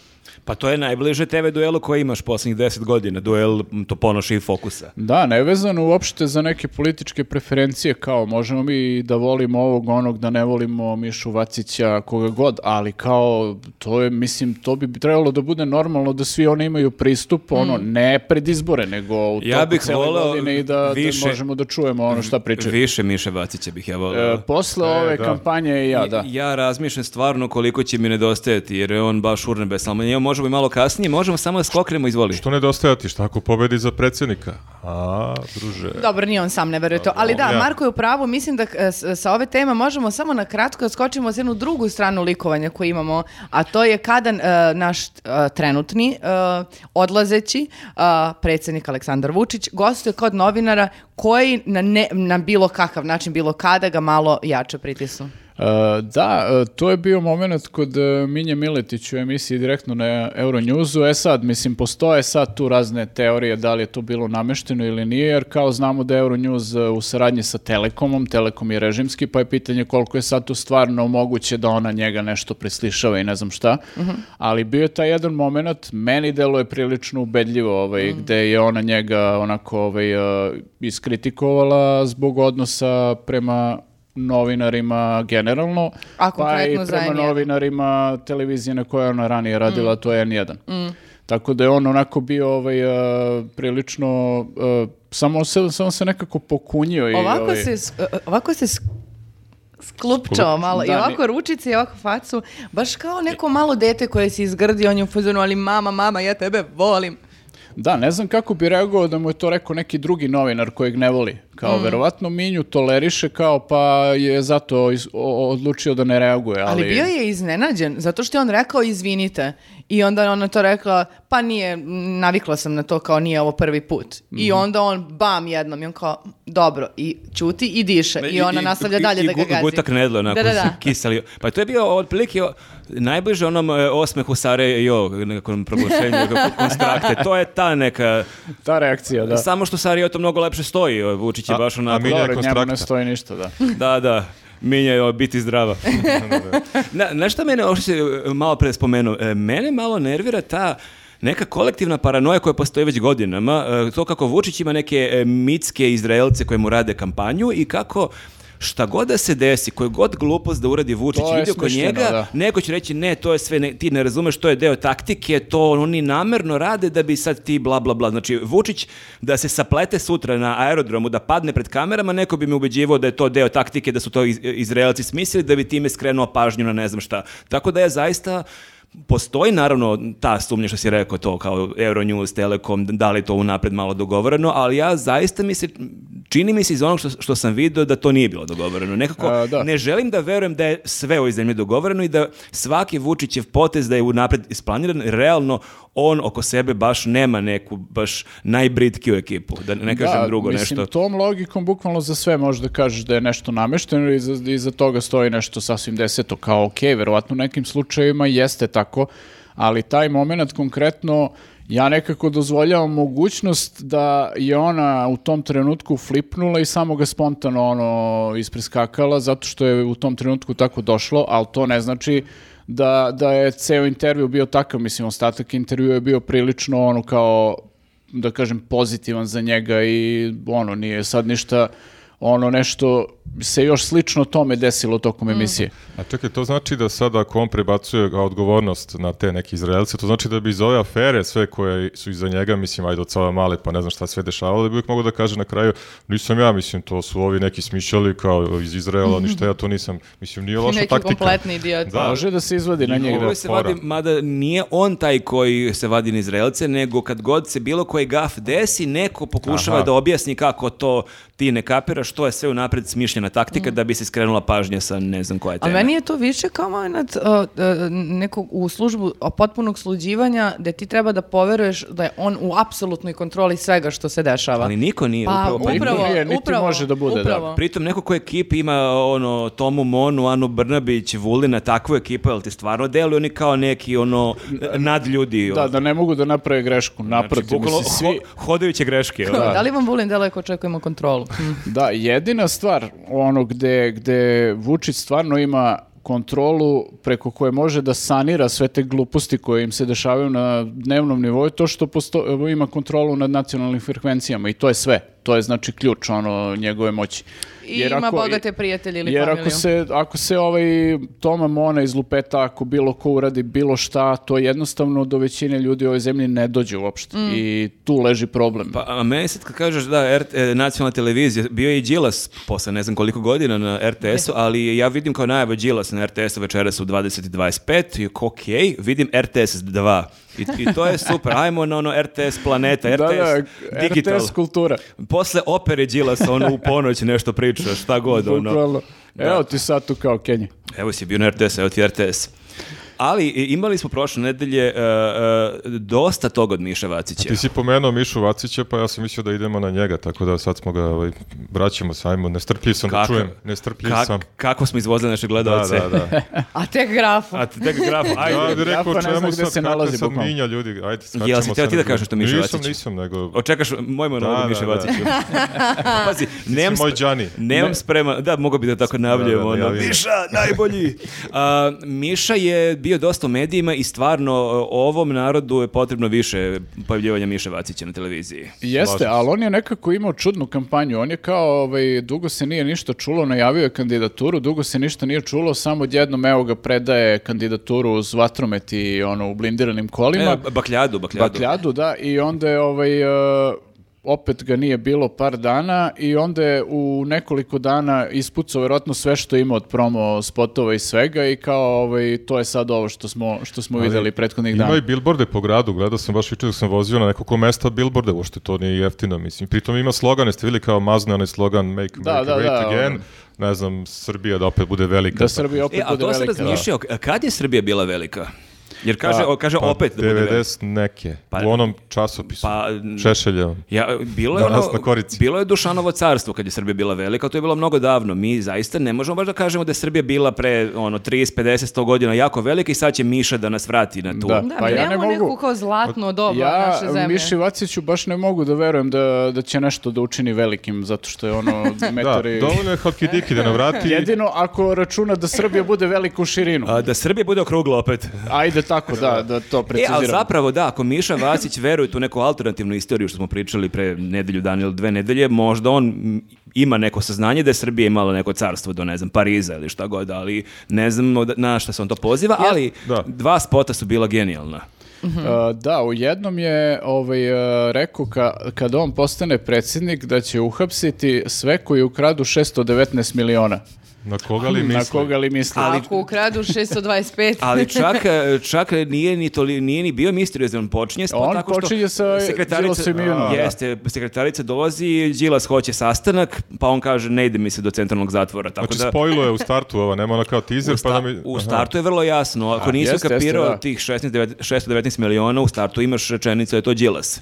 Speaker 4: Pa to je najbliže TV duelu koji imaš posljednjih 10 godina. Duel m, to ponoši i fokusa.
Speaker 3: Da, nevezano uopšte za neke političke preferencije, kao možemo mi da volimo ovog, onog, da ne volimo Mišu Vacića, koga god, ali kao, to je, mislim, to bi trebalo da bude normalno da svi oni imaju pristup, ono, ne pred izbore, nego u
Speaker 4: Mm. Ja
Speaker 3: toku
Speaker 4: bih
Speaker 3: cele
Speaker 4: voleo
Speaker 3: godine i da, da
Speaker 4: više-
Speaker 3: možemo da čujemo ono šta pričaju.
Speaker 4: Više Miše Vacića bih ja volao.
Speaker 3: E, posle
Speaker 2: E,
Speaker 3: ove
Speaker 2: da.
Speaker 3: kampanje i ja, da.
Speaker 4: Ja razmišljam stvarno koliko će mi nedostajati, jer je on baš urne Salman. Njemu možemo i malo kasnije, možemo samo da skoknemo, izvoli.
Speaker 2: Što nedostaje ti? Šta ako pobedi za predsjednika? A, druže.
Speaker 1: Dobro, nije on sam, ne veruje to. Ali da,
Speaker 2: Ja.
Speaker 1: Marko je u pravu, mislim da e, s- sa ove teme možemo samo na kratko da skočimo s jednu drugu stranu likovanja koju imamo, a to je kada e, naš e, trenutni e, odlazeći e, predsjednik Aleksandar Vučić gostuje kod novinara koji na, ne, na bilo kakav način, bilo kada ga malo jače pritisnu.
Speaker 3: E, da, e, to je bio moment kod e, Minje Miletić u emisiji direktno na Euronewsu. E sad, mislim, postoje sad tu razne teorije da li je to bilo namešteno ili nije, jer kao znamo da je Euronews e, u saradnji sa Telekomom, Telekom je režimski, pa je pitanje koliko je sad tu stvarno moguće da ona njega nešto preslišava i ne znam šta. Ali bio je taj jedan moment, meni delo je prilično ubedljivo, ovaj, gde je ona njega onako ovaj, e, iskritikovala zbog odnosa prema novinarima generalno,
Speaker 1: A
Speaker 3: pa i
Speaker 1: konkretno za
Speaker 3: prema
Speaker 1: N1.
Speaker 3: novinarima televizije na kojoj je ona
Speaker 1: Mm.
Speaker 3: ranije radila, to je N1. Tako da je on onako bio ovaj, e, prilično, e, samo, se, samo se nekako pokunio. I,
Speaker 1: Ovako
Speaker 3: ovaj,
Speaker 1: se, s- e, ovako se s- sklupčao malo i
Speaker 3: Da,
Speaker 1: ovako ručice i ovako facu, baš kao neko malo dete koje se izgrdi, on je u fazonu, ali mama, mama, ja tebe volim.
Speaker 3: Da, ne znam kako bi reagovao da mu je to rekao neki drugi novinar kojeg ne voli. Kao,
Speaker 1: Mm.
Speaker 3: verovatno Minju toleriše kao pa je zato iz- o- odlučio da ne reaguje. Ali,
Speaker 1: Ali, bio je iznenađen, zato što je on rekao izvinite. I onda je ona to rekla, pa nije, m, navikla sam na to kao nije ovo prvi put. I onda on bam jednom i on kao, dobro, i ćuti i diše. I, ona nastavlja dalje
Speaker 4: i
Speaker 1: da ga
Speaker 4: gu-
Speaker 1: gazi.
Speaker 4: gutak nedla, onako,
Speaker 1: Da, da, da.
Speaker 4: kisali. Pa to je bio otprilike o- najbliže onom e, osmehu Sare i o nekom proglašenju kako- konstrakte. To je ta neka...
Speaker 3: Ta reakcija, da.
Speaker 4: Samo što Sari o to mnogo lepše stoji. e, Vučić je
Speaker 2: A-
Speaker 4: baš onako...
Speaker 2: a Minja je
Speaker 3: Dobro, njemu ne
Speaker 2: konstrakta.
Speaker 3: stoji ništa, da.
Speaker 4: Da, da. Minja je biti zdrava. na, na šta mene, ovo što si, e, malo pre spomenuo, e, mene malo nervira ta neka kolektivna paranoja koja postoji već godinama, e, to kako Vučić ima neke e, mitske Izraelce koje mu rade kampanju i kako šta god da se desi, koju god glupost da uradi Vučić,
Speaker 3: To je
Speaker 4: ljudi oko
Speaker 3: smišljeno,
Speaker 4: njega,
Speaker 3: da.
Speaker 4: neko će reći ne, to je sve, ne- ti ne razumeš, to je deo taktike, to oni namerno rade da bi sad ti bla bla bla. Znači, Vučić da se saplete sutra na aerodromu, da padne pred kamerama, neko bi mi ubeđivao da je to deo taktike, da su to iz, Izraelci smislili, da bi time skrenuo pažnju na ne znam šta. Tako da ja zaista Postoji naravno ta sumnja što si rekao to kao Euronews, Telekom, da li je to unapred malo dogovoreno, ali ja zaista mi se, čini mi se iz onog što, što sam vidio da to nije bilo dogovoreno. Nekako
Speaker 3: A, da.
Speaker 4: ne E, želim da verujem da je sve u ovoj zemlji dogovoreno i da svaki Vučićev potez da je unapred isplaniran, realno on oko sebe baš nema neku baš najbritkiju ekipu, da ne kažem
Speaker 3: da,
Speaker 4: drugo
Speaker 3: mislim,
Speaker 4: nešto.
Speaker 3: tom logikom bukvalno za sve možeš da kažeš da je nešto namešteno i iza, iza toga stoji nešto sasvim deseto, kao ok, verovatno u nekim slučajevima jeste tako, ali taj moment konkretno ja nekako dozvoljavam mogućnost da je ona u tom trenutku flipnula i samo ga spontano ono ispreskakala zato što je u tom trenutku tako došlo, ali to ne znači da, da je ceo intervju bio takav, mislim, ostatak intervjua je bio prilično ono kao da kažem pozitivan za njega i ono nije sad ništa ono nešto se još slično tome desilo tokom emisije.
Speaker 2: A čekaj, to znači da sada ako on prebacuje kao odgovornost na te neke Izraelce, to znači da bi iz ove afere sve koje su iza njega, mislim, ajde od Sava Male, pa ne znam šta sve dešavalo, da bi uvijek mogao da kaže na kraju, nisam ja, mislim, to su ovi neki smišljali kao iz Izraela, ništa ja to nisam, mislim, nije loša
Speaker 1: Neki
Speaker 2: taktika.
Speaker 1: kompletni idiot.
Speaker 2: Da.
Speaker 3: Pa Može da se izvadi na njega.
Speaker 4: Uvijek se
Speaker 2: fora.
Speaker 4: vadi, mada nije on taj koji se vadi na Izraelce, nego kad god se bilo koji gaf desi, neko pokušava
Speaker 2: Aha.
Speaker 4: da objasni kako to ti ne kapiraš, to je sve unapred smišljena taktika da bi se skrenula pažnja sa ne znam koja
Speaker 1: A
Speaker 4: tema.
Speaker 1: meni je to više kao moment uh, uh, nekog u službu uh, potpunog sluđivanja gde ti treba da poveruješ da je on u apsolutnoj kontroli svega što se dešava.
Speaker 4: Ali niko nije.
Speaker 1: pa
Speaker 4: upravo,
Speaker 1: upravo,
Speaker 4: pa-
Speaker 1: upravo,
Speaker 3: nije, niti može da bude, da.
Speaker 1: upravo.
Speaker 4: Pritom neko ko ekipi ima ono Tomu Monu, Anu Brnabić, Vulina, takvu ekipu, jel ti stvarno deluju oni kao neki ono nadljudi.
Speaker 3: Da,
Speaker 4: ono.
Speaker 3: da ne mogu da naprave grešku, naprotiv,
Speaker 4: Znači, bukvalno
Speaker 3: mislim, svi,
Speaker 4: ho- hodajuće greške. ono.
Speaker 1: Da li vam volim delo ako očekujemo kontrolu?
Speaker 3: da, jedina stvar ono gde, gde Vučić stvarno ima kontrolu preko koje može da sanira sve te gluposti koje im se dešavaju na dnevnom nivou je to što posto- ima kontrolu nad nacionalnim frekvencijama i to je sve. To je znači ključ ono njegove moći.
Speaker 1: I
Speaker 3: Jer
Speaker 1: ima
Speaker 3: ako-
Speaker 1: bogate prijatelje ili
Speaker 3: Jer
Speaker 1: familiju.
Speaker 3: ako se, ako se ovaj Toma Mona iz Lupeta, ako bilo ko uradi bilo šta, to jednostavno do većine ljudi u ovoj zemlji ne dođe uopšte.
Speaker 1: Mm.
Speaker 3: I tu leži problem.
Speaker 4: Pa, a meni sad kad kažeš da RT, e, nacionalna televizija, bio je i Đilas posle ne znam koliko godina na RTS-u, ali ja vidim kao najava Đilas na RTS-u večeras u 20.25 i ok, vidim RTS 2. I, I to je super, ajmo na ono RTS planeta, RTS digital.
Speaker 3: RTS kultura.
Speaker 4: Posle opere Đilasa, ono u ponoć nešto priča, šta god, ono.
Speaker 3: Bukvalno. Evo ti sad tu kao Kenji.
Speaker 4: Evo si bio na RTS, evo ti RTS. Ali i- imali smo prošle nedelje e, e, dosta toga od Miše Vacića.
Speaker 2: Ti si pomenuo Mišu Vacića, pa ja sam mislio da idemo na njega, tako da sad smo ga, ovaj, vraćamo sajmo, nestrpljiv sam da
Speaker 4: Kakav-
Speaker 2: čujem, nestrpljiv
Speaker 4: kak-
Speaker 2: sam.
Speaker 4: Kako smo izvozili naše
Speaker 2: Da,
Speaker 4: gledalce.
Speaker 2: da, da.
Speaker 1: A tek grafu.
Speaker 4: A tek graf,
Speaker 2: Ja
Speaker 4: ajde.
Speaker 2: bih rekao
Speaker 3: Japan ne zna
Speaker 2: čemu
Speaker 3: gde
Speaker 2: sad,
Speaker 3: se
Speaker 2: kakve
Speaker 3: nalazi,
Speaker 2: sad
Speaker 3: bukvalno.
Speaker 2: minja ljudi, ajde, skačemo.
Speaker 4: Jel si htio
Speaker 2: sad
Speaker 4: ti da
Speaker 2: na
Speaker 4: kažeš što
Speaker 2: drugo.
Speaker 4: Miša
Speaker 2: Nisam,
Speaker 4: Vacić?
Speaker 2: nisam, nego...
Speaker 4: Očekaš moj monolog
Speaker 2: Da,
Speaker 4: da, Miše
Speaker 2: da, da.
Speaker 4: Vaciću. Pazi, nemam,
Speaker 2: moj
Speaker 4: sp-
Speaker 2: Đani.
Speaker 4: nemam sprema, da, mogu bi da tako najavljujem,
Speaker 2: Da, da,
Speaker 4: ono,
Speaker 2: najavi.
Speaker 4: Miša, najbolji. A, Miša je bio dosta u medijima i stvarno o- ovom narodu je potrebno više pojavljivanja Miše Vacića na televiziji.
Speaker 3: Jeste,
Speaker 2: Slažem se.
Speaker 3: ali on je nekako imao čudnu kampanju. On je kao, ovaj, dugo se nije ništa čulo, najavio je kandidaturu, dugo se ništa nije čulo, samo odjednom evo ga predaje kandidaturu uz vatromet i ono, u blindiranim kolima.
Speaker 4: E, bakljadu, bakljadu.
Speaker 3: Bakljadu, da, i onda je ovaj, e, opet ga nije bilo par dana i onda je u nekoliko dana ispucao verovatno sve što ima od promo spotova i svega i kao ovaj, to je sad ovo što smo, što smo videli prethodnih
Speaker 2: Ima
Speaker 3: dana.
Speaker 2: i bilborde po gradu, gledao sam baš juče dok sam vozio na nekoliko mesta bilborde, uopšte to nije jeftino, mislim. Pritom ima slogan, jeste vidjeli kao mazne onaj slogan Make
Speaker 3: Da,
Speaker 2: America
Speaker 3: da,
Speaker 2: Great
Speaker 3: da,
Speaker 2: Again,
Speaker 3: ono.
Speaker 2: ne znam, Srbija da opet bude velika.
Speaker 3: Da Srbija opet
Speaker 4: E, a
Speaker 3: bude
Speaker 4: to sam
Speaker 3: velika.
Speaker 4: razmišljao, k- kad je Srbija bila velika? Jer kaže, o, kaže
Speaker 2: Pa,
Speaker 4: opet da bude velika.
Speaker 2: 90 neke,
Speaker 4: Pa-
Speaker 2: u onom časopisu,
Speaker 4: Pa,
Speaker 2: Šešeljevom.
Speaker 4: Ja, bilo je,
Speaker 2: Danas
Speaker 4: ono-
Speaker 2: na korici.
Speaker 4: bilo je Dušanovo carstvo kad je Srbija bila velika, ali to je bilo mnogo davno. Mi zaista ne možemo baš da kažemo da je Srbija bila pre ono, 30, 50, 100 godina jako velika i sad će Miša da nas vrati na tu.
Speaker 3: Da.
Speaker 1: Da,
Speaker 3: Pa
Speaker 1: mi
Speaker 3: ja ne
Speaker 1: nemamo
Speaker 3: mogu.
Speaker 1: neku kao zlatnu dobu
Speaker 3: Ja
Speaker 1: naše zemlje.
Speaker 3: Miši Vaciću baš ne mogu da verujem da, da će nešto da učini velikim, zato što je ono
Speaker 2: Da,
Speaker 3: meteori...
Speaker 2: dovoljno je Halki Diki da navrati.
Speaker 3: Jedino ako računa da Srbija bude velika u širinu.
Speaker 4: A, da Srbija bude okrugla opet.
Speaker 3: Ajde, tako, da, da to
Speaker 4: E,
Speaker 3: preciziramo.
Speaker 4: ali zapravo da, ako Miša Vasić veruje tu neku alternativnu istoriju što smo pričali pre nedelju dana ili dve nedelje, možda on mm, ima neko saznanje da je Srbija imala neko carstvo do, ne znam, Pariza ili šta god, ali ne znam od- na šta se on to poziva, ali
Speaker 2: Da.
Speaker 4: dva spota su bila genijalna.
Speaker 3: E, da, u jednom je ovaj, e, rekao ka, kada on postane predsjednik da će uhapsiti sve koji ukradu 619 miliona.
Speaker 2: Na koga li misli?
Speaker 3: Na koga li misli?
Speaker 1: Ali... Ako ukradu 625...
Speaker 4: Ali čak, e, čak nije, ni toli, nije ni bio misteriozan, on počinje s to
Speaker 3: On
Speaker 4: tako što...
Speaker 3: počinje sa
Speaker 4: sekretarica-
Speaker 3: Đilasom i Junom, da.
Speaker 4: Jeste, sekretarica dolazi, Đilas hoće sastanak, pa on kaže ne ide mi se do centralnog zatvora. Tako
Speaker 2: Znači,
Speaker 4: da,
Speaker 2: spojilo je u startu ova, nema ona kao teaser,
Speaker 4: U,
Speaker 2: pa da
Speaker 4: sta-
Speaker 2: mi...
Speaker 4: u
Speaker 2: Aha.
Speaker 4: startu je vrlo jasno. Ako nisi
Speaker 3: jeste, jeste,
Speaker 4: kapirao
Speaker 3: da.
Speaker 4: tih 16, devet- 619 miliona, u startu imaš rečenicu da je to Đilas.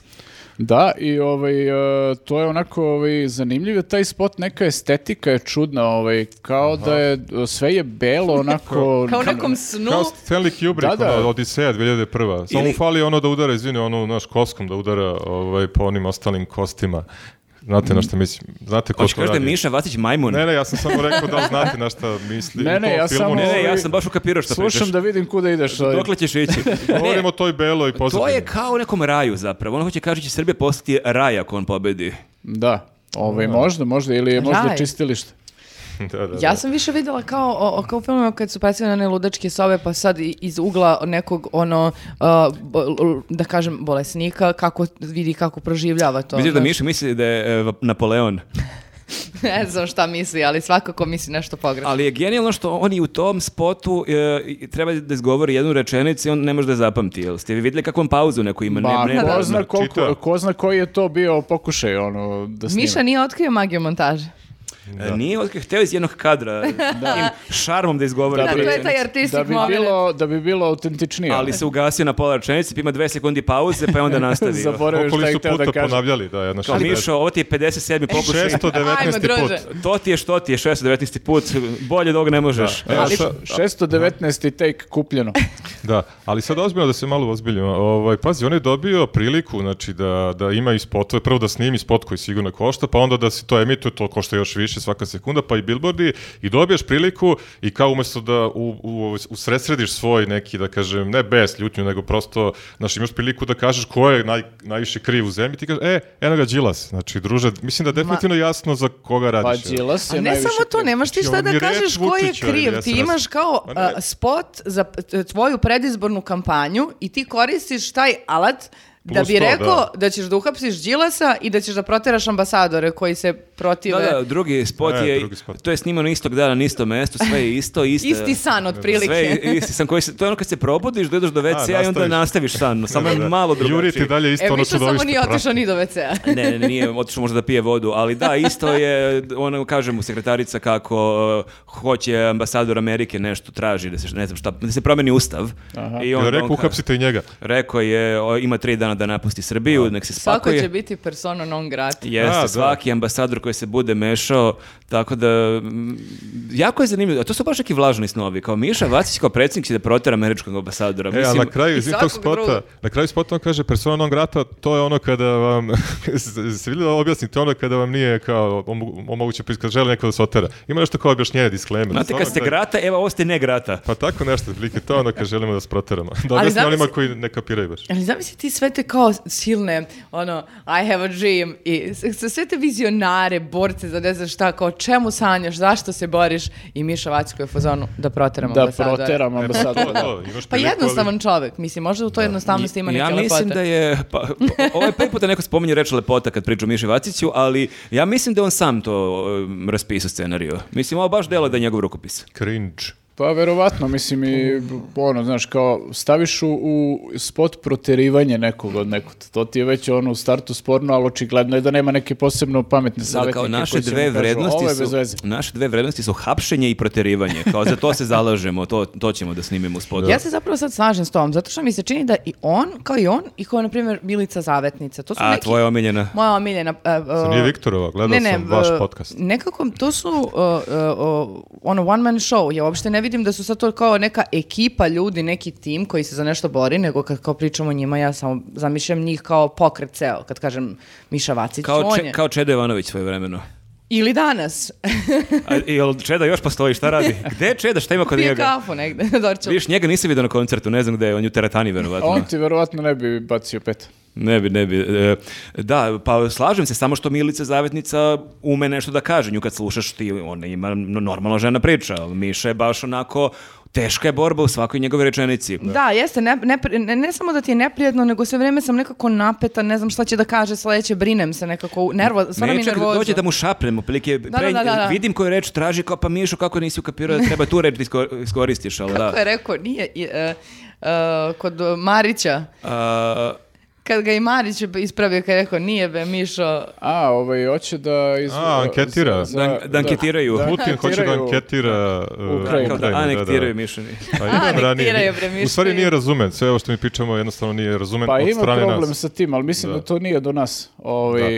Speaker 3: Da, i ovaj, e, to je onako ovaj, zanimljiv je taj spot, neka estetika je čudna, ovaj, kao da je, sve je belo, onako...
Speaker 1: Kao u nekom snu...
Speaker 2: Kao Stanley Kubrick,
Speaker 3: Da, da.
Speaker 2: ono, Odiseja 2001. Samo
Speaker 4: Ili-
Speaker 2: mu fali ono da udara, izvini, ono, naš koskom da udara ovaj, po onim ostalim kostima. Znate na šta mislim? Znate ko
Speaker 4: Hoće
Speaker 2: to
Speaker 4: kaži da je
Speaker 2: radi?
Speaker 4: Miša Vacić majmun.
Speaker 2: Ne, ne, ja sam samo rekao da li znate na šta misli.
Speaker 3: Ne,
Speaker 2: u tom
Speaker 3: ne, ja
Speaker 2: filmu
Speaker 3: samo-
Speaker 4: Ne, ne, ja
Speaker 3: Ovi-
Speaker 4: sam baš ukapirao što pričaš.
Speaker 3: Slušam da vidim kuda ideš. ovaj.
Speaker 4: Dokle ćeš ići?
Speaker 2: Govorimo o toj beloj
Speaker 4: To
Speaker 2: pozadini.
Speaker 4: je kao u nekom raju zapravo. Ono hoće kaži će Srbija postati raj ako on pobedi.
Speaker 3: Da, ovaj, možda, možda, ili je možda
Speaker 1: Raj.
Speaker 3: čistilište.
Speaker 2: Da, da, da.
Speaker 1: Ja sam više videla kao, o, o- kao u filmima kad su predstavljene one ludačke sobe, pa sad i- iz ugla nekog, ono, a, bo- l- da kažem, bolesnika, kako vidi kako proživljava to.
Speaker 4: Vidiš da
Speaker 1: znaš.
Speaker 4: Miša misli da je e, Napoleon.
Speaker 1: ne znam šta misli, ali svakako misli nešto pogrešno.
Speaker 4: Ali je genijalno što on i u tom spotu e, i treba da izgovori jednu rečenicu i on ne može da je zapamti. Jel ste vi vidjeli kakvom pauzu neko ima?
Speaker 3: Ma,
Speaker 4: ne, ne,
Speaker 3: Pa ko,
Speaker 4: ne,
Speaker 3: zna koliko-
Speaker 2: Čita.
Speaker 3: ko zna koji je to bio pokušaj, ono, da snima.
Speaker 1: Miša nije otkrio magiju montaže.
Speaker 4: E, Nije otkrio, hteo iz jednog kadra tim šarmom da izgovori.
Speaker 1: Da,
Speaker 4: tu
Speaker 1: to je
Speaker 4: rečenicu.
Speaker 1: taj artistik
Speaker 3: da bi
Speaker 1: moment.
Speaker 3: bilo da bi bilo autentičnije.
Speaker 4: Ali se ugasio na pola rečenice, pa ima dve sekundi pauze, pa je onda nastavio.
Speaker 3: zaboravio šta
Speaker 2: Okoli
Speaker 3: je
Speaker 2: su
Speaker 3: htio
Speaker 2: puta
Speaker 3: da kaže.
Speaker 2: ponavljali, da, jedno
Speaker 4: Kao
Speaker 2: šest-
Speaker 4: Mišo, ovo ti je 57. pokušaj.
Speaker 2: 619.
Speaker 1: Ajmo,
Speaker 2: put.
Speaker 1: druže.
Speaker 4: To ti je što ti je, 619. put, bolje od ovoga ne možeš.
Speaker 2: Evo,
Speaker 3: Ali
Speaker 2: sa-
Speaker 3: 619. take kupljeno.
Speaker 2: Da, ali sad ozbiljno da se malo ozbiljimo. Ovaj, pazi, on je dobio priliku znači, da, da ima i spotove, prvo da snimi spot koji sigurno košta, pa onda da se to emituje, to košta još više svaka sekunda, pa i billboardi i dobiješ priliku i kao umesto da u, u, usredsrediš svoj neki, da kažem, ne bes, ljutnju, nego prosto, znaš, imaš priliku da kažeš ko je naj, najviše kriv u zemlji, ti kažeš, e, eno ga Đilas, znači, druže, mislim da je definitivno jasno za koga
Speaker 3: Pa
Speaker 2: radiš.
Speaker 3: Đilas
Speaker 1: A
Speaker 3: je
Speaker 1: ne
Speaker 3: najviše
Speaker 1: samo to,
Speaker 3: kriv.
Speaker 1: nemaš ti
Speaker 2: Znači,
Speaker 1: šta
Speaker 2: on
Speaker 1: da
Speaker 2: je reč
Speaker 1: kažeš ko je
Speaker 2: Vučića, ali
Speaker 1: kriv.
Speaker 2: ja
Speaker 1: Ti
Speaker 2: sam raz-
Speaker 1: imaš kao
Speaker 2: Pa ne.
Speaker 1: a, spot za p- t- tvoju predizbornu kampanju i ti koristiš taj alat da
Speaker 2: Plus
Speaker 1: bi
Speaker 2: to,
Speaker 1: rekao da.
Speaker 2: da.
Speaker 1: ćeš da uhapsiš Đilasa i da ćeš da proteraš ambasadore koji se protive.
Speaker 4: Da, da, drugi spot
Speaker 2: E,
Speaker 4: je,
Speaker 2: drugi spot.
Speaker 4: to je snimano istog dana na istom mestu, sve je isto, isto.
Speaker 1: Isti san otprilike.
Speaker 4: Sve je isti san koji se, to je ono kad se probudiš, dođeš do WC-a i onda
Speaker 2: nastaviš.
Speaker 4: nastaviš san, samo
Speaker 2: Da,
Speaker 4: je
Speaker 2: da.
Speaker 4: malo
Speaker 2: Juri
Speaker 4: drugačiji.
Speaker 2: ti dalje isto
Speaker 1: E,
Speaker 2: ono
Speaker 1: više samo
Speaker 2: čudovište.
Speaker 1: nije
Speaker 2: pravo.
Speaker 1: otišao ni do WC-a.
Speaker 4: Ne, ne, nije, otišao možda da pije vodu, ali da, isto je, ono, kaže mu sekretarica kako uh, hoće ambasador Amerike nešto traži, da se, ne znam šta, da se promeni ustav. I
Speaker 2: Jel
Speaker 4: onda
Speaker 2: rekao,
Speaker 4: on ka-
Speaker 2: uhapsite i njega.
Speaker 4: Rekao je, o, ima tri dana da napusti Srbiju, nek se
Speaker 1: Svako
Speaker 4: spakuje.
Speaker 1: će biti persona non grata.
Speaker 4: Jeste,
Speaker 2: A, da.
Speaker 4: svaki ambasador koji se bude mešao, tako da, mm, jako je zanimljivo, a to su baš neki vlažni snovi, kao Miša Vacić kao predsjednik će da protera američkog ambasadora.
Speaker 2: E, a
Speaker 4: Mislim,
Speaker 2: na kraju iz tog
Speaker 1: Pa svakog
Speaker 2: spota,
Speaker 1: drugog.
Speaker 2: na kraju spota on kaže persona non grata, to je ono kada vam se vidi da objasnite ono kada vam nije kao omogu- omoguće pri- kad želi neko da se otera. Ima nešto kao objašnjenje disclaimer.
Speaker 4: Znate,
Speaker 2: Ono
Speaker 4: kad ste
Speaker 2: da-
Speaker 4: grata, evo, ovo ste ne grata.
Speaker 2: Pa tako nešto, otprilike to je ono kad želimo da se proteramo. Da objasni
Speaker 1: zamisli-
Speaker 2: onima koji ne kapiraju baš.
Speaker 1: Ali zamisli ti sve te kao silne, ono, I have a dream i s- s- sve te vizionare, borce za ne znam šta, kao čemu sanjaš, zašto se boriš i Miša Vacko je u fazonu da proteramo
Speaker 3: Da
Speaker 1: ambasadora.
Speaker 3: proteram ambasadora.
Speaker 2: E, To,
Speaker 3: da.
Speaker 2: to, imaš
Speaker 1: Pa
Speaker 2: priliku, ali-
Speaker 1: jednostavan čovjek, mislim, možda u toj jednostavnosti ima neke
Speaker 4: ja mislim
Speaker 1: lepote.
Speaker 4: da je, pa, pa, ovo je prvi puta neko spominje reč lepota kad priča o Miši Vaciću, ali ja mislim da je on sam to um, raspisao scenariju. Mislim, ovo baš delo da je njegov rukopis.
Speaker 2: Cringe.
Speaker 3: Pa verovatno, mislim i ono, znaš, kao staviš u, u spot proterivanje nekog od nekog. To ti je već ono u startu sporno, ali očigledno je da nema neke posebno pametne
Speaker 4: Sada
Speaker 3: savjetnike.
Speaker 4: kao naše
Speaker 3: koji će mu
Speaker 4: dve
Speaker 3: kažu,
Speaker 4: vrednosti
Speaker 3: Ovo je bez veze.
Speaker 4: su, naše dve vrednosti su hapšenje i proterivanje. Kao za to se zalažemo, to, to ćemo da snimimo u spotu.
Speaker 1: Ja se zapravo sad slažem s tom, zato što mi se čini da i on, kao i on, i kao, na primjer, Milica Zavetnica, to su
Speaker 4: A
Speaker 1: neki...
Speaker 4: tvoja omiljena?
Speaker 1: Moja omiljena... e, e,
Speaker 2: Zar nije Viktorova? Gledao sam vaš
Speaker 1: e,
Speaker 2: podcast.
Speaker 1: Nekako, to su uh, uh, uh, ono one man show. Ja uopšte ne vidim da su sad to kao neka ekipa ljudi, neki tim koji se za nešto bori, nego kad kao pričamo o njima, ja samo zamišljam njih kao pokret ceo. Kad kažem Miša Vacić,
Speaker 4: Kao,
Speaker 1: on
Speaker 4: če,
Speaker 1: je.
Speaker 4: kao Čedo Jovanović svoje vremeno.
Speaker 1: Ili danas.
Speaker 4: A, jel Čeda još postoji, šta radi? Gde je Čeda, šta ima kod
Speaker 1: Pije
Speaker 4: Pa njega?
Speaker 1: kafu negde, Dorčel.
Speaker 4: Viš, njega nisi vidio na koncertu, ne znam gde je, on je u teretani verovatno.
Speaker 3: On ti verovatno ne bi bacio pet.
Speaker 4: Ne bi, ne bi. E, da, pa slažem se, samo što Milica Zavetnica ume nešto da kaže. Nju kad slušaš ti, ona ima no- normalna žena priča, ali Miša je baš onako, teška je borba u svakoj njegove rečenici.
Speaker 1: Da, jeste, ne, ne, ne, ne samo da ti je neprijedno, nego sve vrijeme sam nekako napeta, ne znam šta će da kaže sledeće, brinem se nekako, nervo, pa stvarno mi je
Speaker 4: Nećak
Speaker 1: nervoza.
Speaker 4: dođe da mu šapnem, otprilike,
Speaker 1: da,
Speaker 4: pre-
Speaker 1: da, da, da.
Speaker 4: vidim koju reč traži, kao pa Mišo, kako nisi ukapirao da treba tu reč da isko- iskoristiš, ali
Speaker 1: Kako
Speaker 4: da.
Speaker 1: je rekao, nije, i, e, e, kod e, Marića,
Speaker 4: A,
Speaker 1: kad ga i Marić ispravio, kad je rekao, nije be, Mišo,
Speaker 3: A, ovaj, hoće da... Iz...
Speaker 2: A, anketira.
Speaker 4: da, da, anketiraju.
Speaker 2: Putin hoće da
Speaker 3: anketiraju-
Speaker 2: anketira uh,
Speaker 4: Da,
Speaker 3: Ukrajinu.
Speaker 2: Ukrajinu.
Speaker 4: kao da
Speaker 2: da, da.
Speaker 4: anektiraju Mišo.
Speaker 2: Pa imam
Speaker 1: Anektiraju,
Speaker 2: ranije.
Speaker 1: bre, mišljenje.
Speaker 2: U stvari nije razumen, sve ovo što mi pričamo jednostavno nije razumen
Speaker 3: Pa
Speaker 2: od
Speaker 3: ima
Speaker 2: strane
Speaker 3: problem
Speaker 2: nas.
Speaker 3: sa tim, ali mislim da, to nije do nas. Ovaj, e,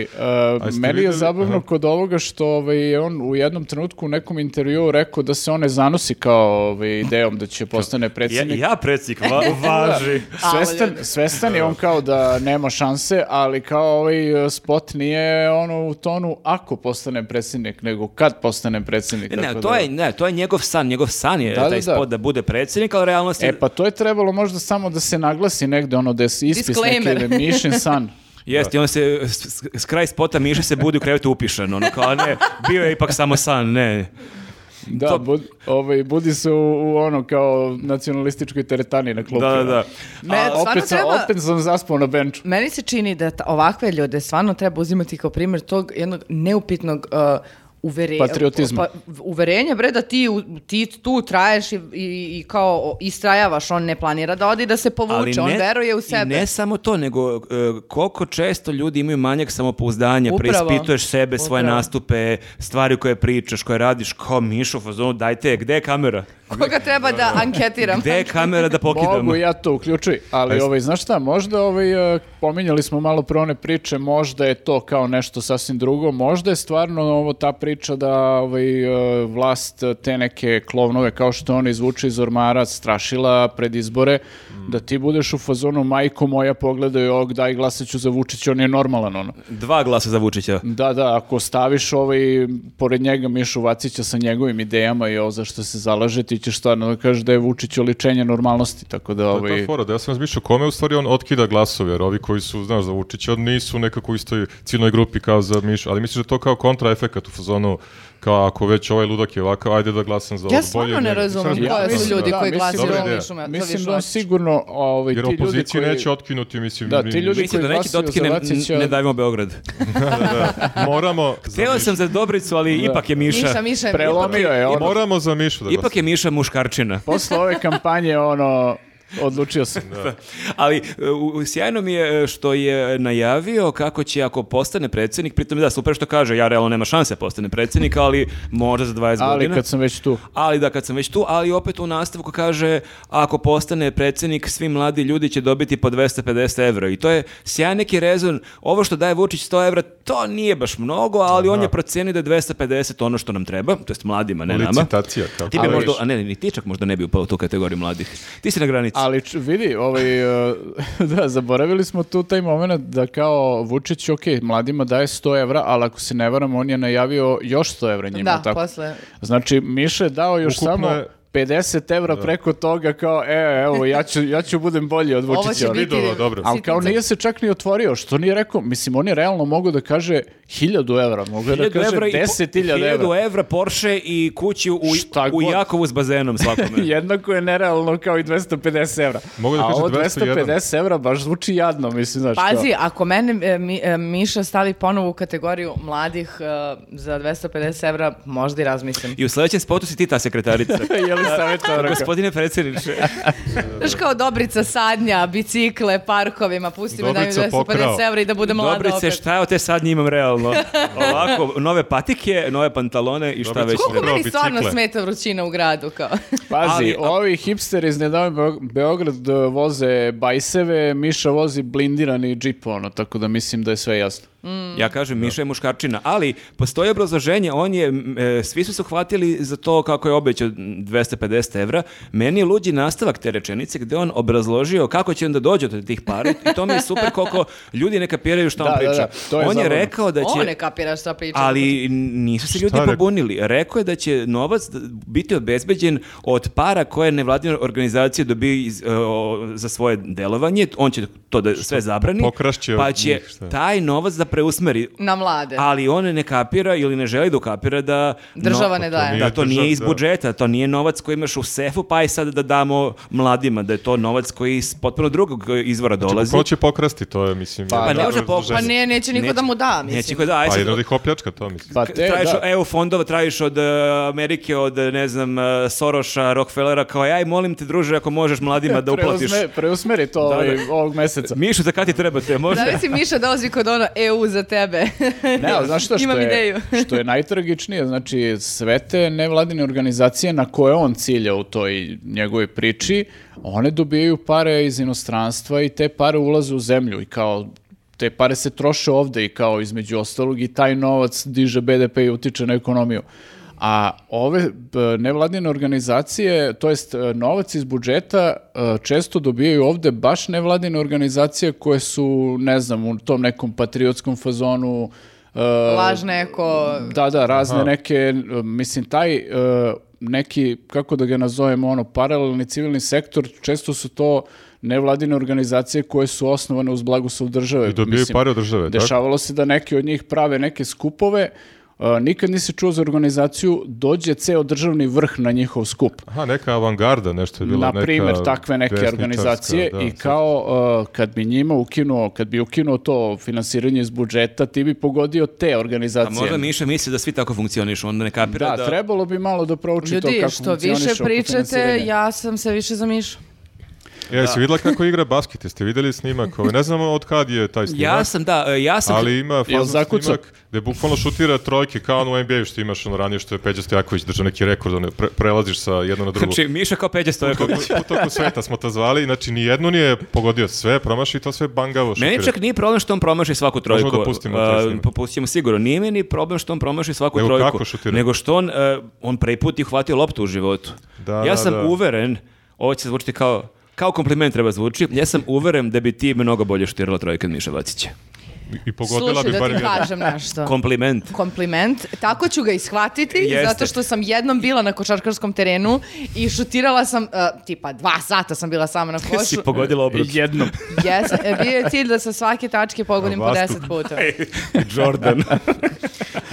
Speaker 2: jeste
Speaker 3: meni je
Speaker 2: videli-
Speaker 3: zabavno
Speaker 2: Aha.
Speaker 3: kod ovoga što ovaj, je on u jednom trenutku u nekom intervjuu rekao da se on ne zanosi kao ovaj, idejom da će postane
Speaker 4: Ja,
Speaker 3: predsjednik.
Speaker 4: ja predsjek, va- važi.
Speaker 3: Svestan,
Speaker 1: ljudi.
Speaker 3: svestan je on kao da nema šanse, ali kao ovaj e, spot nije ono u tonu ako postane predsjednik, nego kad postane predsjednik.
Speaker 4: Ne,
Speaker 3: tako
Speaker 4: to
Speaker 3: da-
Speaker 4: je, ne, to je njegov san, njegov san je
Speaker 3: Da, da,
Speaker 4: taj
Speaker 3: da.
Speaker 4: spot da bude predsjednik, ali realnost je...
Speaker 3: E pa to je trebalo možda samo da se naglasi negde ono da se ispis neki
Speaker 1: Disclaimer.
Speaker 3: ili mišin san.
Speaker 4: Jeste, i on se s, s- s kraj spota Miša se budi u krevetu upišan, ono kao ne, bio je ipak samo san, ne.
Speaker 3: Da,
Speaker 4: To-
Speaker 3: bud, ovaj, budi se u, u ono kao nacionalističkoj teretani na klupi. ono.
Speaker 4: Da, da, da.
Speaker 1: Ne,
Speaker 3: A,
Speaker 1: stvarno
Speaker 3: opet, sam,
Speaker 1: treba-
Speaker 3: opet sam zaspao na benču.
Speaker 1: Meni se čini da ta- ovakve ljude stvarno treba uzimati kao primjer tog jednog neupitnog uh, uvere-
Speaker 3: Patriotizma.
Speaker 1: pa, v- uverenja, bre, da ti, u- ti tu traješ i, i, i kao o- istrajavaš, on ne planira da odi da se
Speaker 4: Ali
Speaker 1: povuče, on veruje u
Speaker 4: i
Speaker 1: sebe.
Speaker 4: ne samo to, nego e, koliko često ljudi imaju manjak samopouzdanja,
Speaker 1: Upravo.
Speaker 4: preispituješ sebe, svoje
Speaker 1: Upravo.
Speaker 4: nastupe, stvari koje pričaš, koje radiš, kao Mišo, u fazonu, dajte, gde je kamera?
Speaker 1: Koga treba da anketiram?
Speaker 4: Gde je kamera da pokidam?
Speaker 3: Mogu ja to uključuj, ali ovaj, znaš šta, možda ovaj, e, pominjali smo malo pre one priče, možda je to kao nešto sasvim drugo, možda je stvarno ovo ta priča da ovaj, e, vlast e, te neke klovnove kao što on izvuče iz ormara, strašila pred izbore,
Speaker 4: Mm.
Speaker 3: da ti budeš u fazonu majko moja pogledaj ovog daj glasat ću za Vučića, on je normalan ono.
Speaker 4: Dva glasa za Vučića.
Speaker 3: Da, da, ako staviš ovaj, pored njega Mišu Vacića sa njegovim idejama i ovo za što se zalaže, ti ćeš stvarno da kažeš da je Vučić oličenje normalnosti, tako da
Speaker 2: To je
Speaker 3: ovaj...
Speaker 2: ta fora, da ja sam razmišljao kome u stvari on otkida glasove, jer ovi koji su, znaš, za Vučića nisu nekako u istoj ciljnoj grupi kao za Miš, ali misliš da je to kao kontraefekat u fazonu, kao ako već ovaj ludak je ovakav, ajde da glasam za ovog
Speaker 1: Ja
Speaker 2: bolje
Speaker 1: stvarno
Speaker 2: od
Speaker 1: ne
Speaker 2: njega.
Speaker 1: razumem
Speaker 2: Mislim,
Speaker 3: Ja
Speaker 1: koji su
Speaker 3: mislim,
Speaker 1: ljudi
Speaker 3: da,
Speaker 1: koji
Speaker 3: mislim-
Speaker 1: glasaju
Speaker 2: Dobra
Speaker 1: za
Speaker 2: ideja.
Speaker 1: Višu- za
Speaker 3: Mislim
Speaker 1: Višu
Speaker 3: da on
Speaker 1: Vacića.
Speaker 3: sigurno ovaj, ti
Speaker 2: Jer
Speaker 3: ljudi
Speaker 2: opoziciju
Speaker 3: koji...
Speaker 2: neće otkinuti, mislim.
Speaker 3: Da, ti
Speaker 2: mi-
Speaker 3: ljudi
Speaker 4: Mislim da
Speaker 3: koji
Speaker 4: neki
Speaker 3: glasaju
Speaker 4: dotkine
Speaker 3: za Vacića-
Speaker 4: ne davimo Beograd.
Speaker 2: Moramo za
Speaker 4: Teo
Speaker 2: Mišu.
Speaker 4: sam za Dobricu, ali ipak je Miša.
Speaker 1: Miša, Miša je
Speaker 3: Prelomio je ono.
Speaker 2: Moramo za Mišu da
Speaker 4: Ipak je Miša muškarčina.
Speaker 3: Posle ove kampanje, ono, odlučio sam.
Speaker 4: Ali e, u- u- sjajno mi je e, što je najavio kako će ako postane predsjednik, pritom da super što kaže, ja realno nema šanse da postane predsjednik, ali možda za 20
Speaker 3: Ali
Speaker 4: godina.
Speaker 3: kad sam već tu.
Speaker 4: Ali da kad sam već tu, ali opet u nastavku kaže ako postane predsjednik, svi mladi ljudi će dobiti po 250 evra i to je sjajan neki rezon. Ovo što daje Vučić 100 evra, to nije baš mnogo, ali on je procenio da je 250 ono što nam treba, to jest mladima, ne nama.
Speaker 2: Licitacija, kao
Speaker 4: Ti bi
Speaker 3: Ali-
Speaker 4: možda, a ne, ni tičak možda ne bi upao u tu kategoriju mladih. Ti si na granici.
Speaker 3: Ali č- vidi, ovaj, e, da, zaboravili smo tu taj moment da kao Vučić, ok, mladima daje 100 evra, ali ako se ne varam, on je najavio još 100 evra njima.
Speaker 1: Da,
Speaker 3: tako?
Speaker 1: posle.
Speaker 3: Znači, Miša je dao još
Speaker 2: Ukupno
Speaker 3: samo
Speaker 2: je-
Speaker 3: 50 evra preko toga kao, e, evo, ja ću, ja ću budem bolji od
Speaker 1: Ovo će
Speaker 3: Vučića.
Speaker 1: biti...
Speaker 2: Vidova, dobro.
Speaker 3: Ali kao
Speaker 1: sitnica.
Speaker 3: nije se čak ni otvorio, što nije rekao, mislim, on je realno mogao da kaže 1000 evra, mogao je da
Speaker 4: 1000
Speaker 3: kaže
Speaker 4: evra i po-
Speaker 3: 10.000 evra.
Speaker 4: 1000 evra Porsche i kuću u,
Speaker 3: Šta
Speaker 4: u
Speaker 3: god.
Speaker 4: Jakovu s bazenom svakome.
Speaker 3: Jednako je nerealno kao i 250 evra.
Speaker 2: Mogu da
Speaker 3: A
Speaker 2: kažem
Speaker 3: ovo
Speaker 2: 201.
Speaker 3: 250 evra baš zvuči jadno, mislim, znaš kao.
Speaker 1: Pa Pazi, ako mene e, mi, e, Miša stavi ponovo u kategoriju mladih e, za 250 evra, možda i razmislim.
Speaker 4: I u sledećem spotu si ti ta sekretarica.
Speaker 3: Je li savjetovara kao?
Speaker 4: Gospodine predsjedniče.
Speaker 1: Znaš kao Dobrica sadnja, bicikle, parkovima, pusti me da mi
Speaker 2: Dobrica
Speaker 1: 250
Speaker 2: pokrao.
Speaker 1: evra i da bude mlada
Speaker 4: Dobrice,
Speaker 1: opet.
Speaker 4: šta je od te sadnje imam realno? Ovako, nove patike, nove pantalone i šta
Speaker 2: Dobrice,
Speaker 4: već
Speaker 1: Koliko
Speaker 2: Pokrao
Speaker 1: meni stvarno
Speaker 2: bicikle.
Speaker 1: smeta vrućina u gradu, kao?
Speaker 3: Pazi,
Speaker 4: Ali-
Speaker 3: ovi hipsteri iz Nedavim Beograd eh, voze bajseve, Miša vozi blindirani džip, ono, tako da mislim da je sve jasno.
Speaker 1: Mm.
Speaker 4: Ja kažem, Miša je muškarčina, ali postoji obrazloženje, on je, m, e, svi su se uhvatili za to kako je obećao 250 evra. Meni je luđi nastavak te rečenice gde on obrazložio kako će onda dođe do tih para i to mi je super koliko ljudi ne kapiraju šta on
Speaker 3: Da, da,
Speaker 4: priča.
Speaker 3: da, to je
Speaker 4: on je
Speaker 3: zabavno.
Speaker 4: rekao da će...
Speaker 1: On ne kapira šta priča.
Speaker 4: Ali nisu se ljudi
Speaker 2: je rekao?
Speaker 4: pobunili. Rekao je da će novac d- biti obezbeđen od para koje nevladine organizacije dobiju iz, e, o, za svoje delovanje. On će to da sve zabrani.
Speaker 2: pokrašće od
Speaker 4: pa će
Speaker 2: njih, šta?
Speaker 4: taj novac da preusmeri.
Speaker 1: Na mlade.
Speaker 4: Ali on ne kapira ili ne želi da ukapira da...
Speaker 1: Država ne
Speaker 4: to
Speaker 1: daje.
Speaker 4: nije Da, to
Speaker 2: država,
Speaker 4: nije iz
Speaker 2: da.
Speaker 4: budžeta, to nije novac koji imaš u sefu, pa aj sad da damo mladima, da je to novac koji iz potpuno drugog izvora dolazi.
Speaker 2: Pa Ko će pokrasti, to je, mislim...
Speaker 3: Pa,
Speaker 2: jedno
Speaker 4: pa ne može
Speaker 2: obrazloženje.
Speaker 1: Pa ne, neće niko da mu da, mislim.
Speaker 4: Neće ko da, aj
Speaker 2: Pa
Speaker 4: sad-
Speaker 2: jedno da ih opljačka, to mislim.
Speaker 3: Pa te,
Speaker 4: tražiš
Speaker 3: da.
Speaker 4: od EU fondova, tražiš od e, Amerike, od e, ne znam, e, Soroša, Rockefellera, kao aj molim te druže ako možeš mladima da uplatiš.
Speaker 3: Preuzme- preusmeri to
Speaker 4: Da,
Speaker 3: ovaj,
Speaker 4: da.
Speaker 3: ovog meseca.
Speaker 4: Mišu, za kad ti treba te, možda?
Speaker 1: Zavisi Miša dolazi kod ono EU za tebe.
Speaker 3: Ne, ali znaš šta, što,
Speaker 1: Imam
Speaker 3: je,
Speaker 1: ideju.
Speaker 3: što je najtragičnije, znači sve te nevladine organizacije na koje on cilja u toj njegovoj priči, one dobijaju pare iz inostranstva i te pare ulaze u zemlju i kao te pare se troše ovde i kao između ostalog i taj novac diže BDP i utiče na ekonomiju. A ove b, nevladine organizacije, to jest e, novac iz budžeta e, često dobijaju ovde baš nevladine organizacije koje su, ne znam, u tom nekom patriotskom fazonu e,
Speaker 1: Lažne eko...
Speaker 3: da, da, razne neke, mislim, taj e, neki, kako da ga nazovemo, ono, paralelni civilni sektor, često su to nevladine organizacije koje su osnovane uz blagoslov države.
Speaker 2: I dobijaju
Speaker 3: mislim.
Speaker 2: pare od države, tako?
Speaker 3: Dešavalo se da neki od njih prave neke skupove, e, nikad nisi čuo za organizaciju, dođe ceo državni vrh na njihov skup.
Speaker 2: Aha, neka avangarda nešto je bila.
Speaker 3: Na primer,
Speaker 2: neka
Speaker 3: takve neke
Speaker 2: desničarska,
Speaker 3: organizacije
Speaker 2: da,
Speaker 3: i
Speaker 2: sad-
Speaker 3: kao uh, kad bi njima ukinuo, kad bi ukinuo to finansiranje iz budžeta, ti bi pogodio te
Speaker 4: A
Speaker 3: organizacije.
Speaker 4: možda Miša misli da svi tako funkcionišu, onda ne kapira da...
Speaker 3: Da, trebalo bi malo da prouči to
Speaker 1: Ljudi,
Speaker 3: kako
Speaker 1: što više
Speaker 3: funkcioniše oko
Speaker 1: pričate,
Speaker 3: finansiranja.
Speaker 1: ja sam se više za Mišu.
Speaker 2: E, jesi vidjela kako igra basket? Jeste vidjeli snimak? Ovaj, Ne znamo od kad je taj snimak.
Speaker 4: Ja sam, da, e, ja sam...
Speaker 2: Ali ima
Speaker 3: Jel
Speaker 2: fazan
Speaker 3: zakucao?
Speaker 2: snimak gde bukvalno šutira trojke kao ono u NBA što imaš ono ranije što je Peđa Stojaković držao neki rekord, ono, pre- prelaziš sa jedno na drugo.
Speaker 4: Znači, Miša kao Peđa Stojaković.
Speaker 2: Put oko sveta smo to zvali, znači nijedno nije pogodio sve, promaši to sve bangavo šutira.
Speaker 4: Meni čak nije problem što on promaši svaku trojku.
Speaker 2: Možemo da pustimo
Speaker 4: A,
Speaker 2: taj snimak.
Speaker 4: popustimo sigurno. Nije meni problem što on promaši svaku
Speaker 2: Nego
Speaker 4: trojku.
Speaker 2: kako šutira?
Speaker 4: Nego što on, e, on prvi put je hvatio loptu u životu.
Speaker 2: Da,
Speaker 4: ja
Speaker 2: da,
Speaker 4: sam
Speaker 2: da.
Speaker 4: uveren, ovo će zvučiti kao kao kompliment treba zvuči, ja sam uveren da bi ti mnogo bolje šutirala trojka od Miše Vacića.
Speaker 2: I pogodila
Speaker 1: Slušaj,
Speaker 2: bi
Speaker 1: da
Speaker 2: barem
Speaker 1: ti
Speaker 2: jedno.
Speaker 1: kažem nešto.
Speaker 4: Kompliment.
Speaker 1: kompliment. Tako ću ga ishvatiti,
Speaker 4: Jeste.
Speaker 1: zato što sam jednom bila na košarkaškom terenu i šutirala sam, eh, tipa dva sata sam bila sama na
Speaker 4: Ti
Speaker 1: košu.
Speaker 4: si pogodila obrut.
Speaker 3: Jednom.
Speaker 2: pa-
Speaker 1: Jes, eh, bio je cilj da sa svake tačke pogodim po
Speaker 2: Vastup.
Speaker 1: deset puta.
Speaker 4: E, Jordan.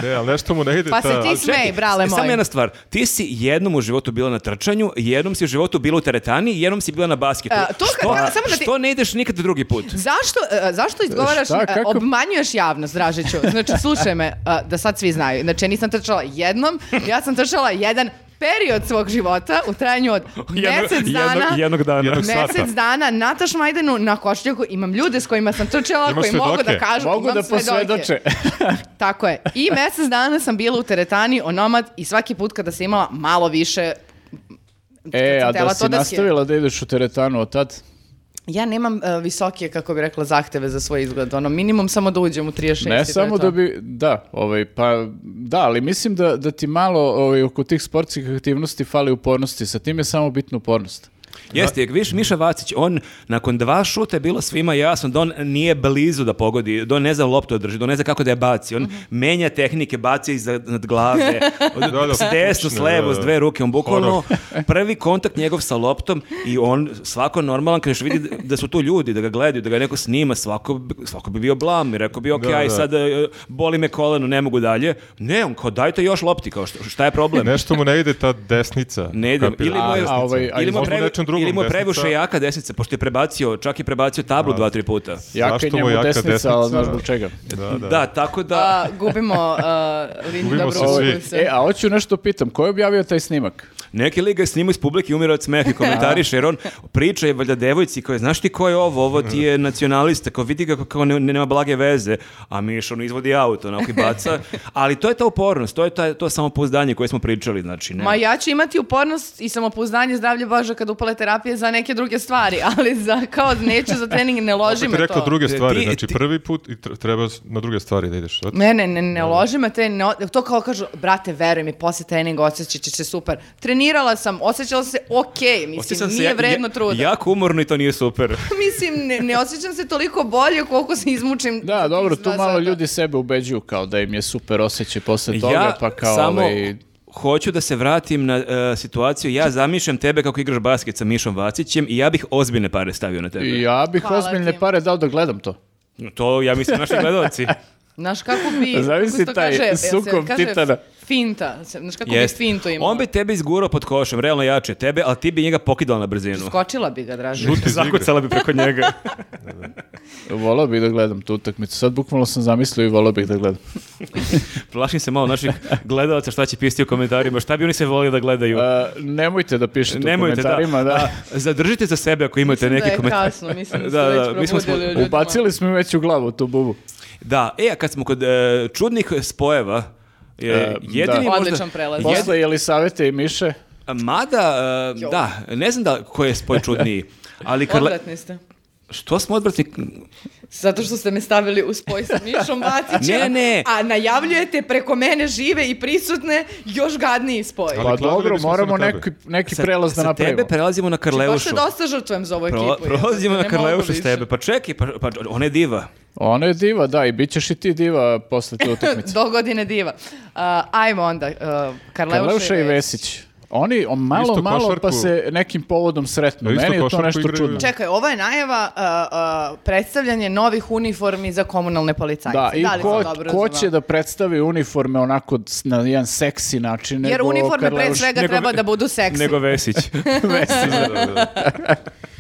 Speaker 2: Ne, ali nešto mu ne ide
Speaker 1: Pa se
Speaker 2: ta...
Speaker 1: ti smej, brale moj.
Speaker 4: Samo jedna stvar. Ti si jednom u životu bila na trčanju, jednom si u životu bila u teretani, jednom si bila na basketu.
Speaker 1: A, E, to kad-
Speaker 4: što,
Speaker 1: kad- samo da ti-
Speaker 4: što ne ideš nikad drugi put?
Speaker 1: Zašto, e, zašto izgovaraš,
Speaker 3: Šta,
Speaker 1: e,
Speaker 3: kako?
Speaker 1: obmanjuješ javnost, Dražiću? Znači, slušaj me, e, da sad svi znaju. Znači, ja nisam trčala jednom, ja sam trčala jedan period svog života u trajanju od mesec dana.
Speaker 4: jednog dana.
Speaker 2: Jednog sata.
Speaker 1: Mesec dana na Tašmajdenu, na Košljaku, imam ljude s kojima sam trčala,
Speaker 2: Imaš
Speaker 1: koji mogu da
Speaker 2: svedoke?
Speaker 1: kažu,
Speaker 3: Mogu
Speaker 1: imam
Speaker 3: da
Speaker 1: svedoke.
Speaker 3: posvedoče.
Speaker 1: Tako je. I mesec dana sam bila u teretani, onomad, i svaki put kada sam imala malo više
Speaker 3: e,
Speaker 1: sam htela
Speaker 3: a da
Speaker 1: to
Speaker 3: si
Speaker 1: da
Speaker 3: nastavila da ideš u teretanu od tad?
Speaker 1: Ja nemam e, visoke, kako bi rekla, zahteve za svoj izgled. Ono, minimum samo da uđem u 36. i to
Speaker 3: Ne
Speaker 1: je
Speaker 3: samo
Speaker 1: to.
Speaker 3: da bi, da, ovaj, pa da, ali mislim da, da ti malo ovaj, oko tih sportskih aktivnosti fali upornosti, sa tim je samo bitna upornost.
Speaker 4: Jeste, da. viš Miša Vacić, on nakon dva šuta je bilo svima jasno da on nije blizu da pogodi, da on ne zna loptu da drži, da on ne zna kako da je baci.
Speaker 2: Mhm.
Speaker 4: On menja tehnike, baci iza nad glave, od,
Speaker 2: da,
Speaker 4: s desno, s
Speaker 2: kućne,
Speaker 4: levo,
Speaker 2: da,
Speaker 4: s
Speaker 2: da.
Speaker 4: dve ruke. On bukvalno prvi kontakt njegov sa loptom i on svako normalan, kad još vidi da su tu ljudi, da ga gledaju, da ga neko snima, svako, bi- svako bi bio blam i rekao bi, ok,
Speaker 2: Da,
Speaker 4: aj
Speaker 2: da.
Speaker 4: sad e, boli me koleno, ne mogu dalje. Ne, on kao dajte još lopti, kao šta, šta je problem?
Speaker 2: Nešto mu ne ide ta desnica.
Speaker 4: Ne ide.
Speaker 2: kapira?
Speaker 4: Ili mu je,
Speaker 3: A, a ovaj- a
Speaker 4: ili mu je
Speaker 2: možda
Speaker 4: previ-
Speaker 2: nečem drugom
Speaker 4: ili mu je
Speaker 2: desnica?
Speaker 4: previše jaka desnica, pošto je prebacio, čak je prebacio tablu dva, tri puta.
Speaker 3: Jaka
Speaker 2: Zašto
Speaker 3: je
Speaker 2: mu
Speaker 3: njemu
Speaker 2: jaka
Speaker 3: desnica,
Speaker 2: desnica?
Speaker 3: ali znaš zbog čega.
Speaker 2: Da, Pa da.
Speaker 4: Da, tako da...
Speaker 1: A, gubimo uh, liniju
Speaker 2: Gubimo
Speaker 1: dobro
Speaker 2: se svi.
Speaker 1: ukusa.
Speaker 3: E, a hoću nešto pitam, ko je objavio taj snimak?
Speaker 4: Neki lik ga snima iz publike i umira od smeha i komentariše, jer on priča je valjda devojci koja je, znaš ti ko je ovo, ovo ti je nacionalista, kao vidi kako kao ne, nema blage veze, a Miš on izvodi auto, onako i baca, ali to je ta upornost, to je ta, to samopouzdanje koje smo pričali, znači ne.
Speaker 1: Ma ja ću imati upornost i samopouzdanje zdravlje Bože kad upale terapije za neke druge stvari, ali za kao neću za trening, ne
Speaker 2: Opet
Speaker 1: loži
Speaker 2: ti
Speaker 1: me
Speaker 2: rekao
Speaker 1: to.
Speaker 2: druge
Speaker 4: Ti-
Speaker 2: stvari,
Speaker 4: ti-
Speaker 2: znači
Speaker 4: ti-
Speaker 2: prvi put i tr- treba s- na druge stvari da ideš. znači. Zato-
Speaker 1: Ne, ne, ne, ne loži me te, ne, to kao kažu, brate, veruj mi, posle treninga osjećat će se super. Trenirala sam, osjećala se okej,
Speaker 4: Osjećam
Speaker 1: mislim,
Speaker 4: se
Speaker 1: nije
Speaker 4: ja-
Speaker 1: vredno
Speaker 4: ja-
Speaker 1: truda.
Speaker 4: Jako umorno i to nije super.
Speaker 1: mislim, ne, ne osjećam se toliko bolje koliko se izmučim.
Speaker 3: Da, dobro, tu
Speaker 1: Dva
Speaker 3: malo
Speaker 1: sata.
Speaker 3: ljudi sebe ubeđuju kao da im je super osjećaj posle toga,
Speaker 4: ja
Speaker 3: pa kao
Speaker 4: samo
Speaker 3: ovaj,
Speaker 4: hoću da se vratim na e, situaciju. Ja zamišljam tebe kako igraš basket sa Mišom Vacićem i ja bih ozbiljne pare stavio na tebe.
Speaker 3: Ja bih
Speaker 1: Hvala
Speaker 3: ozbiljne
Speaker 1: ti.
Speaker 3: pare dao da gledam to.
Speaker 4: To ja mislim naši gledalci.
Speaker 1: Znaš kako bi...
Speaker 3: Zavisi
Speaker 1: kako se to
Speaker 3: taj
Speaker 1: kaže, jel se
Speaker 3: sukob
Speaker 1: kaže
Speaker 3: titana.
Speaker 1: Finta, znaš kako
Speaker 4: Jest.
Speaker 1: bi fintu imao.
Speaker 4: On bi tebe izgurao pod košem, realno jače je tebe, ali ti bi njega pokidala na brzinu.
Speaker 1: Skočila bi ga, draže.
Speaker 2: Žuti iz igre.
Speaker 4: Zakucala bi preko njega.
Speaker 3: Volao bih da gledam tu utakmicu. Sad bukvalno sam zamislio i volao bih da gledam.
Speaker 4: Plašim se malo naših gledalaca šta će pisati u komentarima, šta bi oni se volili da gledaju.
Speaker 3: A, E, nemojte da pišete
Speaker 4: Nemojte,
Speaker 3: u komentarima.
Speaker 4: da.
Speaker 3: Da.
Speaker 4: A, Zadržite za sebe ako imate
Speaker 1: Mislim
Speaker 4: neki
Speaker 1: da je
Speaker 4: komentar.
Speaker 1: kasno, mislim da su
Speaker 4: Da,
Speaker 1: već
Speaker 4: da, mi smo-
Speaker 1: probudili ljudima.
Speaker 3: Ubacili smo im već u glavu tu bubu.
Speaker 4: Da, e, a kad smo kod e, čudnih spojeva, e,
Speaker 3: E,
Speaker 4: jedini
Speaker 3: da.
Speaker 4: možda...
Speaker 1: Odličan prelaz.
Speaker 4: Jed-
Speaker 3: Posle Jelisavete i Miše,
Speaker 4: Mada, e,
Speaker 1: Jo.
Speaker 4: da, ne znam da koji je spoj čudniji, ali kad...
Speaker 1: Odvratni ste.
Speaker 4: Što smo odvratni?
Speaker 1: Zato što ste me stavili u spoj sa Mišom Vacićem.
Speaker 4: Ne, ne.
Speaker 1: A najavljujete preko mene žive i prisutne još gadniji spoj.
Speaker 2: Ali
Speaker 3: pa
Speaker 2: kladili
Speaker 3: dobro,
Speaker 2: bismo se
Speaker 3: moramo
Speaker 2: na tebe.
Speaker 3: neki, neki
Speaker 4: Sa-
Speaker 3: prelaz da
Speaker 4: sa
Speaker 3: napravimo.
Speaker 4: tebe prelazimo na
Speaker 1: Znači, Baš
Speaker 4: Karleušu.
Speaker 1: se dosta žrtvujem za ovu ekipu.
Speaker 4: Pro-
Speaker 1: jebote,
Speaker 4: prolazimo na
Speaker 1: ne mogu
Speaker 4: Karleušu s
Speaker 1: više.
Speaker 4: tebe. Pa čekaj, pa, pa ona je diva.
Speaker 3: Ona je diva, da, i bit ćeš i ti diva posle te utakmice.
Speaker 1: Do godine diva. A, ajmo onda. Uh, Karleuša,
Speaker 3: Karleuša i Vesić. Oni o, malo,
Speaker 2: Isto
Speaker 3: malo pa
Speaker 2: košarku.
Speaker 3: se nekim povodom sretnu.
Speaker 2: E, isto
Speaker 3: Meni je to
Speaker 2: košarku
Speaker 3: nešto
Speaker 2: igraju.
Speaker 3: čudno.
Speaker 1: Čekaj, ovo je najava uh, uh, predstavljanje novih uniformi za komunalne policajce.
Speaker 3: Da, i
Speaker 1: da li sam
Speaker 3: ko,
Speaker 1: dobro
Speaker 3: ko
Speaker 1: razumela?
Speaker 3: će da predstavi uniforme onako s- na jedan seksi način
Speaker 1: Jer
Speaker 3: nego
Speaker 1: uniforme pre
Speaker 3: Karleuš-
Speaker 1: svega
Speaker 4: nego-
Speaker 1: treba da budu seksi.
Speaker 4: Nego Vesić.
Speaker 3: Vesić.
Speaker 2: Da, da, da.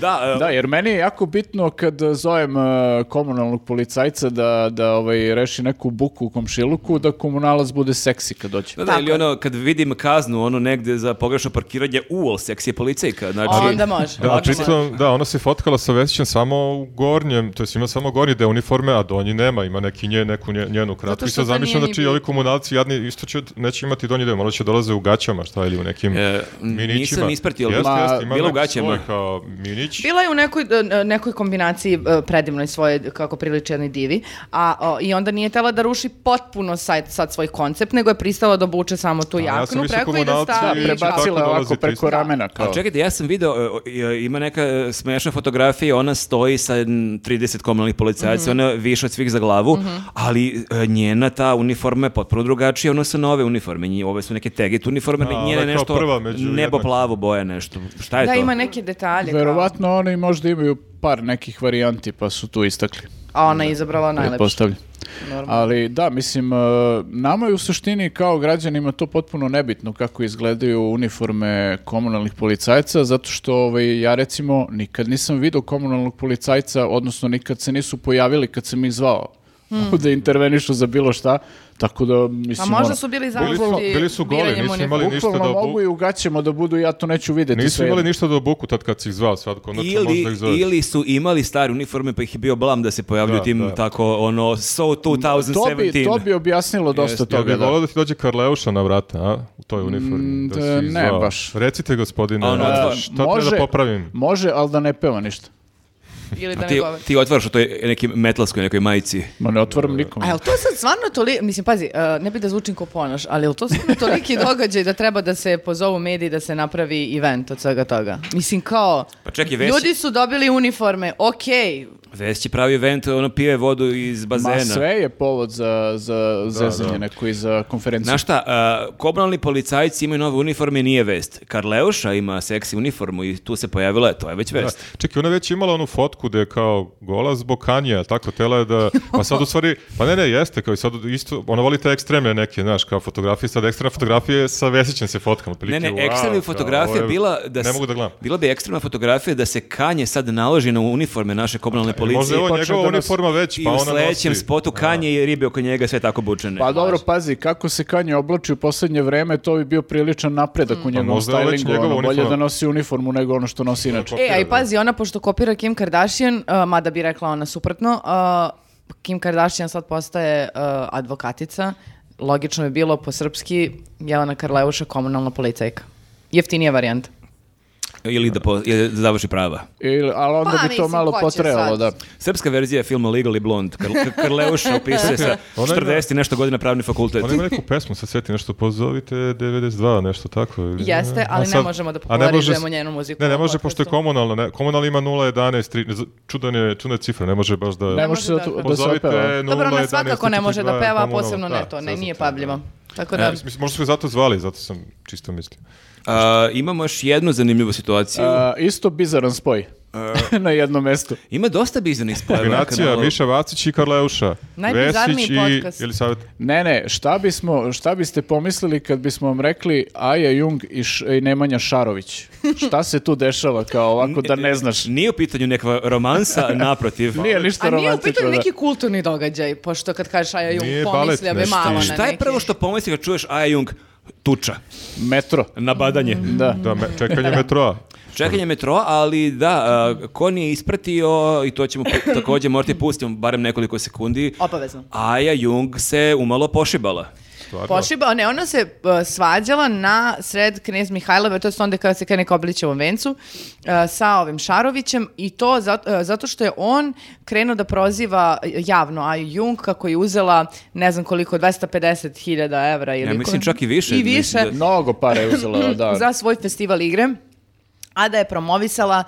Speaker 4: da, e,
Speaker 3: Da, jer meni je jako bitno kad e, zovem e, komunalnog policajca da, da ovaj, reši neku buku u komšiluku, da komunalac bude seksi kad dođe.
Speaker 4: Da, da,
Speaker 1: Tako
Speaker 4: ili
Speaker 1: je.
Speaker 4: ono, kad vidim kaznu, ono negde za pogrešno parkiranje, uol, seksi je policajka, znači...
Speaker 1: Onda može.
Speaker 2: Da, a
Speaker 1: može.
Speaker 2: pritom, da, ona se fotkala sa Vesićem samo u gornjem, to jest ima samo gornji deo uniforme, a donji nema, ima neki nje, neku nje- njenu kratku. I
Speaker 1: što
Speaker 2: sad
Speaker 1: to nije
Speaker 2: zamišljam,
Speaker 1: ni
Speaker 2: znači,
Speaker 1: bio.
Speaker 2: ovi komunalci jadni isto će, neće imati donji deo, malo će dolaze u gaćama, šta, ili u nekim
Speaker 4: E,
Speaker 2: minićima.
Speaker 4: nisam ispratio, ali
Speaker 2: Jeste,
Speaker 3: ma,
Speaker 2: jeste, ima
Speaker 4: bila u
Speaker 2: neki
Speaker 4: gaćama.
Speaker 2: svoj kao minić.
Speaker 1: Bila je u nekoj, e, nekoj kombinaciji e, predivnoj svoje, kako priliči jednoj divi, a, o, i onda nije tela da ruši potpuno sad, sad svoj koncept, nego je pristala da obuče samo tu
Speaker 2: A ja sam
Speaker 1: jaknu
Speaker 2: mislio
Speaker 1: preko i da
Speaker 2: komunalci-
Speaker 1: stavi.
Speaker 3: Da,
Speaker 2: I će
Speaker 3: prebacila
Speaker 2: tako
Speaker 3: je ovako
Speaker 2: dolaziti
Speaker 3: preko
Speaker 2: isto.
Speaker 3: ramena. Kao.
Speaker 4: A čekajte, ja sam video, e, e, ima neka e, smešna fotografija, ona stoji sa mm, 30 komunalnih policajaca, ona je više od svih za glavu, ali e, njena ta uniforma je potpuno drugačija, ono su nove uniforme, nji- ove su neke tegit uniforme,
Speaker 2: A,
Speaker 4: njena
Speaker 2: ona
Speaker 4: je
Speaker 2: je
Speaker 4: nešto
Speaker 2: kao prva među
Speaker 4: nebo
Speaker 2: jednakima.
Speaker 4: plavo boja nešto. Šta je
Speaker 1: Da,
Speaker 4: to?
Speaker 1: ima neke detalje. kao-
Speaker 3: Verovatno oni možda imaju par nekih varijanti pa su tu istakli.
Speaker 1: A ona je izabrala najlepše.
Speaker 3: pretpostavljam.
Speaker 1: Normalno.
Speaker 3: Ali da, mislim, e, nama je u suštini kao građanima to potpuno nebitno kako izgledaju uniforme komunalnih policajaca, zato što ovaj, ja recimo nikad nisam vidio komunalnog policajca, odnosno nikad se nisu pojavili kad sam ih zvao da intervenišu za bilo šta, tako da
Speaker 1: Hmm. A
Speaker 3: mislim... ono,
Speaker 1: Pa možda su bili
Speaker 2: Bili su,
Speaker 1: zauzeti
Speaker 2: bili su goli,
Speaker 1: biranjem
Speaker 2: nisu
Speaker 1: uniforme.
Speaker 2: imali ništa da
Speaker 3: Bukvalno mogu
Speaker 2: obu...
Speaker 3: i u gaćama da budu, ja to neću vidjeti.
Speaker 2: Nisu
Speaker 3: sve
Speaker 2: imali
Speaker 3: jedno.
Speaker 2: ništa da obuku tad kad si ih zvao, sad ko znači možda ih
Speaker 4: Ili,
Speaker 2: zove.
Speaker 4: ili su imali stare uniforme pa ih je bio blam da se pojavljuju
Speaker 2: Da,
Speaker 4: tim
Speaker 2: da.
Speaker 4: tako ono so 2017.
Speaker 3: To bi, to bi objasnilo dosta
Speaker 4: Jeste,
Speaker 2: Ja
Speaker 3: toga.
Speaker 2: bih
Speaker 3: da.
Speaker 2: volao da ti dođe Karleuša na vrata, a? U toj uniformi. Da
Speaker 3: Mm, da,
Speaker 2: si ih
Speaker 3: ne,
Speaker 2: zvao.
Speaker 3: baš.
Speaker 2: Recite, gospodine,
Speaker 4: A ono,
Speaker 2: a,
Speaker 4: da,
Speaker 2: šta treba da popravim?
Speaker 3: E, Može, ali da ne peva ništa.
Speaker 1: Ili da
Speaker 4: Ti,
Speaker 1: ne govori.
Speaker 4: ti otvaraš u toj nekim metalskoj nekoj majici.
Speaker 3: Ma ne
Speaker 2: E,
Speaker 3: otvaram nikom.
Speaker 1: A jel to sad stvarno toliko, mislim, pazi, e, ne bi da zvučim ko ponoš, ali jel to stvarno toliki događaj da treba da se pozovu mediji da se napravi event od svega toga? Mislim, kao,
Speaker 4: Pa čekaj, Vesić-
Speaker 1: ljudi su dobili uniforme, okej,
Speaker 4: Već će pravi event, ono pije vodu iz bazena.
Speaker 3: Ma sve je povod za, za zezanje neko uh, i za konferenciju.
Speaker 4: Znaš šta, a, komunalni policajci imaju nove uniforme, nije vest. Karleuša ima seksi uniformu i tu se pojavila, to je već
Speaker 2: Da.
Speaker 4: vest.
Speaker 2: Čekaj, ona je već imala onu otkude kao gola zbog Kanja, tako tela je da... Pa sad u stvari, pa ne, ne, jeste, kao i sad isto, ona voli te ekstremne neke, znaš, kao fotografije, sad ekstremna fotografija je sa Vesićem se fotkama.
Speaker 4: Ne,
Speaker 2: otprilike,
Speaker 4: ne,
Speaker 2: wow, kao,
Speaker 4: ekstremna fotografija
Speaker 2: ovo je-
Speaker 4: bila da
Speaker 2: Ne
Speaker 4: s-
Speaker 2: mogu da gledam.
Speaker 4: Bila bi ekstremna fotografija da se Kanje sad naloži na uniforme naše komunalne policije.
Speaker 2: Možda je ovo
Speaker 3: počeo
Speaker 2: njegova
Speaker 3: da nas-
Speaker 2: uniforma već,
Speaker 4: I
Speaker 2: pa
Speaker 4: u
Speaker 2: ona
Speaker 4: sledećem
Speaker 2: nosi.
Speaker 4: spotu Kanje i ribe oko njega sve tako bučene.
Speaker 3: Pa dobro, pazi, kako se Kanje oblači u poslednje vreme, to bi bio priličan napredak u njegovom
Speaker 2: možda je već
Speaker 3: stylingu.
Speaker 2: njegova
Speaker 3: Ono, bolje
Speaker 2: uniforma.
Speaker 3: da nosi uniformu nego ono što nosi inače.
Speaker 1: E,
Speaker 2: kopira,
Speaker 1: a i
Speaker 2: da.
Speaker 1: pazi, ona pošto kopira Kim Kardashian, uh, mada bi rekla ona suprotno, uh, Kim Kardashian sad postaje uh, advokatica, logično je bilo po srpski Jelena Karleuša komunalna policajka. Jeftinija varijanta.
Speaker 4: Ili da, po, ili da završi prava.
Speaker 3: Ili- ali onda
Speaker 1: Pa,
Speaker 3: bi to
Speaker 1: mislim,
Speaker 3: malo
Speaker 1: ko će sad?
Speaker 3: potrejalo, da.
Speaker 4: Srpska verzija filma Legally Blonde. Kar, Kar- Karleuša upisuje sa
Speaker 2: Ona ima-
Speaker 4: 40 i nešto godina pravni fakultet.
Speaker 2: Ona ima neku pesmu, sad seti, nešto pozovite 92, nešto tako. ili-
Speaker 1: Jeste,
Speaker 2: A
Speaker 1: ali ne
Speaker 2: sad-
Speaker 1: možemo da
Speaker 2: a ne može-
Speaker 1: popularizujemo njenu muziku
Speaker 2: Ne, ne
Speaker 1: na
Speaker 2: može,
Speaker 1: podcastu.
Speaker 2: pošto je komunalna. Ne, komunalna ima 011, tri- ne znam, čudan je, čudna je cifra, ne može baš da...
Speaker 3: Ne
Speaker 1: Ne
Speaker 3: može se
Speaker 1: može
Speaker 3: da,
Speaker 1: da-
Speaker 3: da se
Speaker 2: Pozovite
Speaker 3: opeva.
Speaker 2: 011,
Speaker 1: Dobro, ona svakako ne može da
Speaker 2: 32,
Speaker 1: peva, a
Speaker 2: komunalna,
Speaker 1: posebno
Speaker 2: da, E,
Speaker 1: ne to, ne,
Speaker 2: sad
Speaker 1: nije
Speaker 2: sam-
Speaker 1: pabljivo. Tako
Speaker 2: Ja,
Speaker 1: da,
Speaker 2: mislim, možda su ga zato zvali, zato sam čisto mislio.
Speaker 4: A, imamo još jednu zanimljivu situaciju.
Speaker 3: A, isto bizaran spoj. na jednom mestu.
Speaker 4: Ima dosta bizarnih spojeva. na
Speaker 2: Kombinacija
Speaker 4: kanalu.
Speaker 2: Miša Vacić i Karleuša.
Speaker 1: Najbizarniji
Speaker 2: Vesić i
Speaker 1: podcast.
Speaker 2: Elisaveta.
Speaker 3: Ne, ne, šta, bismo, šta biste pomislili kad bismo vam rekli Aja Jung i, Š- i Nemanja Šarović? Šta se tu dešava kao ovako da ne znaš?
Speaker 4: Nije u pitanju neka romansa, naprotiv.
Speaker 3: Nije ništa
Speaker 1: A nije u
Speaker 3: romantično.
Speaker 1: pitanju
Speaker 3: da.
Speaker 1: neki kulturni događaj, pošto kad kažeš Aja
Speaker 2: Nije
Speaker 1: Jung,
Speaker 2: balet
Speaker 1: pomislio bi
Speaker 2: nešto.
Speaker 1: malo na neki.
Speaker 4: Šta je prvo što pomisli kad čuješ Aja Jung? Tuča.
Speaker 3: Metro.
Speaker 4: Nabadanje.
Speaker 3: Da.
Speaker 2: Da, me, čekanje metroa.
Speaker 4: Čekanje metroa, ali da, a, ko nije ispratio, i to ćemo po- takođe morati pustiti barem nekoliko sekundi,
Speaker 1: Obavezno.
Speaker 4: Aja Jung se umalo pošibala.
Speaker 2: Stvarno.
Speaker 1: Pošibao, ne, ona se uh, svađala na sred knez Mihajlova, to je onda kada se krene ka oblićevom vencu, uh, sa ovim Šarovićem i to zato, uh, zato što je on krenuo da proziva javno Aju Jung kako je uzela ne znam koliko, 250.000 evra ili...
Speaker 4: Ja mislim
Speaker 1: ko-
Speaker 4: čak i više,
Speaker 1: I
Speaker 4: mislim
Speaker 1: više
Speaker 4: da-
Speaker 3: Mnogo para je uzela, da.
Speaker 1: za svoj festival igre a da je promovisala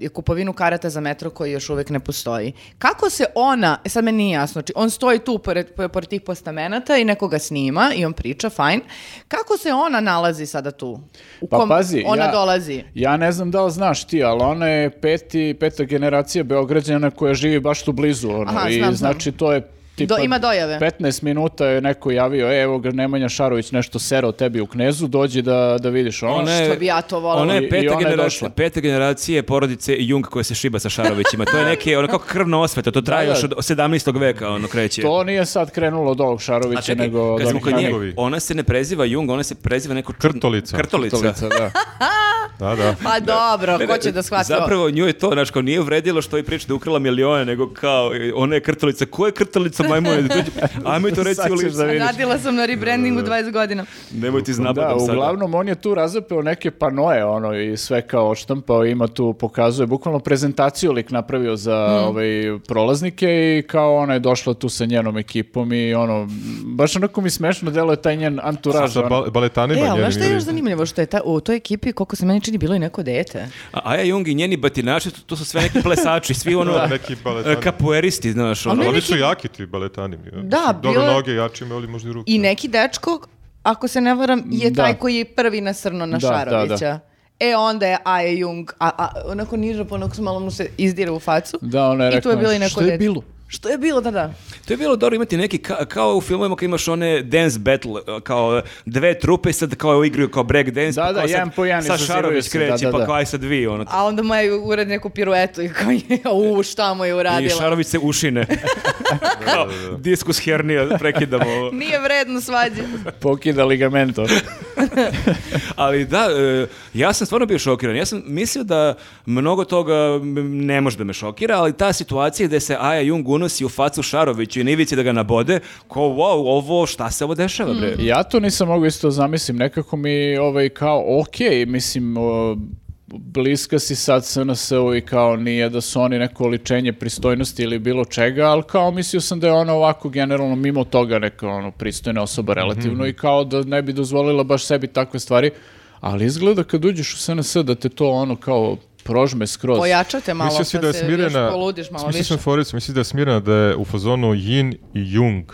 Speaker 1: uh, kupovinu karata za metro koji još uvek ne postoji. Kako se ona, e, sad meni nije jasno, znači on stoji tu pored, pored tih postamenata i nekoga snima i on priča, fajn. Kako se ona nalazi sada tu? U
Speaker 3: Pa
Speaker 1: kom
Speaker 3: pazi,
Speaker 1: ona
Speaker 3: ja-
Speaker 1: dolazi?
Speaker 3: Ja ne znam da li znaš ti, ali ona je peti, peta generacija Beograđana koja živi baš tu blizu. Ono,
Speaker 1: Aha,
Speaker 3: I
Speaker 1: znam, znam.
Speaker 3: znači to je tipa...
Speaker 1: Do- ima dojave.
Speaker 3: 15 minuta je neko javio, e, evo ga Nemanja Šarović nešto sero tebi u knezu, dođi da, da vidiš ono.
Speaker 4: je-
Speaker 1: što bi ja to volela.
Speaker 4: Ona
Speaker 3: I-
Speaker 4: je
Speaker 3: i
Speaker 4: peta,
Speaker 3: ona je
Speaker 4: generacija,
Speaker 3: došla.
Speaker 4: peta generacije porodice Jung koja se šiba sa Šarovićima. To je neke, ono kao krvna osveta, to traje
Speaker 3: Da, da.
Speaker 4: još od 17. veka, ono kreće.
Speaker 3: To nije sad krenulo od ovog
Speaker 4: A
Speaker 3: Šarovića,
Speaker 4: čekaj,
Speaker 3: Znači, nego od
Speaker 4: Znači, kad smo
Speaker 3: onih
Speaker 4: kod nje,
Speaker 3: ranijih.
Speaker 2: ranije.
Speaker 4: ona se ne preziva Jung, ona se preziva neko... čudno-
Speaker 2: Krtolica.
Speaker 4: Krtolica.
Speaker 3: Krtolica, da.
Speaker 2: Da, da.
Speaker 1: Pa dobro, ko će da shvati ovo?
Speaker 4: Zapravo nju je to, znači, kao nije vredilo što i priča da je ukrala milione, nego kao, e, ona je krtolica. Ko je krtolica, majmune? Dođi- Ajmo i to reci
Speaker 3: Sad
Speaker 4: u
Speaker 3: ćeš
Speaker 4: lice.
Speaker 3: da vidiš.
Speaker 1: Pa Radila sam na rebrandingu 20 godina.
Speaker 4: Nemoj ti znapadom
Speaker 3: Da,
Speaker 4: sada.
Speaker 3: uglavnom on je tu razapeo neke panoje ono i sve kao odštampao, ima tu pokazuje bukvalno prezentaciju lik napravio za ovaj prolaznike i kao ona je došla tu sa njenom ekipom i ono baš onako mi smešno delo je taj njen anturaž.
Speaker 2: Sa
Speaker 3: ono.
Speaker 2: bal- baletanima
Speaker 1: E, ali
Speaker 2: njenim,
Speaker 1: znaš što je
Speaker 2: ili-
Speaker 1: još zanimljivo? Što je ta, u toj ekipi, koliko se meni čini, bilo i neko dete.
Speaker 4: A Aja Jung i njeni batinaši, to, to su sve neki plesači, svi ono...
Speaker 2: Da, neki baletani.
Speaker 4: e, Kapueristi, znaš,
Speaker 2: Ali
Speaker 4: ono.
Speaker 2: oni su jaki ti baletani. Ja.
Speaker 1: Da,
Speaker 2: Dobro
Speaker 1: bilo je-
Speaker 2: noge, jači imaju, ali možda i ruke.
Speaker 1: I neki dečko, ako se ne varam, je
Speaker 3: Da.
Speaker 1: taj koji je prvi nasrno na
Speaker 3: Da, da,
Speaker 1: Šarovića. E onda je Aja Jung, a, a onako niža, pa onako se malo mu se izdira u facu.
Speaker 3: Da, ona je
Speaker 1: I tu je
Speaker 3: rekla,
Speaker 1: bilo i neko
Speaker 3: "Što je
Speaker 1: dete."
Speaker 3: bilo?
Speaker 1: Što je bilo, da, da.
Speaker 4: To je bilo dobro imati neki, ka- kao u filmovima kad imaš one dance battle, e, kao e, dve trupe i sad kao igraju kao break dance.
Speaker 3: Da,
Speaker 4: pa
Speaker 3: da,
Speaker 4: kao sad-
Speaker 3: jedan po jedan
Speaker 4: Sad
Speaker 3: izazivaju
Speaker 4: Šarović
Speaker 3: se,
Speaker 4: kreće,
Speaker 3: da, da,
Speaker 4: pa
Speaker 3: da.
Speaker 4: kao aj sad vi, ono.
Speaker 1: A onda mu je ured neku piruetu i kao je, u, šta mu je
Speaker 4: I
Speaker 1: uradila.
Speaker 4: Šarović se ušine. kao, diskus hernija, prekidamo. ovo.
Speaker 1: Nije vredno svađe.
Speaker 3: Pa, Pokida ligamento.
Speaker 4: Ali da, e, ja sam stvarno bio šokiran. Ja sam mislio da mnogo toga m, ne može da me šokira, ali ta situacija gde se Aja Jung unosi u facu Šaroviću i Nivici da ga nabode, kao wow, ovo, šta se ovo dešava, bre?
Speaker 3: ja to nisam mogao isto zamislim, nekako mi ovaj kao okej, mislim o, bliska si sad SNS-u i kao nije da su oni neko oličenje pristojnosti ili bilo čega, ali kao mislio sam da je ona ovako generalno mimo toga neka ono, pristojna osoba
Speaker 4: Mhm.
Speaker 3: relativno i kao da ne bi dozvolila baš sebi takve stvari, ali izgleda kad uđeš u SNS da te to ono kao prožme skroz.
Speaker 1: Pojačate malo,
Speaker 2: Mislio
Speaker 1: pa
Speaker 2: si
Speaker 1: se
Speaker 2: da je
Speaker 1: još
Speaker 2: smirena,
Speaker 1: poludiš malo
Speaker 2: mislio
Speaker 1: više.
Speaker 2: sam foricu, mislio da je smirena da je u fazonu yin i jung.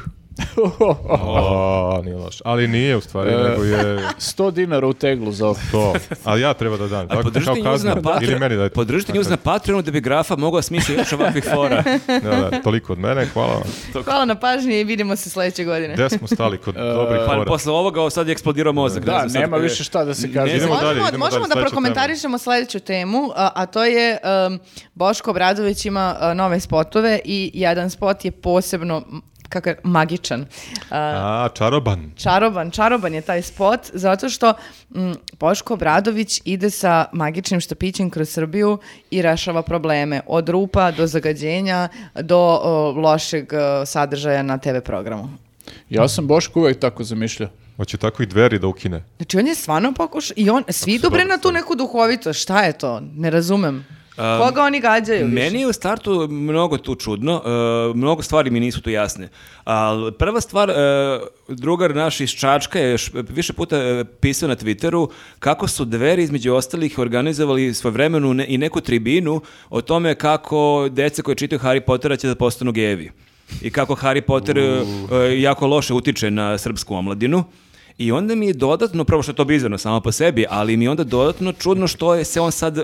Speaker 2: O, nije loš. Ali nije u
Speaker 1: E.
Speaker 2: stvari, nego je
Speaker 3: 100 dinara u teglu za ovo.
Speaker 2: to. Ali ja treba da dam.
Speaker 4: A
Speaker 2: Tako, kao
Speaker 4: podržite njuz
Speaker 2: kaznu.
Speaker 4: na Patre-
Speaker 2: Ili meni dajte.
Speaker 4: podržite njuz na Patreonu da bi grafa mogla smisliti još ovakvih fora.
Speaker 2: Da, da, toliko od mene, hvala vam.
Speaker 1: Hvala na pažnji i vidimo se sledeće godine.
Speaker 2: Gde smo stali kod
Speaker 1: E,
Speaker 2: dobrih
Speaker 4: Pa
Speaker 2: fora?
Speaker 4: posle ovoga ovo sad je eksplodirao mozak. ne
Speaker 3: Da,
Speaker 4: znam sad
Speaker 3: nema
Speaker 4: koje-
Speaker 3: više šta da se kaže.
Speaker 4: Ne znam.
Speaker 2: Idemo dalje,
Speaker 1: možemo
Speaker 2: idemo
Speaker 1: možemo
Speaker 2: dalje,
Speaker 1: da
Speaker 2: sledeća
Speaker 1: prokomentarišemo sledeću temu, a, a to je um, Boško Obradović ima a, nove spotove i jedan spot je posebno m, kako je, magičan. A,
Speaker 2: A, čaroban.
Speaker 1: čaroban, čaroban je taj spot, zato što mm, Boško Obradović ide sa magičnim štapićem kroz Srbiju i rešava probleme od rupa do zagađenja do o, lošeg o, sadržaja na TV programu.
Speaker 3: Ja sam Boško uvek tako zamišljao.
Speaker 2: Hoće tako i dveri da ukine.
Speaker 1: Znači on je stvarno pokušao i on, svi idu bre na tu neku duhovitost, šta je to? Ne razumem. Koga oni gađaju više?
Speaker 4: Meni je u startu mnogo tu čudno, e, mnogo stvari mi nisu tu jasne. Ali prva stvar, e, drugar naš iz Čačka je još više puta e, pisao na Twitteru kako su dveri između ostalih organizovali svojevremenu ne, i neku tribinu o tome kako dece koje čitaju Harry Pottera će da postanu gejevi. I kako Harry Potter e, jako loše utiče na srpsku omladinu. I onda mi je dodatno, prvo što je to bizarno samo po sebi, ali mi je onda dodatno čudno što je se on sad, e,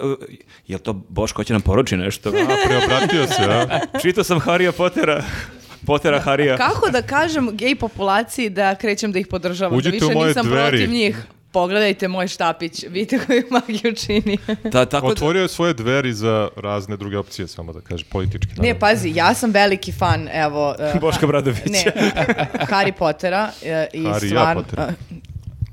Speaker 4: jel to Boško hoće nam poruči nešto?
Speaker 2: A, preobratio se, a?
Speaker 4: Čitao sam Harija Pottera. Pottera Harija.
Speaker 1: Kako da kažem gej populaciji da krećem da ih podržavam,
Speaker 2: Uđite
Speaker 1: da više
Speaker 2: u moje
Speaker 1: nisam
Speaker 2: dveri.
Speaker 1: protiv njih. Pogledajte moj štapić, vidite koju magiju čini.
Speaker 4: Da, tako da-
Speaker 2: Otvorio je svoje dveri za razne druge opcije, samo da kaže, politički.
Speaker 1: Ne,
Speaker 2: naravno.
Speaker 1: pazi, ja sam veliki fan, evo... e,
Speaker 4: Boška Bradovića.
Speaker 1: Ne, Harry Pottera e, i
Speaker 2: Harry ja
Speaker 1: stvarno...
Speaker 2: Pottera.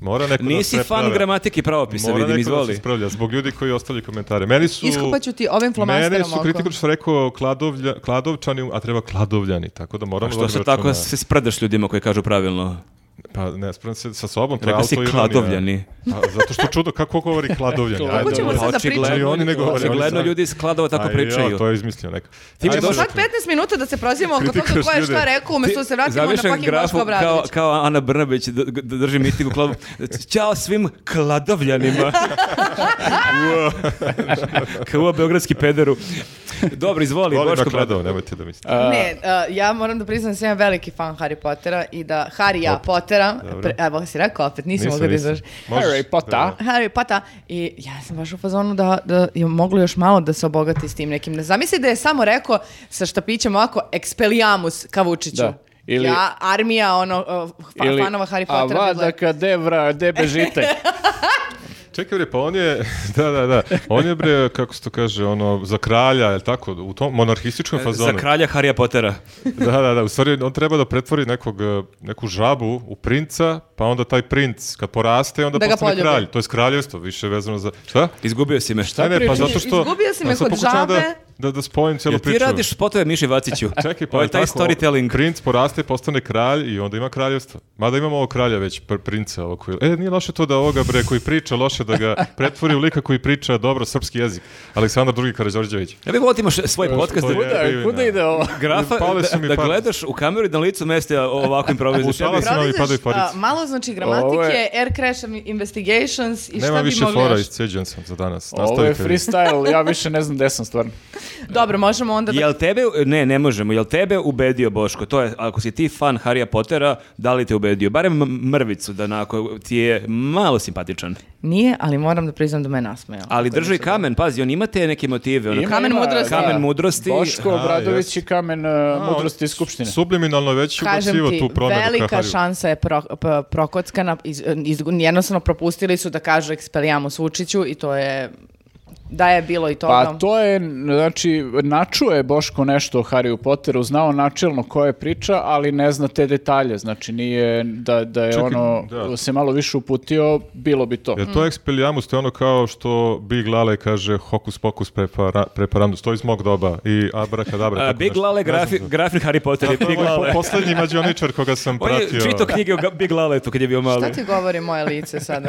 Speaker 2: Mora neko da se
Speaker 4: Nisi
Speaker 2: ne
Speaker 4: fan
Speaker 2: prave.
Speaker 4: gramatike i pravopisa,
Speaker 2: Mora
Speaker 4: vidim,
Speaker 2: neko da se
Speaker 4: izvoli.
Speaker 2: ispravlja, zbog ljudi koji ostavljaju komentare. Meni su...
Speaker 1: Iskopaću ti ovim flomasterom
Speaker 2: Mene su
Speaker 1: oko.
Speaker 2: kritiku što sam rekao kladovlja, kladovčani, a treba kladovljani, tako da moramo...
Speaker 4: Što
Speaker 2: da
Speaker 4: se
Speaker 2: računa-
Speaker 4: tako se sprdaš ljudima koji kažu pravilno?
Speaker 2: Pa ne, sprem se sa sobom, to je
Speaker 4: Rekao si
Speaker 2: autoironija.
Speaker 4: kladovljani.
Speaker 2: Pa, zato što čudo, kako govori kladovljani?
Speaker 3: Kako
Speaker 2: Ajde,
Speaker 1: ćemo
Speaker 2: ono.
Speaker 1: sad da
Speaker 4: Očigledno-
Speaker 1: pričamo?
Speaker 2: Ni oni ne govore,
Speaker 4: Očigledno
Speaker 2: oni sami.
Speaker 4: ljudi iz Kladova tako
Speaker 2: Aj,
Speaker 4: pričaju.
Speaker 2: Jo, to je izmislio neko.
Speaker 4: Ti mi
Speaker 2: Ajde,
Speaker 4: došao-
Speaker 1: Sad 15 minuta da se prozivamo oko toga ko je
Speaker 2: Kritikuješ
Speaker 1: šta
Speaker 2: ljude.
Speaker 1: rekao, umjesto da se vratimo na
Speaker 4: Zavišem
Speaker 1: pak i Boško
Speaker 4: kao,
Speaker 1: Obradović.
Speaker 4: kao Ana Brnabić da, da drži miting u Kladovu. Ćao svim Kladovljanima. Kao Beogradski pederu. Dobro, izvoli,
Speaker 2: Volim
Speaker 4: Boško
Speaker 2: na kladov,
Speaker 4: Bradović.
Speaker 2: nemojte da mislite.
Speaker 1: Ne, a, ja moram da priznam da sam ja veliki fan Harry Pottera i da Harry ja
Speaker 2: Opet.
Speaker 1: Pottera,
Speaker 2: Dobro.
Speaker 1: pre, evo si rekao opet, nisam
Speaker 2: Nisam,
Speaker 1: mogla da
Speaker 2: nisam.
Speaker 1: izraš.
Speaker 2: Možeš-
Speaker 3: Harry Potter.
Speaker 2: Da,
Speaker 1: Harry Potter i ja sam baš u fazonu da, da je moglo još malo da se obogati s tim nekim. Ne zamisli da je samo rekao sa štapićem ovako Expelliarmus ka Vučiću.
Speaker 3: Da. Ili-
Speaker 1: ja, armija ono, uh, fa- fanova Harry Pottera. bi
Speaker 3: A
Speaker 1: bila-
Speaker 3: vada kadevra, de bežite.
Speaker 2: Čekaj bre, pa on je, da, da, da, on je bre, kako se to kaže, ono, za kralja, je li tako, u tom monarhističkom fazonu.
Speaker 4: E, Za kralja Harija Pottera.
Speaker 2: Da, da, da, u stvari on treba da pretvori nekog, eh, neku žabu u princa, pa onda taj princ, kad poraste, onda
Speaker 1: Da ga
Speaker 2: postane
Speaker 1: poljubi.
Speaker 2: kralj. To je kraljevstvo, više vezano za, šta?
Speaker 4: Izgubio si me.
Speaker 2: Ne, ne, pa
Speaker 3: pričaš?
Speaker 2: zato što...
Speaker 1: Izgubio si me
Speaker 2: Ja sad
Speaker 1: kod
Speaker 2: pokušavam Da,
Speaker 1: žabe.
Speaker 2: da, da spojim cijelu
Speaker 4: Jel
Speaker 2: priču.
Speaker 4: ti radiš spotove Miši Vaciću?
Speaker 2: Čekaj, pa
Speaker 4: Ovo je
Speaker 2: je
Speaker 4: taj
Speaker 2: tako,
Speaker 4: storytelling.
Speaker 2: Princ poraste, postane kralj i onda ima kraljevstvo. Mada imamo ovo kralja već, pr princa ovo koji... E, nije loše to da ovoga bre koji priča, loše da ga pretvori u lika koji priča dobro srpski jezik. Aleksandar II. Karađorđević.
Speaker 4: Ja bih volio da imaš svoj podcast
Speaker 2: to
Speaker 4: da,
Speaker 2: je-
Speaker 3: Kuda, kuda ide ovo?
Speaker 4: grafa,
Speaker 2: Pale su mi
Speaker 4: da, da
Speaker 2: pare.
Speaker 4: gledaš u kameru i na licu mesta ovako improvizuješ.
Speaker 2: U
Speaker 4: Ja bih-
Speaker 2: Samo mi
Speaker 1: Prolaziš,
Speaker 2: padaju parice.
Speaker 1: a, malo znači
Speaker 3: Ovo
Speaker 1: gramatike,
Speaker 3: je-
Speaker 1: air crash investigations i
Speaker 2: Nema
Speaker 1: šta bi
Speaker 2: više
Speaker 1: mogli
Speaker 2: fora,
Speaker 1: još.
Speaker 2: isceđen sam za danas.
Speaker 3: Ovo je
Speaker 2: Nastavite vi.
Speaker 3: freestyle, ja više ne znam gde sam stvarno.
Speaker 1: Dobro, možemo onda da...
Speaker 4: Jel tebe, ne, ne možemo, jel tebe ubedio Boško? To je, ako si ti fan Harija Pottera, da li te ubedio? Barem m- mrvicu, da onako ti je malo simpatičan.
Speaker 1: Nije, ali moram da priznam da me nasmejao.
Speaker 4: Ali
Speaker 2: Pa
Speaker 4: drži kamen, pazi, on ima te neke motive. Ono,
Speaker 1: Kamen mudrosti.
Speaker 4: Kamen mudrosti.
Speaker 3: Boško
Speaker 2: A,
Speaker 3: Obradović
Speaker 2: jest.
Speaker 3: i kamen e,
Speaker 2: A, on
Speaker 3: mudrosti skupštine.
Speaker 2: Subliminalno je već
Speaker 1: Kažem
Speaker 2: ubacivo
Speaker 1: ti,
Speaker 2: tu promenu. ka
Speaker 1: velika
Speaker 2: Harryu.
Speaker 1: šansa je pro, p- prokockana, iz, iz- jednostavno propustili su da kažu Expelliarmus Vučiću i to je, da je bilo i toga.
Speaker 3: Pa to je, znači, načuo je Boško nešto o Harryu Potteru, znao načelno koja je priča, ali ne zna te detalje, znači nije da, da je
Speaker 2: Čekaj,
Speaker 3: ono,
Speaker 2: da.
Speaker 3: se malo više uputio, bilo bi to.
Speaker 2: Jel
Speaker 1: Mhm.
Speaker 2: to Expelliarmus, to je ono kao što Big Lale kaže hokus pokus prepara, preparandus, to je iz mog doba i abrakadabra. Pa
Speaker 4: A,
Speaker 2: tako
Speaker 4: Big
Speaker 2: nešto. Ne
Speaker 4: Lale,
Speaker 2: znam
Speaker 4: grafi,
Speaker 2: za-
Speaker 4: grafin Harry Potter je
Speaker 2: To je
Speaker 4: Big
Speaker 2: moj
Speaker 4: Lale.
Speaker 2: po- poslednji mađioničar koga sam
Speaker 4: On je
Speaker 2: pratio.
Speaker 4: čitao knjige o ga- Big Laletu kad je bio mali.
Speaker 1: Šta ti govori moje lice sada?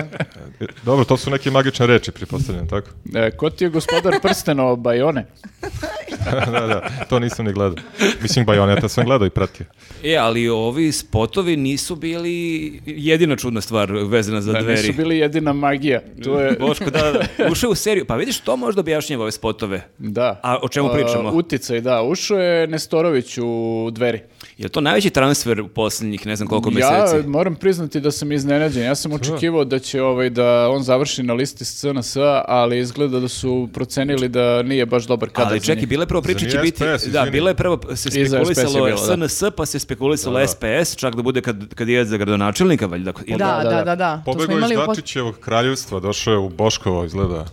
Speaker 2: E, Dobro, to su neke magične reči, pripostavljam, tako?
Speaker 3: E, ko ti je gospodar prstenova Bajone?
Speaker 2: da, da, to nisam ni gledao. Mislim, Bajoneta sam gledao i pratio.
Speaker 4: E, ali ovi spotovi nisu bili jedina čudna stvar vezana za
Speaker 3: Da
Speaker 4: dveri.
Speaker 3: nisu bili jedina magija. To je...
Speaker 4: Boško, da, da, da. Ušao je u seriju. Pa vidiš, to možda objašnjava ove spotove.
Speaker 3: Da.
Speaker 4: A o čemu
Speaker 3: A,
Speaker 4: pričamo?
Speaker 3: uticaj, da. Ušao je Nestorović u dveri.
Speaker 4: Je li to najveći transfer u posljednjih ne znam koliko
Speaker 3: Ja
Speaker 4: mjeseci?
Speaker 3: moram priznati da sam iznenađen. Ja sam očekivao da će ovaj da on završi na listi SNS-a, ali izgleda da su procenili da nije baš dobar kadar.
Speaker 4: Ali
Speaker 3: za
Speaker 4: čekaj,
Speaker 3: njih.
Speaker 4: bila je prvo priča
Speaker 2: Za
Speaker 4: će
Speaker 2: nije
Speaker 4: biti...
Speaker 2: SPS,
Speaker 4: da,
Speaker 2: izvini.
Speaker 4: bila je prvo se
Speaker 3: I za SPS je
Speaker 4: spekulisalo
Speaker 3: bila, da.
Speaker 4: SNS, pa se spekulisalo SPS, čak da bude kad, kad je za gradonačelnika, valjda. Ili-
Speaker 1: Da,
Speaker 3: Pa da,
Speaker 1: da,
Speaker 3: da.
Speaker 1: da, da. To smo
Speaker 2: Pobegao
Speaker 1: imali
Speaker 2: iz
Speaker 1: u pos-
Speaker 2: Dačićevog kraljevstva, došao je u Boškovo, izgleda.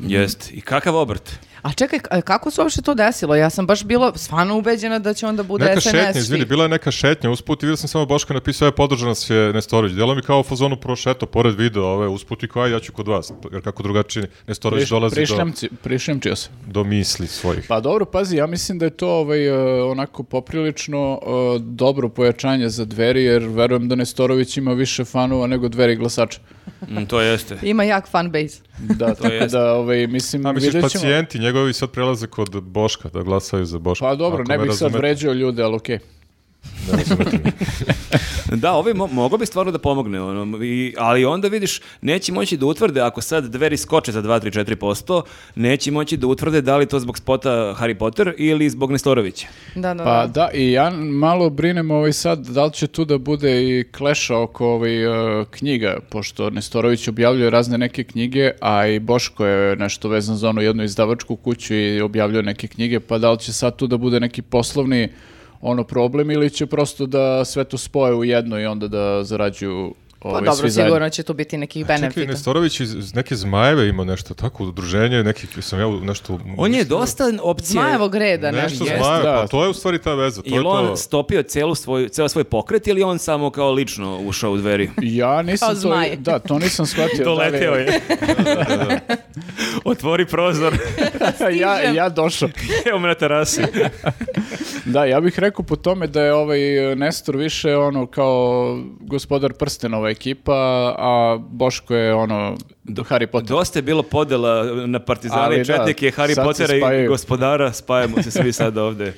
Speaker 4: Jest. I kakav obrt?
Speaker 1: A čekaj, k- kako se uopšte to desilo? Ja sam baš bila stvarno ubeđena da će onda bude
Speaker 2: Neka
Speaker 1: SNS.
Speaker 2: šetnja, izvini,
Speaker 1: svih.
Speaker 2: bila je neka šetnja, usput i vidio sam samo Boško je napisao, je podržan nas je Nestorović. Delo mi kao u fazonu prošeto, pored video, ove, usput i kao, aj, ja ću kod vas, jer kako drugačije Nestorović
Speaker 3: Priš-
Speaker 2: dolazi do,
Speaker 3: prišljamci- prišljamčio se.
Speaker 2: do misli svojih.
Speaker 3: Pa dobro, pazi, ja mislim da je to ovaj, e, onako poprilično e, dobro pojačanje za dveri, jer verujem da Nestorović ima više fanova nego dveri glasača.
Speaker 4: Mm, to jeste.
Speaker 1: Ima jak fan base.
Speaker 3: Da, tako
Speaker 4: jest.
Speaker 3: da, ovaj, mislim,
Speaker 2: A misliš,
Speaker 3: vidjet ćemo.
Speaker 2: pacijenti njegovi sad prelaze kod Boška, da glasaju za Boška.
Speaker 3: Pa dobro,
Speaker 2: Ako
Speaker 3: ne
Speaker 2: me
Speaker 3: bih sad
Speaker 2: razumete.
Speaker 3: vređao ljude, ali okej.
Speaker 2: Ne razumete me.
Speaker 4: Da, ovi mo mogao bi stvarno da pomogne, ono, i, ali onda vidiš, neće moći da utvrde, ako sad dveri skoče za 2-3-4%, neće moći da utvrde da li to zbog spota Harry Potter ili zbog Nestorovića.
Speaker 1: Da, da, da.
Speaker 3: Pa da, i ja malo brinem ovaj sad, da li će tu da bude i kleša oko ovaj, e, knjiga, pošto Nestorović objavljuje razne neke knjige, a i Boško je nešto vezan za onu jednu izdavačku kuću i objavljuje neke knjige, pa da li će sad tu da bude neki poslovni ono problem ili će prosto da sve to spoje u jedno i onda da zarađuju
Speaker 1: Pa
Speaker 3: ovaj,
Speaker 1: dobro,
Speaker 3: svi zajedno.
Speaker 1: sigurno će tu biti nekih benefita.
Speaker 2: Čekaj, Nestorović iz- iz neke zmajeve ima nešto, tako udruženje, neki, sam ja u- nešto...
Speaker 4: On je dosta opcije.
Speaker 1: Zmajevog reda, ne?
Speaker 2: Nešto
Speaker 4: Jeste,
Speaker 2: zmajeve,
Speaker 3: da.
Speaker 2: pa to je u stvari ta veza, to je
Speaker 4: Je li on
Speaker 2: to...
Speaker 4: stopio celu svoj, ceo svoj pokret ili je on samo kao lično ušao u dveri?
Speaker 3: Ja nisam
Speaker 1: Kao
Speaker 3: to,
Speaker 1: zmaj.
Speaker 3: da, to nisam shvatio. da li-
Speaker 4: je. Otvori prozor.
Speaker 3: ja, ja došao.
Speaker 4: Evo me na terasi.
Speaker 3: Da, ja bih rekao po tome da je ovaj e, Nestor više ono kao gospodar prstenova ekipa, a Boško je ono do Harry Potter.
Speaker 4: Dosta je bilo podela na partizane
Speaker 3: Ali
Speaker 4: i četnike,
Speaker 3: da,
Speaker 4: Harry
Speaker 3: sad se
Speaker 4: Pottera i
Speaker 3: spajaju.
Speaker 4: gospodara, spajamo se svi sad ovde.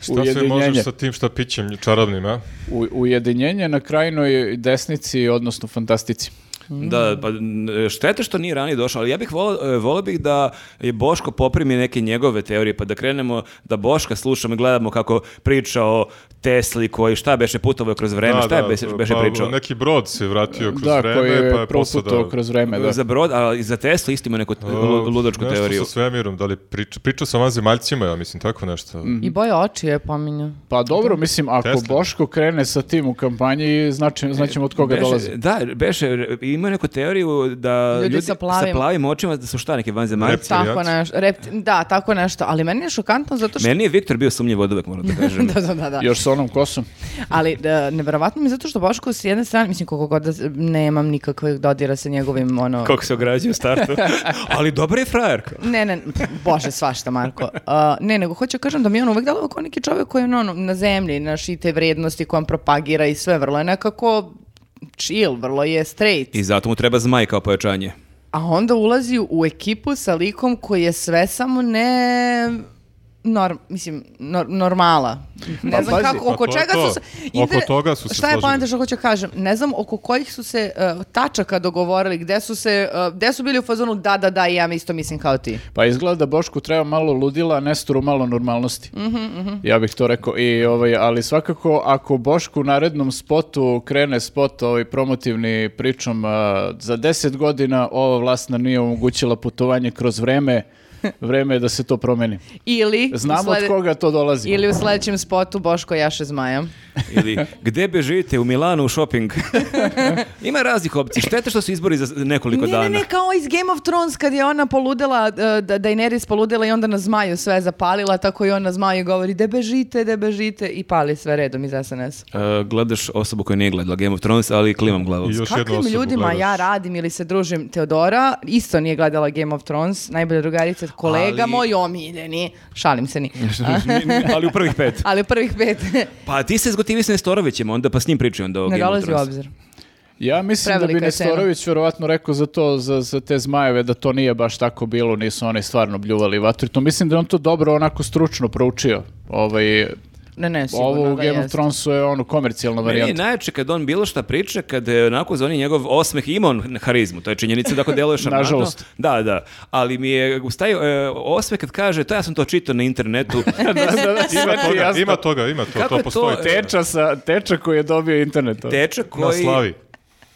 Speaker 2: Šta sve
Speaker 3: ujedinjenje.
Speaker 2: možeš sa tim šta pićem čarobnim, a?
Speaker 3: U, ujedinjenje na krajnoj desnici, odnosno fantastici.
Speaker 4: Da, pa n- šteta što nije ranije došao, ali ja bih volao volao bih da je Boško poprimi neke njegove teorije, pa da krenemo da Boška slušamo i gledamo kako priča o Tesli koji šta beše putovao kroz vreme, E, šta je beše, beše
Speaker 2: pa,
Speaker 4: pričao.
Speaker 2: Neki brod se vratio kroz
Speaker 3: da,
Speaker 2: vreme,
Speaker 3: koji
Speaker 2: pa
Speaker 3: je
Speaker 2: je posao
Speaker 3: proputao
Speaker 2: da...
Speaker 3: kroz vreme. E, Da.
Speaker 4: Za brod, a i za Teslu isto ima neku t- lu- ludačku
Speaker 2: nešto
Speaker 4: teoriju.
Speaker 2: sa svemirom, da li priča, pričao sa vanzemaljcima, ja mislim, tako nešto.
Speaker 3: Mm.
Speaker 1: I boje oči je pominjao.
Speaker 3: Pa dobro, mislim, ako
Speaker 2: Tesla.
Speaker 3: Boško krene sa tim u kampanji, znači, znaćemo od koga
Speaker 4: Beše-
Speaker 3: dolazi.
Speaker 4: Da, beše, ima neku teoriju da
Speaker 1: Ljudi
Speaker 4: ljudi,
Speaker 1: sa plavim.
Speaker 4: očima da su šta neki vanzemaljci.
Speaker 2: Reptilijanci.
Speaker 1: Tako nešto. Repti- da, tako nešto. Ali meni je šokantno zato što...
Speaker 4: Meni je Viktor bio sumnjiv od uvek, moram da kažem.
Speaker 1: da, da, da, da.
Speaker 3: Još sa onom kosom.
Speaker 1: Ali da, nevjerovatno mi je zato što Boško s jedne strane, mislim koliko god da s- nemam nikakvih dodira sa njegovim ono...
Speaker 4: Kako se ograđuje u startu. Ali dobra je frajerka.
Speaker 1: Ne, ne, bože, svašta, Marko. A, ne, nego hoću kažem da mi je on uvek delovao kao neki čovjek koji je ono, na zemlji, naš i te vrednosti koje on propagira i sve, vrlo je nekako chill, vrlo je straight.
Speaker 4: I zato mu treba zmaj kao pojačanje.
Speaker 1: A onda ulazi u ekipu sa likom koji je sve samo ne... Norm, mislim, nor- normala. Ne znam
Speaker 3: pazi,
Speaker 1: kako,
Speaker 2: pa
Speaker 1: oko
Speaker 2: to je
Speaker 1: čega
Speaker 2: to.
Speaker 1: su se...
Speaker 2: Oko toga su se
Speaker 1: Šta je
Speaker 2: složili.
Speaker 1: poanta što hoću kažem? Ne znam oko kojih su se uh, tačaka dogovorili, gde su se, uh, gde su bili u fazonu da, da, da, i ja isto mislim kao ti.
Speaker 3: Pa izgleda da Bošku treba malo ludila, a Nestoru malo normalnosti. Ja bih to rekao. I, ovaj, ali svakako, ako Bošku u narednom spotu krene spot ovaj promotivni pričom a, za 10 godina ova vlast nam nije omogućila putovanje kroz vreme, vreme je da se to promeni.
Speaker 1: Ili... u
Speaker 3: Znamo
Speaker 1: slede-
Speaker 3: od koga to dolazi.
Speaker 1: Ili u sledećem spotu Boško jaše zmaja.
Speaker 4: Ili gde bežite u Milanu u shopping? Ima raznih opcija. Šteta što su izbori za nekoliko
Speaker 1: Ne,
Speaker 4: dana.
Speaker 1: ne, ne, kao iz Game of Thrones kad je ona poludela, e, da Daenerys poludela i onda na zmaju sve zapalila, tako i on na zmaju govori de bežite, de bežite i pali sve redom iz SNS.
Speaker 4: E, gledaš osobu koja nije gledala Game of Thrones, ali klimam glavom.
Speaker 2: I još jednu
Speaker 1: Kakvim
Speaker 2: osobu
Speaker 1: ljudima
Speaker 2: gledaš.
Speaker 1: ja radim ili se družim? Teodora isto nije gledala Game of Thrones, najbolja drugarica, kolega
Speaker 4: Ali-
Speaker 1: moj omiljeni, šalim se ni.
Speaker 4: ali u prvih pet.
Speaker 1: Ali prvih pet
Speaker 4: Pa ti se zgotivi sa Nestorovićem onda, pa s njim priči onda o
Speaker 1: ne
Speaker 4: Game of
Speaker 1: dolazi u
Speaker 4: Thrones.
Speaker 1: obzir.
Speaker 3: Ja mislim da bi
Speaker 1: Prevelika je cena.
Speaker 3: Nestorović verovatno rekao za to, za, za te zmajeve, da to nije baš tako bilo, nisu oni stvarno bljuvali vatritom. Mislim da je on to dobro onako stručno proučio. Ovaj,
Speaker 1: Ne, ne, sigurno
Speaker 3: ovo u
Speaker 1: da
Speaker 3: Game of
Speaker 1: jeste.
Speaker 3: Thronesu je ono komercijalna
Speaker 4: Meni je
Speaker 3: varijanta.
Speaker 4: najjače kad on bilo šta priča, kad je onako zvoni njegov osmeh ima on harizmu, to je činjenica da ako deluje šarmantno.
Speaker 3: Nažalost.
Speaker 4: Da, da, ali mi je ustaju osmeh kad kaže, to ja sam to čitao na internetu.
Speaker 2: Ima toga,
Speaker 3: jasno.
Speaker 2: ima toga, ima to,
Speaker 4: Kako je
Speaker 2: to
Speaker 4: to,
Speaker 2: postoji.
Speaker 4: e,
Speaker 3: Teča, sa, teča koji je dobio internet.
Speaker 4: Tečak
Speaker 2: Na
Speaker 4: koji...
Speaker 2: slavi.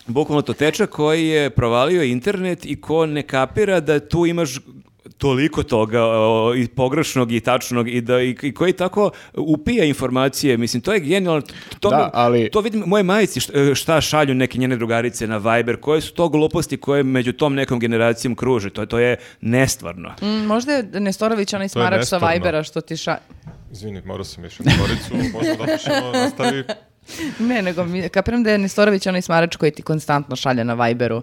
Speaker 4: Bukvalno to tečak koji je provalio internet i ko ne kapira da tu imaš toliko toga o, i pogrešnog i tačnog i da i, i koji tako upija informacije mislim to je genijalno T- to,
Speaker 3: Da,
Speaker 4: me-
Speaker 3: ali-
Speaker 4: to vidim moje majici šta, šta šalju neke njene drugarice na Viber koje su to gluposti koje među tom nekom generacijom kruže to to je nestvarno
Speaker 1: Mm, možda je Nestorović onaj
Speaker 2: To je
Speaker 1: smarač sa
Speaker 2: nesporno.
Speaker 1: Vibera što ti ša...
Speaker 2: Izvini, morao sam još na koricu, možda da pišemo, nastavi.
Speaker 1: Ne, nego mi, kapiram da je Nestorović onaj smarač koji ti konstantno šalje na Viberu.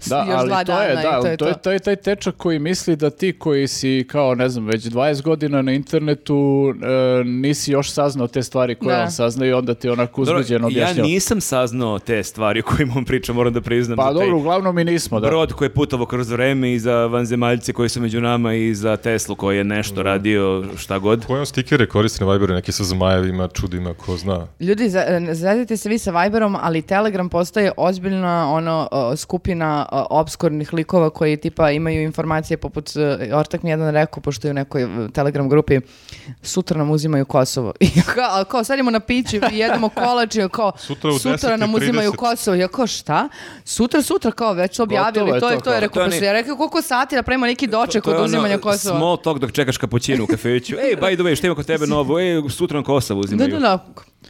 Speaker 1: S-
Speaker 3: Da,
Speaker 1: još
Speaker 3: ali
Speaker 1: dva
Speaker 3: to je,
Speaker 1: dana i
Speaker 3: da,
Speaker 1: to je
Speaker 3: to je,
Speaker 1: to.
Speaker 3: to je taj tečak koji misli da ti koji si kao, ne znam, već 20 godina na internetu e, nisi još saznao te stvari koje
Speaker 1: Da.
Speaker 3: on sazna i onda ti onako
Speaker 4: Dobro,
Speaker 3: uzbuđeno
Speaker 4: ja
Speaker 3: objašnjava.
Speaker 4: nisam saznao te stvari o kojima on priča moram da priznam
Speaker 3: Pa
Speaker 4: za taj
Speaker 3: dobro, uglavnom mi nismo, Pa da.
Speaker 4: brod koji je putovo kroz vreme i za vanzemaljce koji su među nama i za Teslu koji je nešto radio šta god.
Speaker 2: Koje on stikere koristi na Viberu, neki sa zmajevima, čudima, ko zna.
Speaker 1: Ljudi, za- e, zvezajte se vi sa Viberom, ali Telegram postaje ozbiljna ono, e, skupina e, obskurnih likova koji tipa imaju informacije poput, e, ortak mi jedan rekao, pošto je u nekoj e, Telegram grupi, sutra nam uzimaju Kosovo. I ja kao, "A kao sadimo na pići, jedemo kolač i ja kao,
Speaker 2: Sutra u
Speaker 1: sutra nam
Speaker 2: 10:30.
Speaker 1: uzimaju Kosovo. I Ja kao, šta? Sutra, sutra, kao već su objavili,
Speaker 3: Gotovo je
Speaker 1: to, je
Speaker 3: to,
Speaker 1: to, je
Speaker 3: kao.
Speaker 4: To
Speaker 1: rekao,
Speaker 4: je
Speaker 1: pošto ja rekao, koliko sati da pravimo neki doček
Speaker 4: To je
Speaker 1: od
Speaker 4: ono
Speaker 1: uzimanja Kosova.
Speaker 4: Small talk dok čekaš kapućinu u kafeću. Ej, by the way, šta ima kod tebe novo? Ej, sutra nam Kosovo
Speaker 1: Da,
Speaker 4: uzimaju.
Speaker 1: da, da,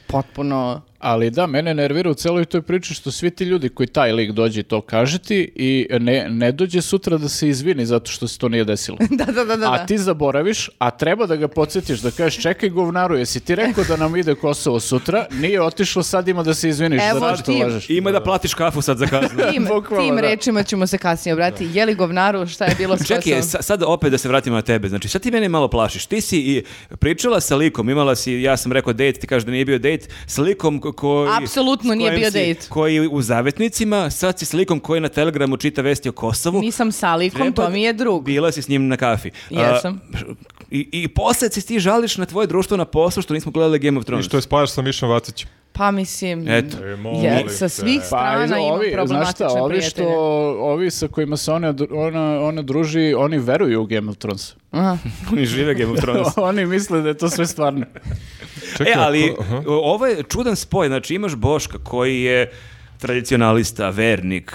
Speaker 1: potpuno...
Speaker 3: Ali da, mene nervira u celoj toj priči što svi ti ljudi koji taj lik dođe i to kaže ti i ne, ne dođe sutra da se izvini zato što se to nije desilo.
Speaker 1: Da, da, da, da. da.
Speaker 3: A ti zaboraviš, a treba da ga podsjetiš, da kažeš čekaj govnaru, jesi ti rekao da nam ide Kosovo sutra, nije otišlo, sad ima da se izviniš
Speaker 1: Evo
Speaker 3: zato što
Speaker 1: ti.
Speaker 3: lažeš.
Speaker 4: Ima da platiš kafu sad za kaznu.
Speaker 1: tim,
Speaker 3: Bukvalno,
Speaker 1: tim
Speaker 3: da.
Speaker 1: rečima ćemo se kasnije obratiti. Je li govnaru šta je bilo s
Speaker 4: Čekaj,
Speaker 1: Kosovom?
Speaker 4: sa- sad opet da se vratimo na tebe. Znači, sad ti mene malo plašiš. Ti si i pričala sa likom, imala si, ja sam rekao date, ti kažeš da nije bio date, s likom ko- koji...
Speaker 1: Apsolutno
Speaker 4: s
Speaker 1: nije
Speaker 4: kojim
Speaker 1: bio
Speaker 4: si-
Speaker 1: date.
Speaker 4: Koji u zavetnicima, sad si s likom koji na Telegramu čita vesti o Kosovu.
Speaker 1: Nisam sa likom,
Speaker 4: Treba-
Speaker 1: to mi je drug.
Speaker 4: Bila si s njim na kafi. A,
Speaker 1: Jesam.
Speaker 4: I, I posle si ti žališ na tvoje društvo na poslu što nismo gledali Game of
Speaker 2: I
Speaker 4: Thrones.
Speaker 2: što je spajaš sa Mišom Vacićem.
Speaker 1: Pa mislim,
Speaker 4: Eto.
Speaker 2: E,
Speaker 1: je, sa svih
Speaker 3: Pa
Speaker 1: strana imam
Speaker 3: ovi, znaš
Speaker 1: problematične
Speaker 3: šta, ovi, što,
Speaker 1: prijatelje.
Speaker 3: ovi sa kojima se ona, dru- ona, ona druži, oni veruju u Game of Thrones.
Speaker 1: Aha.
Speaker 2: Mm.
Speaker 4: Oni žive Game of Thrones.
Speaker 3: oni misle da je to sve stvarno.
Speaker 2: Čekaj,
Speaker 4: e, ali
Speaker 2: ako- aha.
Speaker 4: o- ovo je čudan spoj. Znači imaš Boška koji je tradicionalista, vernik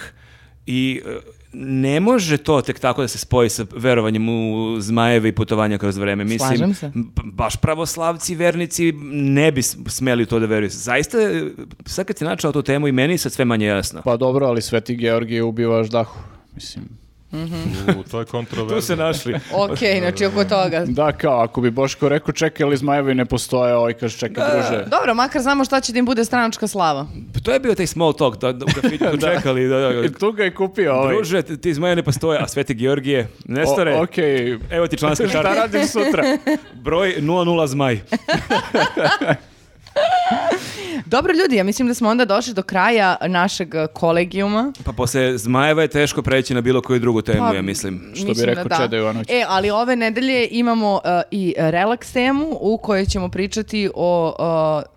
Speaker 4: i e, ne može to tek tako da se spoji sa verovanjem u zmajeve i putovanja kroz vreme. Mislim,
Speaker 1: Slažem se.
Speaker 4: b- baš pravoslavci, vernici ne bi s- smeli u to da veruju. Zaista, e, sad kad si načao tu temu i meni je sad sve manje jasno.
Speaker 3: Pa dobro, ali Sveti Georgije ubiva ždahu. Mislim,
Speaker 2: U, to je kontroverzno.
Speaker 4: Tu se našli.
Speaker 1: Ok, znači oko toga.
Speaker 3: da kao, ako bi Boško rekao čekaj, ali zmajevi ne postoje, ovaj kaže čekaj, druže.
Speaker 1: Dobro, makar znamo šta će da im bude stranačka slava.
Speaker 4: Pa To je bio taj small talk, da, da u kafiću čekali. Da, da,
Speaker 3: I tu ga je kupio ovaj.
Speaker 4: Druže, ti ti iz moje ne postoje, a Sveti Georgije,
Speaker 3: O,
Speaker 4: Nestore,
Speaker 3: okej.
Speaker 4: evo ti članska
Speaker 3: Šta
Speaker 4: karta.
Speaker 3: radim sutra?
Speaker 4: Broj 00 zmaj.
Speaker 1: Dobro ljudi, ja mislim da smo onda došli do kraja našeg eh, kolegijuma.
Speaker 4: Pa posle zmajeva je teško preći na bilo koju drugu temu,
Speaker 1: Pa,
Speaker 4: ja mislim.
Speaker 3: bi rekao Čeda Jovanović.
Speaker 1: E, ali ove nedelje imamo eh, i relaks temu u kojoj ćemo pričati o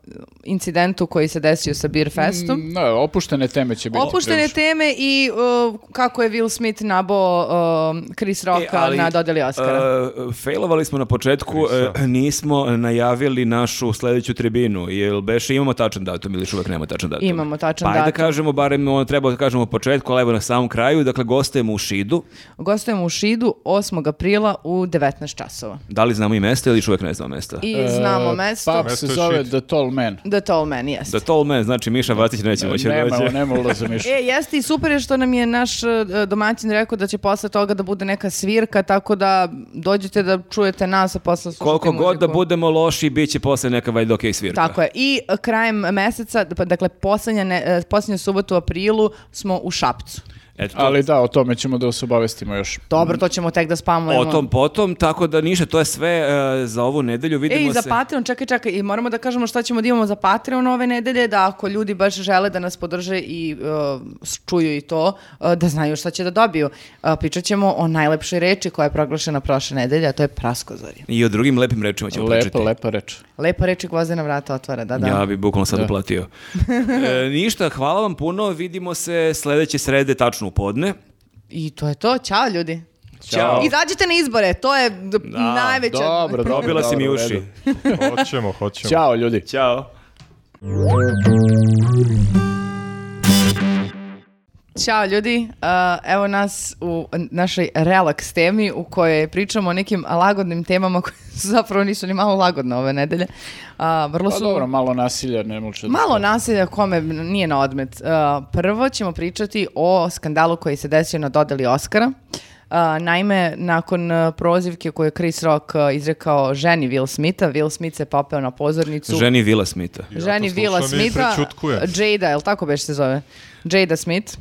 Speaker 1: eh, incidentu koji se desio sa Beer Festom.
Speaker 3: Mm, Da, opuštene teme će biti.
Speaker 1: Opuštene
Speaker 3: previše.
Speaker 1: teme i uh, kako je Will Smith nabao um, Chris Rocka
Speaker 4: E, ali,
Speaker 1: na dodeli Oscara.
Speaker 4: e, failovali smo na početku, e, nismo najavili našu sledeću tribinu. Jel beše imamo tačan datum ili još uvek nema tačan datum?
Speaker 1: Imamo tačan
Speaker 4: pa ajde
Speaker 1: datum.
Speaker 4: da kažemo, barem ono, treba da kažemo u početku, ali evo na samom kraju. Dakle, gostajemo u Šidu.
Speaker 1: Gostujemo u Šidu 8. aprila u 19 časova.
Speaker 4: Da li znamo i mesto ili još uvek ne znamo mesto?
Speaker 1: I znamo
Speaker 3: E,
Speaker 1: mesto.
Speaker 4: pa-
Speaker 3: Pub
Speaker 2: Mesto
Speaker 3: se
Speaker 2: je
Speaker 3: zove
Speaker 2: shit.
Speaker 3: The Tall Man.
Speaker 1: The Tall Man, jeste.
Speaker 4: Za to me, znači Miša Vacić neće moći da
Speaker 3: Nema,
Speaker 4: dođe.
Speaker 3: nema ulaza miša.
Speaker 1: E, jeste i super je što nam je naš uh, domaćin rekao da će posle toga da bude neka svirka, tako da dođete da čujete nas, a posle slušate
Speaker 4: Koliko god da
Speaker 1: muziku.
Speaker 4: budemo loši, bit će posle neka valjda okej svirka.
Speaker 1: Tako je. I uh, e, krajem meseca, pa, dakle, poslednja, ne, uh, poslednju subotu u aprilu smo u Šapcu.
Speaker 4: Eto, to-
Speaker 3: Ali da, o tome ćemo da se obavestimo još.
Speaker 1: Dobro, to ćemo tek da spamujemo.
Speaker 4: o tom potom, tako da ništa, to je sve e, za ovu nedelju.
Speaker 1: E,
Speaker 4: Vidimo
Speaker 1: i za
Speaker 4: se.
Speaker 1: Patreon, čekaj, čekaj, i moramo da kažemo šta ćemo da imamo za Patreon ove nedelje, da ako ljudi baš žele da nas podrže i uh, s- čuju i to, uh, da znaju šta će da dobiju. Uh, pričat ćemo o najlepšoj reči koja je proglašena prošle nedelje, a to je praskozorje.
Speaker 4: I o drugim lepim rečima ćemo
Speaker 3: Lepa,
Speaker 4: pričati.
Speaker 3: lepa reč.
Speaker 1: Lepa reči gvozdena vrata otvara, da, da.
Speaker 4: Ja bi bukvalno sad uplatio. E, ništa, hvala vam puno, vidimo se sledeće srede tačno u podne.
Speaker 1: I to je to, ćao ljudi.
Speaker 4: Ćao.
Speaker 1: Izađite na izbore, to je d- najveća...
Speaker 3: Dobro, dobro.
Speaker 4: Probila si mi
Speaker 3: dobro, u
Speaker 4: uši.
Speaker 3: redu.
Speaker 2: Hoćemo, hoćemo.
Speaker 3: Ćao ljudi.
Speaker 4: Ćao.
Speaker 1: Ćao ljudi, Uh, evo nas u našoj relaks temi u kojoj pričamo o nekim lagodnim temama koje su zapravo nisu ni malo lagodne ove nedelje. Uh, vrlo
Speaker 3: Pa
Speaker 1: su...
Speaker 3: dobro, malo nasilja, ne može da-
Speaker 1: Malo nasilja kome nije na odmet. Uh, prvo ćemo pričati o skandalu koji se desio na dodeli Oscara. Uh, naime, nakon uh, prozivke koju je Chris Rock uh, izrekao ženi Will Smitha, Will Smith se popeo na pozornicu.
Speaker 4: Ženi Vila Smita.
Speaker 2: Ja to
Speaker 1: Ženi
Speaker 2: slušam
Speaker 1: Vila
Speaker 2: i
Speaker 1: Smitha,
Speaker 2: prećutkujem.
Speaker 1: Jada, je li tako beš se zove? Jada Smith.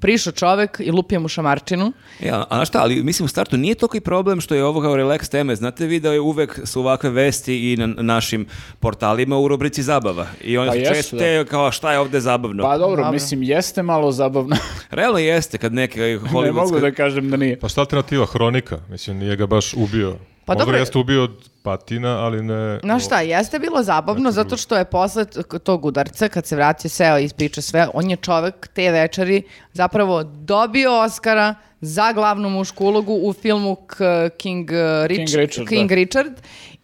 Speaker 1: Prišao čovek i lupio mu šamarčinu.
Speaker 4: Ja, E, a znaš šta, ali mislim u startu nije toliko i problem što je ovo kao relax teme. Znate vi da je uvek su ovakve vesti i na našim portalima u rubrici zabava. I oni
Speaker 3: Pa
Speaker 4: su
Speaker 3: jesu,
Speaker 4: često te kao šta je ovde zabavno.
Speaker 3: Pa dobro,
Speaker 1: Dobro.
Speaker 3: mislim, jeste malo zabavno.
Speaker 4: Realno jeste kad eh, neke
Speaker 3: ne
Speaker 4: hollywoodske...
Speaker 3: mogu da kažem da nije.
Speaker 2: Pa šta alternativa? Hronika. Mislim, nije ga baš ubio.
Speaker 1: Pa
Speaker 2: Možda
Speaker 1: dobro.
Speaker 2: ga jeste ubio od patina, ali ne...
Speaker 1: Znaš šta, jeste bilo
Speaker 3: Znači,
Speaker 1: zabavno zato što je posle t- tog udarca, kad se vratio, seo i ispričao sve, on je čovek te večeri zapravo dobio Oscara za glavnu mušku ulogu u filmu K- King, uh, Rich-
Speaker 3: King Richard,
Speaker 1: King
Speaker 3: da.
Speaker 1: Richard.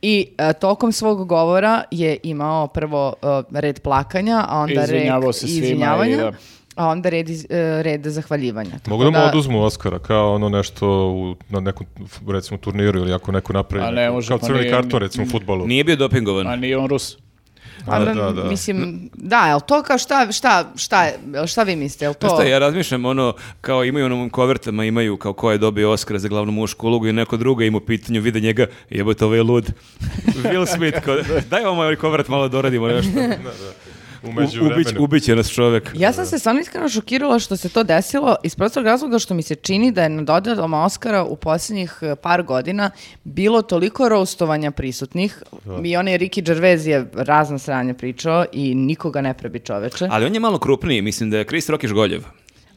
Speaker 1: i e, tokom svog govora je imao prvo e, red plakanja, a onda
Speaker 3: Izvinjavao
Speaker 1: red
Speaker 3: se svima i
Speaker 1: izvinjavanja,
Speaker 3: da.
Speaker 1: a onda red, iz- e, red zahvaljivanja.
Speaker 2: Mogu da mu oduzmu Oscara, kao ono nešto u, na nekom, recimo, turniru ili ako neko napravi.
Speaker 3: A ne
Speaker 2: neku-
Speaker 3: može,
Speaker 2: kao
Speaker 3: pa
Speaker 2: crveni
Speaker 3: nije-
Speaker 2: karton, recimo, u futbolu.
Speaker 4: Nije bio dopingovan.
Speaker 3: A nije on Rus.
Speaker 1: Pa,
Speaker 2: Da,
Speaker 1: m,
Speaker 2: da, da.
Speaker 1: Mislim, da, jel to kao šta, šta, šta, je- šta vi mislite, jel to...
Speaker 2: Pa
Speaker 4: Znaš šta, ja razmišljam, ono, kao imaju onom kovertama, imaju kao ko je dobio Oscara za glavnu mušku ulogu i neko druga ima u pitanju, vide njega, jebote, ovaj je lud. Will Smith, kao, daj vam ovaj kovert malo da doradimo nešto.
Speaker 2: U
Speaker 4: U, ubić,
Speaker 2: međuvremenu.
Speaker 4: ubit će nas čovek.
Speaker 1: Ja sam se stvarno iskreno šokirala što se to desilo iz prostog razloga što mi se čini da je na dodelama Oscara u posljednjih eh, par godina bilo toliko roastovanja prisutnih i onaj Ricky Gervais je razna sranja pričao i nikoga ne prebi čoveče.
Speaker 4: Ali on je malo krupniji, mislim da je Chris Rock iz Goljev.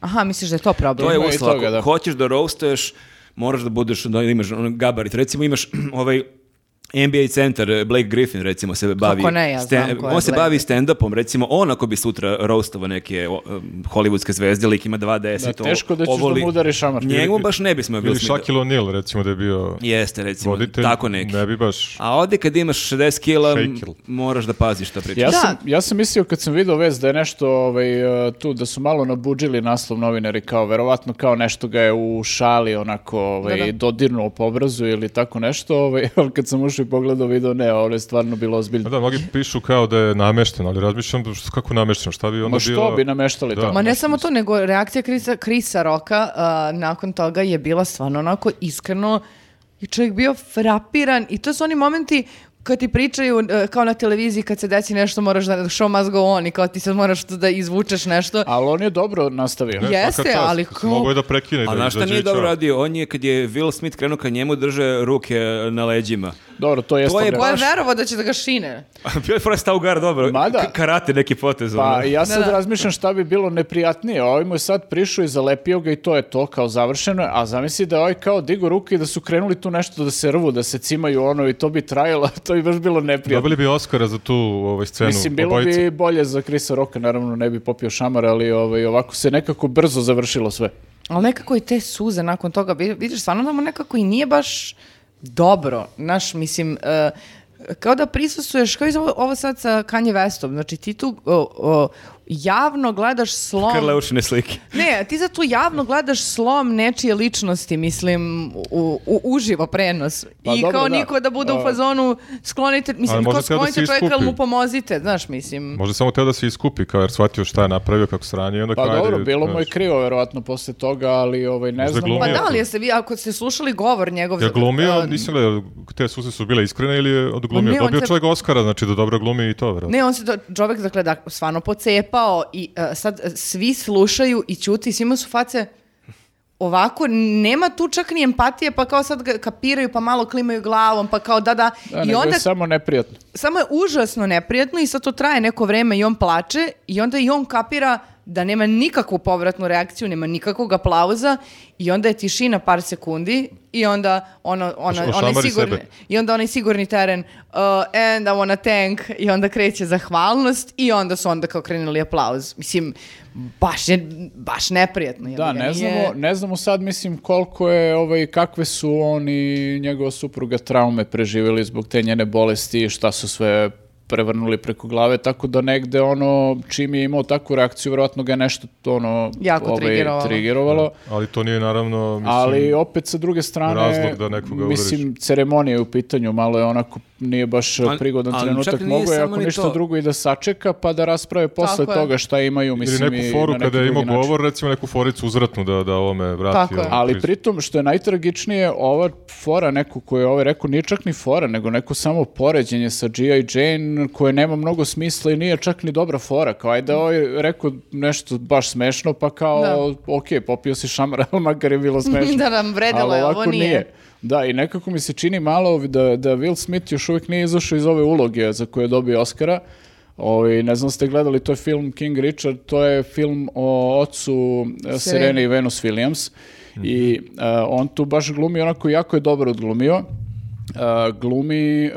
Speaker 1: Aha, misliš da je to problem?
Speaker 4: To je
Speaker 3: Ima i
Speaker 4: uslov, ako
Speaker 3: toga, da.
Speaker 4: hoćeš da roastuješ, moraš da budeš, da imaš ono gabarit. Recimo imaš ovaj NBA centar, eh, Blake Griffin recimo se bavi...
Speaker 1: ne, ja znam ko je
Speaker 4: On se
Speaker 1: Blake.
Speaker 4: bavi stand-upom, recimo on ako bi sutra roastovao neke o, em, hollywoodske zvezde, lik ima 2.10
Speaker 3: Da, teško da ćeš da mu udariš šamar.
Speaker 4: Njemu baš ne bismo bili
Speaker 2: Ili Shaquille O'Neal, recimo, da je bio
Speaker 4: Jeste, recimo,
Speaker 2: voditelj.
Speaker 4: tako neki.
Speaker 2: Ne bi baš...
Speaker 4: A ovdje kad imaš 60 kila, m,
Speaker 2: Shaquille.
Speaker 4: moraš da paziš šta pričaš.
Speaker 3: Ja,
Speaker 1: Da.
Speaker 3: sam, ja sam mislio kad sam vidio vez da je nešto ovaj, eh, tu, da su malo nabuđili naslov novinari, kao verovatno kao nešto ga je u šali onako ovaj, dodirnuo po obrazu ili tako nešto, ovaj, ali kad sam ušao i pogledao video, ne, ovo je stvarno bilo
Speaker 2: A
Speaker 3: ozbiljno.
Speaker 2: Da, mnogi pišu kao da je namešten, ali razmišljam da što- kako namešten, šta bi onda
Speaker 3: Ma što
Speaker 2: bilo...
Speaker 3: bi nameštali
Speaker 2: Da.
Speaker 3: tamo?
Speaker 1: Ma ne samo to, nego reakcija Krisa, Krisa Roka a, nakon toga je bila stvarno onako iskreno i čovjek bio frapiran i to su oni momenti kad ti pričaju e, kao na televiziji kad se desi nešto moraš da show must go on i kao ti sad moraš tu da izvučeš nešto.
Speaker 3: Ali on je dobro
Speaker 2: Ne,
Speaker 3: nastavio.
Speaker 2: svaka
Speaker 1: Jeste,
Speaker 2: čast,
Speaker 1: ali
Speaker 2: kad
Speaker 1: ko-
Speaker 2: Mogu je da prekine.
Speaker 4: A
Speaker 2: da
Speaker 4: znaš šta
Speaker 2: izađe
Speaker 4: nije
Speaker 2: i
Speaker 4: dobro
Speaker 2: ćao.
Speaker 4: radio? On je, kad je Will Smith krenuo ka njemu, drže ruke na leđima.
Speaker 3: Dobro, to je
Speaker 4: To je
Speaker 1: Ko je
Speaker 4: baš-
Speaker 1: verovao da će da ga šine?
Speaker 4: Bio je Forrest Augar, dobro.
Speaker 3: Mada.
Speaker 4: K- Karate neki potez.
Speaker 3: Pa
Speaker 4: ono.
Speaker 3: ja sad
Speaker 1: da.
Speaker 3: razmišljam šta bi bilo neprijatnije. Ovaj mu je sad prišao i zalepio ga i to je to kao završeno. je. A zamisli da je ovaj kao digo ruke i da su krenuli tu nešto da se rvu, da se cimaju ono i to bi trajalo. To bi baš bilo neprijatno.
Speaker 2: Dobili bi Oscara za tu ovaj, scenu.
Speaker 3: Mislim, bilo
Speaker 2: obojica.
Speaker 3: bi bolje za Krisa Roka, naravno ne bi popio šamar, ali ovaj, ovako se nekako brzo završilo sve.
Speaker 1: Ali nekako i te suze nakon toga, vi- vidiš, stvarno da mu nekako i nije baš dobro, znaš, mislim, e, kao da prisusuješ, kao i za ovo, ovo sad sa Kanye Westom, znači ti tu o, o, javno gledaš slom...
Speaker 4: Krleušine slike.
Speaker 1: Ne, ti sad tu javno gledaš slom nečije ličnosti, mislim, u, u- uživo prenos.
Speaker 3: Pa
Speaker 1: I
Speaker 3: dobro,
Speaker 1: kao
Speaker 3: da.
Speaker 1: niko da bude u
Speaker 3: A-
Speaker 1: fazonu, sklonite,
Speaker 2: Ali
Speaker 1: mislim,
Speaker 2: možda
Speaker 1: ko
Speaker 2: treba
Speaker 1: sklonite
Speaker 2: da se
Speaker 1: čovjeka, ali mu
Speaker 2: iskupi.
Speaker 1: pomozite, znaš, mislim.
Speaker 2: Možda je samo teo da se iskupi, kao jer shvatio šta je napravio, kako sranje, i onda
Speaker 3: Pa
Speaker 2: kao, ajde,
Speaker 3: dobro, bilo mu je
Speaker 2: znaš.
Speaker 3: krivo verovatno posle toga, ali ovaj, ne
Speaker 2: Možda
Speaker 3: znam.
Speaker 2: glumio.
Speaker 1: Pa da,
Speaker 2: Glumio.
Speaker 1: ali jeste vi, ako ste slušali govor njegov...
Speaker 2: Ja glumio,
Speaker 1: a,
Speaker 2: nisam gledao, te suze su bile iskrene ili je
Speaker 1: Ma
Speaker 2: odglumio.
Speaker 1: ne, on
Speaker 2: Dobio
Speaker 1: se-
Speaker 2: čovjek Oscara, znači da dobro glumi i to, vjerojatno.
Speaker 1: Ne, on se do, čovek, dakle, da, stvarno pocepa upao i e, sad e, svi slušaju i ćuti, svima su face ovako, nema tu čak ni empatije, pa kao sad ga kapiraju, pa malo klimaju glavom, pa kao da, da.
Speaker 3: Da,
Speaker 1: I
Speaker 3: nego
Speaker 1: onda
Speaker 3: je samo neprijatno.
Speaker 1: samo je užasno neprijatno i sad to traje neko vreme i on plače i onda i on kapira da nema nikakvu povratnu reakciju, nema nikakvog aplauza i onda je tišina par sekundi i onda ono, ono,
Speaker 2: Oš-
Speaker 1: onaj
Speaker 2: ošamari
Speaker 1: sigurni,
Speaker 2: sebe.
Speaker 1: i onda onaj sigurni teren uh, and I wanna thank i onda kreće zahvalnost i onda su onda kao krenuli aplauz. Mislim, baš, je, baš neprijatno. jebi
Speaker 3: Da,
Speaker 1: ga,
Speaker 3: ne
Speaker 1: nije-
Speaker 3: znamo, ne znamo sad, mislim, koliko je, ovaj, kakve su on i njegova supruga traume preživjeli zbog te njene bolesti i šta su sve prevrnuli preko glave, tako da negde ono, čim je imao takvu reakciju, vjerojatno ga je nešto ono,
Speaker 1: Jako trigerovalo.
Speaker 3: trigerovalo.
Speaker 2: Ali to nije naravno, mislim,
Speaker 3: Ali opet sa druge strane,
Speaker 2: razlog da nekoga udariš.
Speaker 3: mislim, ceremonija je u pitanju, malo je onako, nije baš
Speaker 4: Ali-
Speaker 3: prigodan
Speaker 4: ali čak
Speaker 3: trenutak,
Speaker 4: nije
Speaker 3: mogo je
Speaker 4: samo
Speaker 3: ako
Speaker 4: ni
Speaker 3: ništa
Speaker 4: to.
Speaker 3: drugo i da sačeka, pa da rasprave posle
Speaker 1: Tako je.
Speaker 3: toga šta imaju, mislim,
Speaker 2: ili
Speaker 3: i
Speaker 2: neku foru
Speaker 3: na neki
Speaker 2: kada je imao
Speaker 3: drugi način.
Speaker 2: govor, recimo neku foricu uzvratnu da, da ovome vrati.
Speaker 1: Tako je.
Speaker 2: ovu
Speaker 3: Ali
Speaker 2: krizu.
Speaker 3: pritom, što je najtragičnije, ova fora neku koju je ovaj rekao, nije čak ni fora, nego neko samo poređenje sa G.I. Jane koje nema mnogo smisla i nije čak ni dobra fora. Kao ajde, ovaj rekao nešto baš smešno, pa kao, ok, popio si šamara, ali makar je bilo smešno.
Speaker 1: Da, da, vredelo
Speaker 3: Ali
Speaker 1: je, ovo
Speaker 3: ovako
Speaker 1: nije.
Speaker 3: Da, i nekako mi se čini malo da, da Will Smith još uvijek nije izašao iz ove uloge za koju je dobio Oscara. Ovi, ne znam ste gledali, to je film King Richard, to je film o ocu e,
Speaker 1: Sirene.
Speaker 3: Sirene i Venus Williams i
Speaker 4: Mhm.
Speaker 3: e, on tu baš glumi onako jako je dobro odglumio. E, glumi e,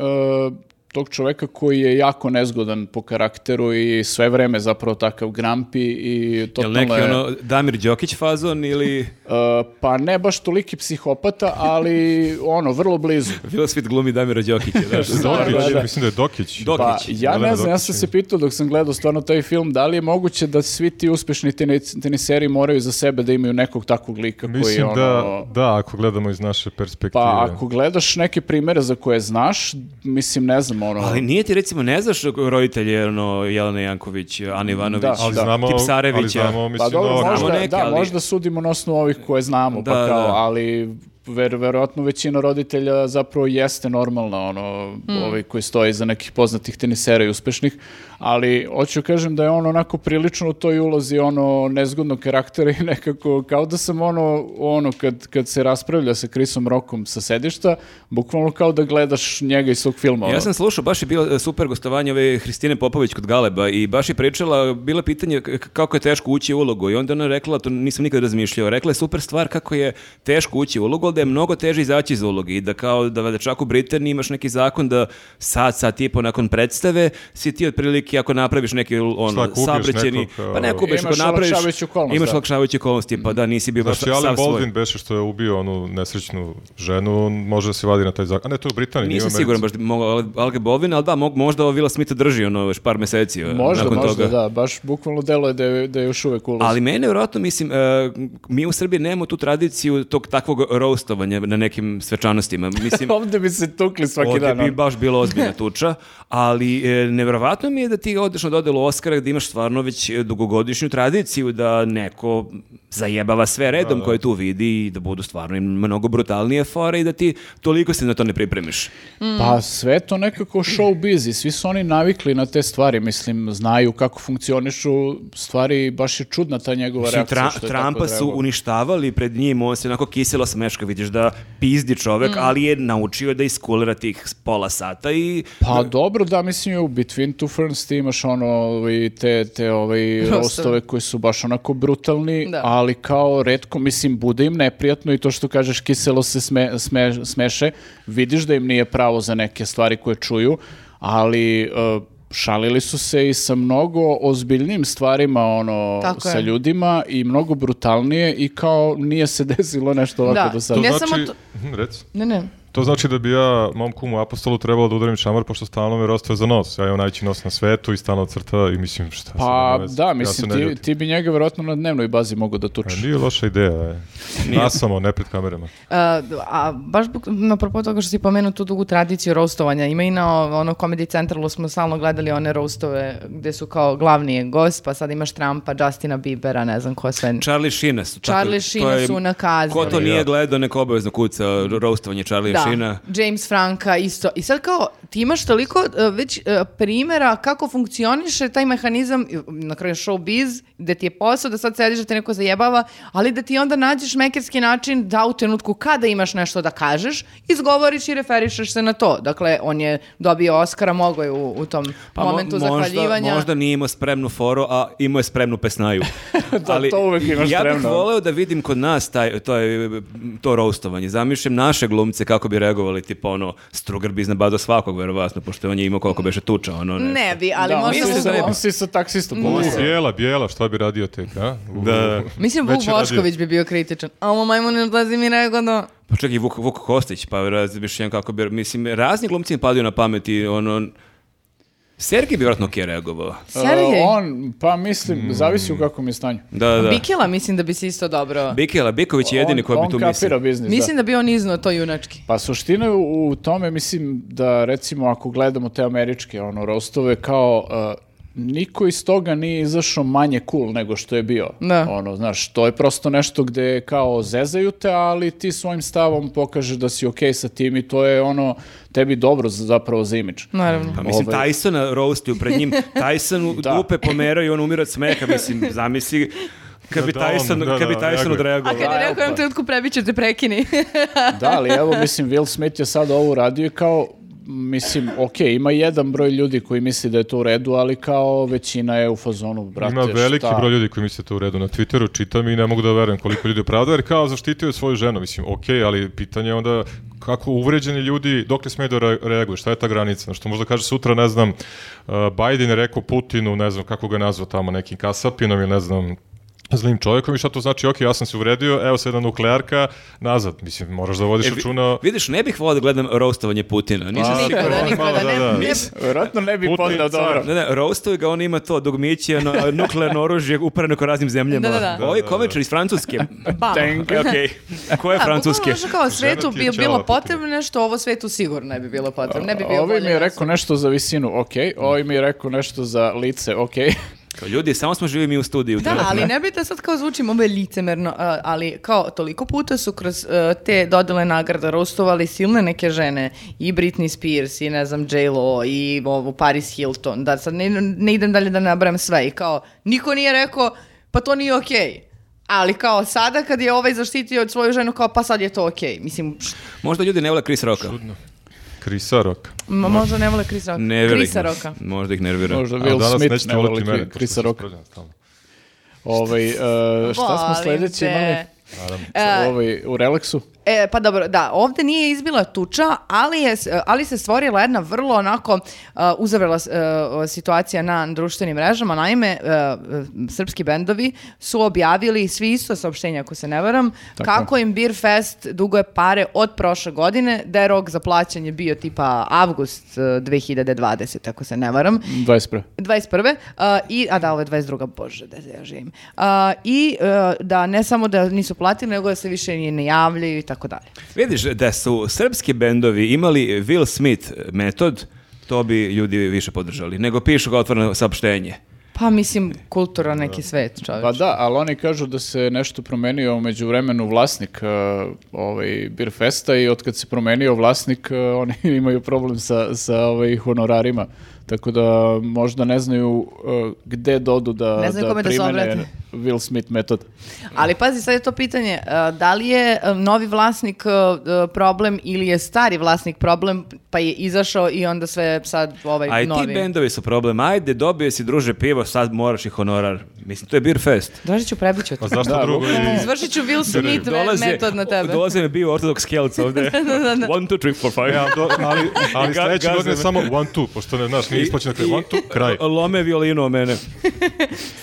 Speaker 3: tog čoveka koji je jako nezgodan po karakteru i sve vreme zapravo takav grampi i
Speaker 4: Jel
Speaker 3: totalno
Speaker 4: neki
Speaker 3: je-
Speaker 4: ono Damir Đokić fazon ili
Speaker 3: E, pa ne baš toliki psihopata, ali ono, vrlo blizu.
Speaker 4: Will Smith glumi Damira Đokića, znaš?
Speaker 2: Dokić,
Speaker 3: Da, da.
Speaker 2: mislim da je Dokić.
Speaker 4: Dok-
Speaker 3: Pa,
Speaker 4: Dokić,
Speaker 3: ja
Speaker 2: Jelena
Speaker 3: ne znam, ja sam
Speaker 2: Dokić.
Speaker 3: se pitao dok sam gledao stvarno taj film, da li je moguće da svi ti uspešni tenis- teniseri moraju za sebe da imaju nekog takvog lika koji je
Speaker 2: Mislim
Speaker 3: ono...
Speaker 2: da, da, ako gledamo iz naše perspektive.
Speaker 3: Pa ako gledaš neke primere za koje znaš, mislim, ne znam, ono...
Speaker 4: Ali nije ti recimo, ne znaš roditelje ono, Jelena Janković, Ana Ivanović,
Speaker 3: Da,
Speaker 2: ali
Speaker 3: da.
Speaker 2: znamo, ali
Speaker 4: Tipsarevića.
Speaker 2: znamo,
Speaker 3: Pa
Speaker 2: mislim, ono-
Speaker 3: dobro,
Speaker 2: da,
Speaker 3: možda,
Speaker 4: Znamo neke,
Speaker 3: da,
Speaker 4: ali-
Speaker 3: možda sudimo na osnovu ovih koje znamo,
Speaker 4: Da,
Speaker 3: pa kao,
Speaker 4: da.
Speaker 3: ali ver, verovatno većina roditelja zapravo jeste normalna, ono, ovi koji stoje iza nekih poznatih tenisera i uspešnih, ali hoću kažem da je on onako prilično u toj ulozi ono nezgodnog karaktera i nekako kao da sam ono, ono kad, kad se raspravlja sa Chrisom Rockom sa sedišta, bukvalno kao da gledaš njega iz svog filma. ono.
Speaker 4: Ja sam slušao, baš je bilo e, super gostovanje ove Hristine Popović kod Galeba i baš je pričala, bilo je pitanje k- k- kako je teško ući u ulogu i onda ona je rekla, to nisam nikad razmišljao, rekla je super stvar kako je teško ući u ulogu, ali da je mnogo teže izaći iz uloge i da kao da, da čak u Britaniji imaš neki zakon da sad, sad tipo nakon predstave si ti otprilike ako napraviš neki
Speaker 2: Šta,
Speaker 4: ono,
Speaker 2: kupuješ
Speaker 4: saobraćajni,
Speaker 2: nekog, kao-
Speaker 4: pa ne kupuješ,
Speaker 3: Imaš
Speaker 4: ako napraviš,
Speaker 3: olakšavajuću okolnost,
Speaker 4: imaš
Speaker 3: da.
Speaker 4: olakšavajuće okolnosti, pa da nisi bio baš
Speaker 2: Znači,
Speaker 4: sav
Speaker 2: Alec
Speaker 4: svoj.
Speaker 2: Baldwin beše što je ubio onu nesrećnu ženu, on može da se vadi na taj zakon. A ne, to je u Britaniji. nije u
Speaker 4: Pa Nisam
Speaker 2: Americi.
Speaker 4: siguran baš da bi mogao Alge Bovin, ali da, mog, možda ovo Vila Smita drži ono još par meseci. e,
Speaker 3: možda,
Speaker 4: nakon
Speaker 3: možda,
Speaker 4: toga.
Speaker 3: da, baš bukvalno delo je da je, da je još uvek u ulozi.
Speaker 4: Ali mene, vjerojatno, mislim, e, mi u Srbiji nemamo tu tradiciju tog takvog roastovanja na nekim svečanostima. Mislim,
Speaker 3: Ovde bi se tukli svaki
Speaker 4: ovdje
Speaker 3: dan.
Speaker 4: bi
Speaker 3: ono.
Speaker 4: baš bila ozbiljna tuča, ali e, nevjerovatno mi je da ti odeš na dodelu Oscara gdje imaš stvarno već e, dugogodišnju tradiciju da neko zajebava sve redom koje tu vidi i da budu stvarno i mnogo brutalnije fore i da ti toliko se na to ne pripremiš.
Speaker 3: Pa sve je to nekako showbiz i svi su oni navikli na te stvari, mislim, znaju kako funkcionišu stvari i baš je čudna ta njegova
Speaker 4: Mislim,
Speaker 3: reakcija.
Speaker 4: Tra-
Speaker 3: što je tako
Speaker 4: Trumpa su
Speaker 3: reagovao.
Speaker 4: uništavali pred njim, on se onako kiselo smeška, vidiš da pizdi čovek, ali je naučio da iskulira tih pola sata i
Speaker 3: Pa dobro, da, mislim, u Between Two Ferns ti imaš ono, ovaj, te, te ovaj,
Speaker 1: Rostove.
Speaker 3: rostove koji su baš onako brutalni,
Speaker 1: Da.
Speaker 3: ali kao redko, mislim, bude im neprijatno i to što kažeš, kiselo se sme, sme- smeše, vidiš da im nije pravo za neke stvari koje čuju, ali... eh, Šalili su se i sa mnogo ozbiljnim stvarima ono
Speaker 1: Tako
Speaker 3: sa
Speaker 1: je.
Speaker 3: ljudima i mnogo brutalnije i kao nije se desilo nešto ovako
Speaker 1: Da.
Speaker 3: do sada.
Speaker 2: To
Speaker 1: Ne
Speaker 2: znači,
Speaker 1: samo to-
Speaker 2: Mhm, reci.
Speaker 1: Ne, ne.
Speaker 2: To znači da bi ja mom kumu Apostolu trebalo da udarim šamar, pošto stalno me rostoje za nos. Ja imam najveći nos na svetu i stalno crta i mislim šta sad nema
Speaker 3: Pa
Speaker 2: veze.
Speaker 3: da,
Speaker 2: Ja
Speaker 3: mislim
Speaker 2: se ne
Speaker 3: ti,
Speaker 2: ljutim.
Speaker 3: ti bi njega vjerojatno na dnevnoj bazi mogao da tučeš.
Speaker 2: E, Nije loša ideja, je. Nasamo, ne pred kamerama.
Speaker 1: Uh, a baš buk- na propos toga što si pomenuo tu dugu tradiciju roastovanja, ima i na o- ono Comedy Centralu smo stalno gledali one roastove gde su kao glavni je gost, pa sad imaš Trumpa, Justina Biebera, ne znam ko sve.
Speaker 4: Charlie Sheen su. tako-
Speaker 1: Charlie
Speaker 4: to
Speaker 1: Sheena
Speaker 4: je-
Speaker 1: su nakazali.
Speaker 4: Ko to nije gledao, neko obavezno kuca roastovanje Charlie
Speaker 1: Da,
Speaker 4: Sheena.
Speaker 1: James Franka isto. I sad kao ti imaš toliko e, već e, primjera kako funkcioniše taj mehanizam, i, na kraju showbiz, da ti je posao, da sad sediš da te neko zajebava, ali da ti onda nađeš mekerski način da u trenutku kada imaš nešto da kažeš, izgovoriš i referišeš se na to. Dakle, on je dobio Oscara, mogao je u, u tom
Speaker 4: Pa mo-
Speaker 1: momentu
Speaker 4: možda,
Speaker 1: zahvaljivanja.
Speaker 4: možda nije imao spremnu foru, a imao je spremnu pesnaju.
Speaker 3: Da, to uvek imaš
Speaker 4: ja bih
Speaker 3: spremno.
Speaker 4: voleo da vidim kod nas taj, to, je, to roastovanje. Zamišljam naše glumce kako bi reagovali, tipa ono, Strugar bi iznabadao svakog, verovatno, pošto on je imao koliko beše tuča, ono nešto.
Speaker 1: Ne bi, ali
Speaker 3: da,
Speaker 1: možda...
Speaker 3: on
Speaker 4: mislim
Speaker 1: u-
Speaker 3: si-
Speaker 4: da ne bi.
Speaker 3: on si sa taksistom
Speaker 2: Ovo
Speaker 3: pomogao.
Speaker 2: bijela, bijela, šta bi radio tek, a? U-
Speaker 4: Da.
Speaker 1: Mislim, Vuk
Speaker 2: Već je radio.
Speaker 1: Bošković bi bio kritičan. A ovo majmune odlazi mi regodo.
Speaker 4: Pa čak i Vuk, Vuk Kostić, pa razmišljam kako bi... Mislim, razni glumci mi padaju na pamet i ono... Sergij bi vjerojatno okej reagovao.
Speaker 1: Sergej.
Speaker 3: E, on, pa mislim,
Speaker 4: Mm.
Speaker 3: zavisi u kakvom je stanju.
Speaker 4: Da, da, da.
Speaker 1: Bikela mislim da bi se isto dobro...
Speaker 4: Bikela, Biković je jedini
Speaker 3: on,
Speaker 4: koji bi tu
Speaker 3: on kapira
Speaker 4: mislio.
Speaker 3: biznis, da.
Speaker 1: Mislim da bi on iznao to junački.
Speaker 3: Pa suština je u u tome, mislim, da recimo ako gledamo te američke ono, rostove, kao uh, niko iz toga nije izašao manje cool nego što je bio.
Speaker 1: Da.
Speaker 3: Ono, znaš, to je prosto nešto gde kao zezaju te, ali ti svojim stavom pokažeš da si okej sa tim i to je ono, tebi dobro za- zapravo za imidž.
Speaker 1: Naravno.
Speaker 4: Pa mislim,
Speaker 3: Ovaj-
Speaker 4: Tysona roastiju pred njim. Tyson u
Speaker 3: Da.
Speaker 4: dupe pomerao i on umira od smeha, mislim, zamisli... Kad bi
Speaker 2: Da, da, on-
Speaker 4: Tyson,
Speaker 2: da,
Speaker 4: kad bi
Speaker 2: da,
Speaker 4: Tyson
Speaker 2: reaguje.
Speaker 4: odreagovao.
Speaker 1: A kad je
Speaker 3: Ovaj,
Speaker 1: rekao u jednom
Speaker 3: opa.
Speaker 1: trenutku prebit ću te prekini.
Speaker 3: Da, ali evo, mislim, Will Smith je sad ovo uradio i kao, mislim, ok, ima jedan broj ljudi koji misli da je to u redu, ali kao većina je u fazonu, brate,
Speaker 2: Ima veliki
Speaker 3: šta?
Speaker 2: broj ljudi koji misle to u redu na Twitteru, čitam i ne mogu da verujem koliko ljudi opravda, jer kao zaštitio je svoju ženu, mislim, okej, ali pitanje je onda kako uvređeni ljudi, dokle smeju da re- reaguju, šta je ta granica, znaš, što možda kaže sutra, ne znam, uh, Biden je rekao Putinu, ne znam kako ga je nazvao tamo, nekim kasapinom ili ne znam, zlim čovjekom i šta to znači, ok, ja sam se uvredio, evo se jedna nuklearka, nazad, mislim, moraš da vodiš
Speaker 4: E, vi-
Speaker 2: računa...
Speaker 4: Vidiš, ne bih volao da gledam roastovanje Putina. Nisam
Speaker 2: A,
Speaker 4: siguran.
Speaker 1: Nikada,
Speaker 2: malo,
Speaker 1: nikada, Pa, ne,
Speaker 2: da, da.
Speaker 1: ne.
Speaker 3: Vjerojatno ne bi
Speaker 2: Putin
Speaker 3: podneo
Speaker 2: car.
Speaker 3: dobro.
Speaker 4: Ne, ne, roastuju ga, on ima to dugmiće, ono, nuklearno oružje upareno ko raznim zemljama.
Speaker 1: Da, da, da.
Speaker 4: Ovo je
Speaker 2: Da, da,
Speaker 4: komičar iz Francuske.
Speaker 1: Bam.
Speaker 3: Tank.
Speaker 4: E, Okej, ko je
Speaker 1: A,
Speaker 4: Francuske?
Speaker 1: bukvalno možda kao svetu
Speaker 2: ti je
Speaker 1: bi
Speaker 2: ćela
Speaker 1: bilo
Speaker 2: Putina.
Speaker 1: potrebno nešto, ovo svetu sigurno ne bi bilo potrebno. Ne bi bilo
Speaker 3: Ovi
Speaker 1: bolje.
Speaker 3: mi je
Speaker 1: na
Speaker 3: rekao nešto za visinu, ok. Ovi mi je rekao nešto za lice, ok.
Speaker 4: Kao, Ljudi, samo smo živi mi u studiju.
Speaker 1: Da, ali ne bi da sad kao zvučim ove licemerno, a, ali kao toliko puta su kroz e, te dodele nagrada roastovali silne neke žene, i Britney Spears, i ne znam, J-Lo, i ovu Paris Hilton, da sad ne, ne idem dalje da nabram sve i kao niko nije rekao pa to nije okej. Ali kao sada kad je ovaj zaštitio svoju ženu kao pa sad je to okej. Mislim, š-
Speaker 4: Možda ljudi ne vole Chris Rocka.
Speaker 2: Krisarok.
Speaker 1: ma- možda ne vole Krisa Roka.
Speaker 4: Ne verujem.
Speaker 1: Krisa Roka.
Speaker 4: Možda ih nervira.
Speaker 3: Možda
Speaker 2: A
Speaker 3: Will
Speaker 2: danas
Speaker 3: Smith
Speaker 2: nećete
Speaker 3: ne voli
Speaker 2: voliti
Speaker 3: kri-
Speaker 2: mene.
Speaker 3: Krisa
Speaker 2: Krisa
Speaker 3: Roka. Ovaj, e, šta smo
Speaker 1: Volim
Speaker 3: sledeći
Speaker 1: te.
Speaker 3: imali? Ovaj, u relaksu?
Speaker 1: E, pa dobro, da, ovde nije izbila tuča, ali, je, s- ali se stvorila jedna vrlo onako uh, uzavrela s- uh, situacija na društvenim mrežama. Naime, uh, srpski bendovi su objavili svi isto saopštenje, ako se ne varam, kako im Beer Fest duguje pare od prošle godine, da je rok za plaćanje bio tipa avgust uh, 2020, ako se ne varam.
Speaker 3: 21.
Speaker 1: 21. a, i, a da, ovo je 22. Bože, da se ja živim. A, I e, da ne samo da nisu platili, nego da se više ni ne javljaju i tako dalje.
Speaker 4: Vidiš, da su srpski bendovi imali Will Smith metod, to bi ljudi više podržali. Nego pišu ga otvoreno saopštenje.
Speaker 1: Pa mislim, kultura neki svet, čovječ.
Speaker 3: Pa da, ali oni kažu da se nešto promenio umeđu vremenu vlasnik e, ovaj, Beer Festa i otkad se promenio vlasnik, e, oni imaju problem sa, sa ovaj, honorarima. Tako da možda ne znaju e, gde dodu da,
Speaker 1: Ne znaju kome da se
Speaker 3: primene
Speaker 1: obrate.
Speaker 3: Will Smith metod.
Speaker 1: Ali pazi, sad je to pitanje, e, da li je e, novi vlasnik e, e, problem ili je stari vlasnik problem, pa je izašao i onda sve sad ovaj
Speaker 4: A i ti
Speaker 1: novi.
Speaker 4: bendovi su problem. Ajde, dobio si druže pivo, sad moraš i honorar. Mislim, to je beer fest.
Speaker 1: Dražiću, prebit ću te.
Speaker 2: Pa zašto
Speaker 3: Da,
Speaker 2: drugo?
Speaker 3: bukvalno.
Speaker 2: I...
Speaker 1: Izvršit ću Will Smith
Speaker 4: Dolaze-
Speaker 1: metod na tebe.
Speaker 4: Dolaze mi bio ortodoks kelc ovde. One, two, three, four, five.
Speaker 2: Ja, do, E, ali, ali
Speaker 4: Ga-
Speaker 2: sledeće
Speaker 4: gaze
Speaker 2: godine
Speaker 4: me.
Speaker 2: samo one two, pošto ne znaš, nije isplaćeno kraj. One two, kraj.
Speaker 4: Lome violinu o mene.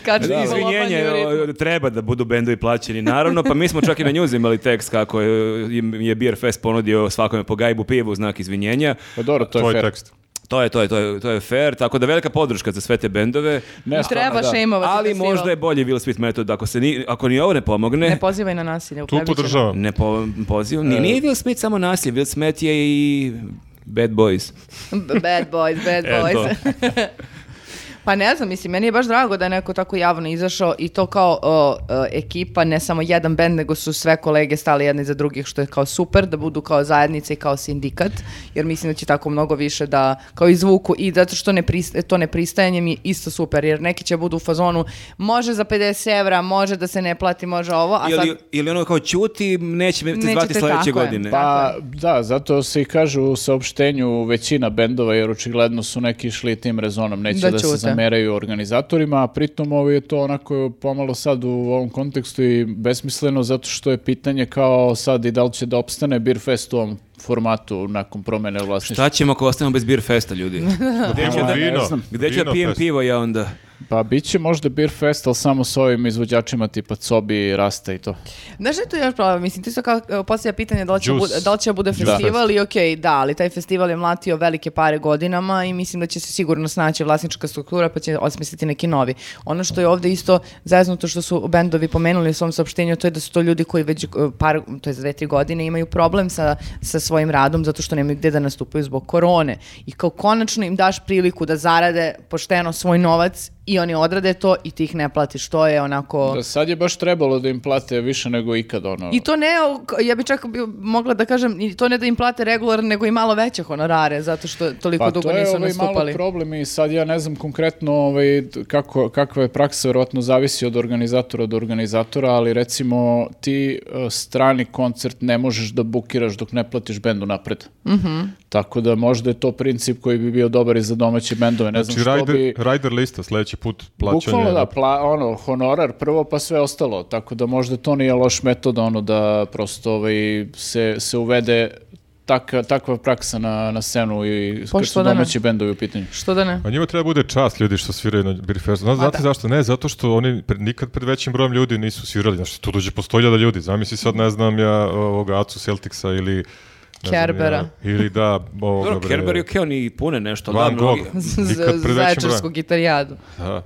Speaker 1: Skače po
Speaker 4: Izvinjenje,
Speaker 1: lobanju ritmu.
Speaker 4: o, treba da budu bendovi plaćeni, naravno, pa mi smo čak i na njuz imali tekst kako je, im je Beer Fest ponudio svakome po gajbu pivu u znak izvinjenja.
Speaker 3: Pa dobro, to je
Speaker 2: Tvoj
Speaker 3: fair.
Speaker 2: tekst.
Speaker 4: To je, to je, to je, to je fair, tako da velika podrška za sve te bendove.
Speaker 3: Ne, stvarno,
Speaker 1: Treba
Speaker 3: da.
Speaker 1: šejmovati
Speaker 4: Ali
Speaker 1: festival.
Speaker 4: možda je bolji Will Smith metod, ako, se ni, ako ni ovo ne pomogne,
Speaker 1: Ne pozivaj na nasilje.
Speaker 2: Tu
Speaker 1: uprebit ću te.
Speaker 2: podržavam.
Speaker 4: ne po, poziv. Ni-
Speaker 1: E.
Speaker 4: Nije Will Smith samo nasilje, Will Smith je i Bad Boys.
Speaker 1: B- Bad boys, bad
Speaker 4: E,
Speaker 1: boys. Pa ne znam, mislim, meni je baš drago da je neko tako javno izašao i to kao o, o, ekipa, ne samo jedan bend, nego su sve kolege stali jedni za drugih, što je kao super, da budu kao zajednica i kao sindikat, jer mislim da će tako mnogo više da, kao i zvuku, i zato što ne prist- to ne pristajanje mi je isto super, jer neki će budu u fazonu, može za 50 evra, može da se ne plati, može ovo, a sad...
Speaker 4: Ili, ili ono kao ćuti, neće me te
Speaker 1: Nećete,
Speaker 4: zvati sledeće
Speaker 1: tako je.
Speaker 4: godine.
Speaker 1: Tako
Speaker 3: Pa da, zato se i kaže u saopštenju većina bendova, jer očigledno su neki išli tim rezonom, neće
Speaker 1: Da
Speaker 3: da, se
Speaker 1: ćute.
Speaker 3: zameraju organizatorima, a pritom ovo je to onako pomalo sad u ovom kontekstu i besmisleno, zato što je pitanje kao sad i da li će da opstane Beer Fest u ovom formatu nakon promene vlasništva.
Speaker 4: Šta ćemo ako ostanemo bez beer festa, ljudi?
Speaker 2: Gde
Speaker 3: da-
Speaker 2: vino?
Speaker 3: ne znam.
Speaker 4: Gde ću da
Speaker 2: Vino
Speaker 4: pijem
Speaker 2: fest.
Speaker 4: pivo ja onda?
Speaker 3: Pa bit će možda Beer Fest, ali samo s ovim izvođačima tipa Cobi, Rasta i to.
Speaker 1: Znaš što je tu još problem? Mislim, ti su kao e, postavlja pitanje da li će,
Speaker 2: Juice.
Speaker 1: bude, da li će bude festival i okej, da, ali taj festival je mlatio velike pare godinama i mislim da će se sigurno snaći vlasnička struktura pa će osmisliti neki novi. Ono što je ovde isto zaznuto što su bendovi pomenuli u svom saopštenju, to je da su to ljudi koji već e, par, to je za dve, tri godine imaju problem sa, sa svojim radom zato što nemaju gde da nastupaju zbog korone. I kao konačno im daš priliku da zarade pošteno svoj novac i oni odrade to i ti ih ne platiš. To je onako...
Speaker 3: Da, sad je baš trebalo da im plate više nego ikad ono.
Speaker 1: I to ne, o, k- ja bi čak bi mogla da kažem, i to ne da im plate regular, nego i malo veće honorare, zato što toliko dugo nisu
Speaker 3: Pa to je ovaj
Speaker 1: nastupali.
Speaker 3: malo problem i sad ja ne znam konkretno ovaj, d- kako, kakva je praksa, verovatno zavisi od organizatora do organizatora, ali recimo ti e, strani koncert ne možeš da bukiraš dok ne platiš bendu napred.
Speaker 1: Mhm.
Speaker 3: Tako da možda je to princip koji bi bio dobar i za domaće bendove. Ne znam
Speaker 2: Znači,
Speaker 3: što
Speaker 2: rider,
Speaker 3: bi...
Speaker 2: rider lista sledeći put plaćanje.
Speaker 3: Bukvalno da, pla, ono, honorar prvo pa sve ostalo, tako da možda to nije loš metod, ono da prosto ovaj, se, se uvede taka, takva praksa na, na scenu i kad
Speaker 1: Pošto
Speaker 3: su
Speaker 1: da ne.
Speaker 3: domaći bendovi u pitanju.
Speaker 1: Što da ne?
Speaker 2: Pa njima treba bude čast ljudi što sviraju na Beer Festu. Zna- znate zašto? Ne, zato što oni pred, nikad pred većim brojem ljudi nisu svirali. Znači, tu dođe po 100.000 ljudi. Zamisli sad, ne znam ja, ovoga Acu Celticsa ili... ne znam ja,
Speaker 1: Kerbera.
Speaker 2: ili da, ovoga
Speaker 4: Dobro,
Speaker 2: bre,
Speaker 4: Kerber je okej, oni pune nešto. ali
Speaker 2: Van
Speaker 4: da,
Speaker 2: Gogh.
Speaker 4: mnogi-
Speaker 2: Nikad pred većim
Speaker 1: Zaječarsku
Speaker 2: brojem.
Speaker 1: gitarijadu.
Speaker 2: Da.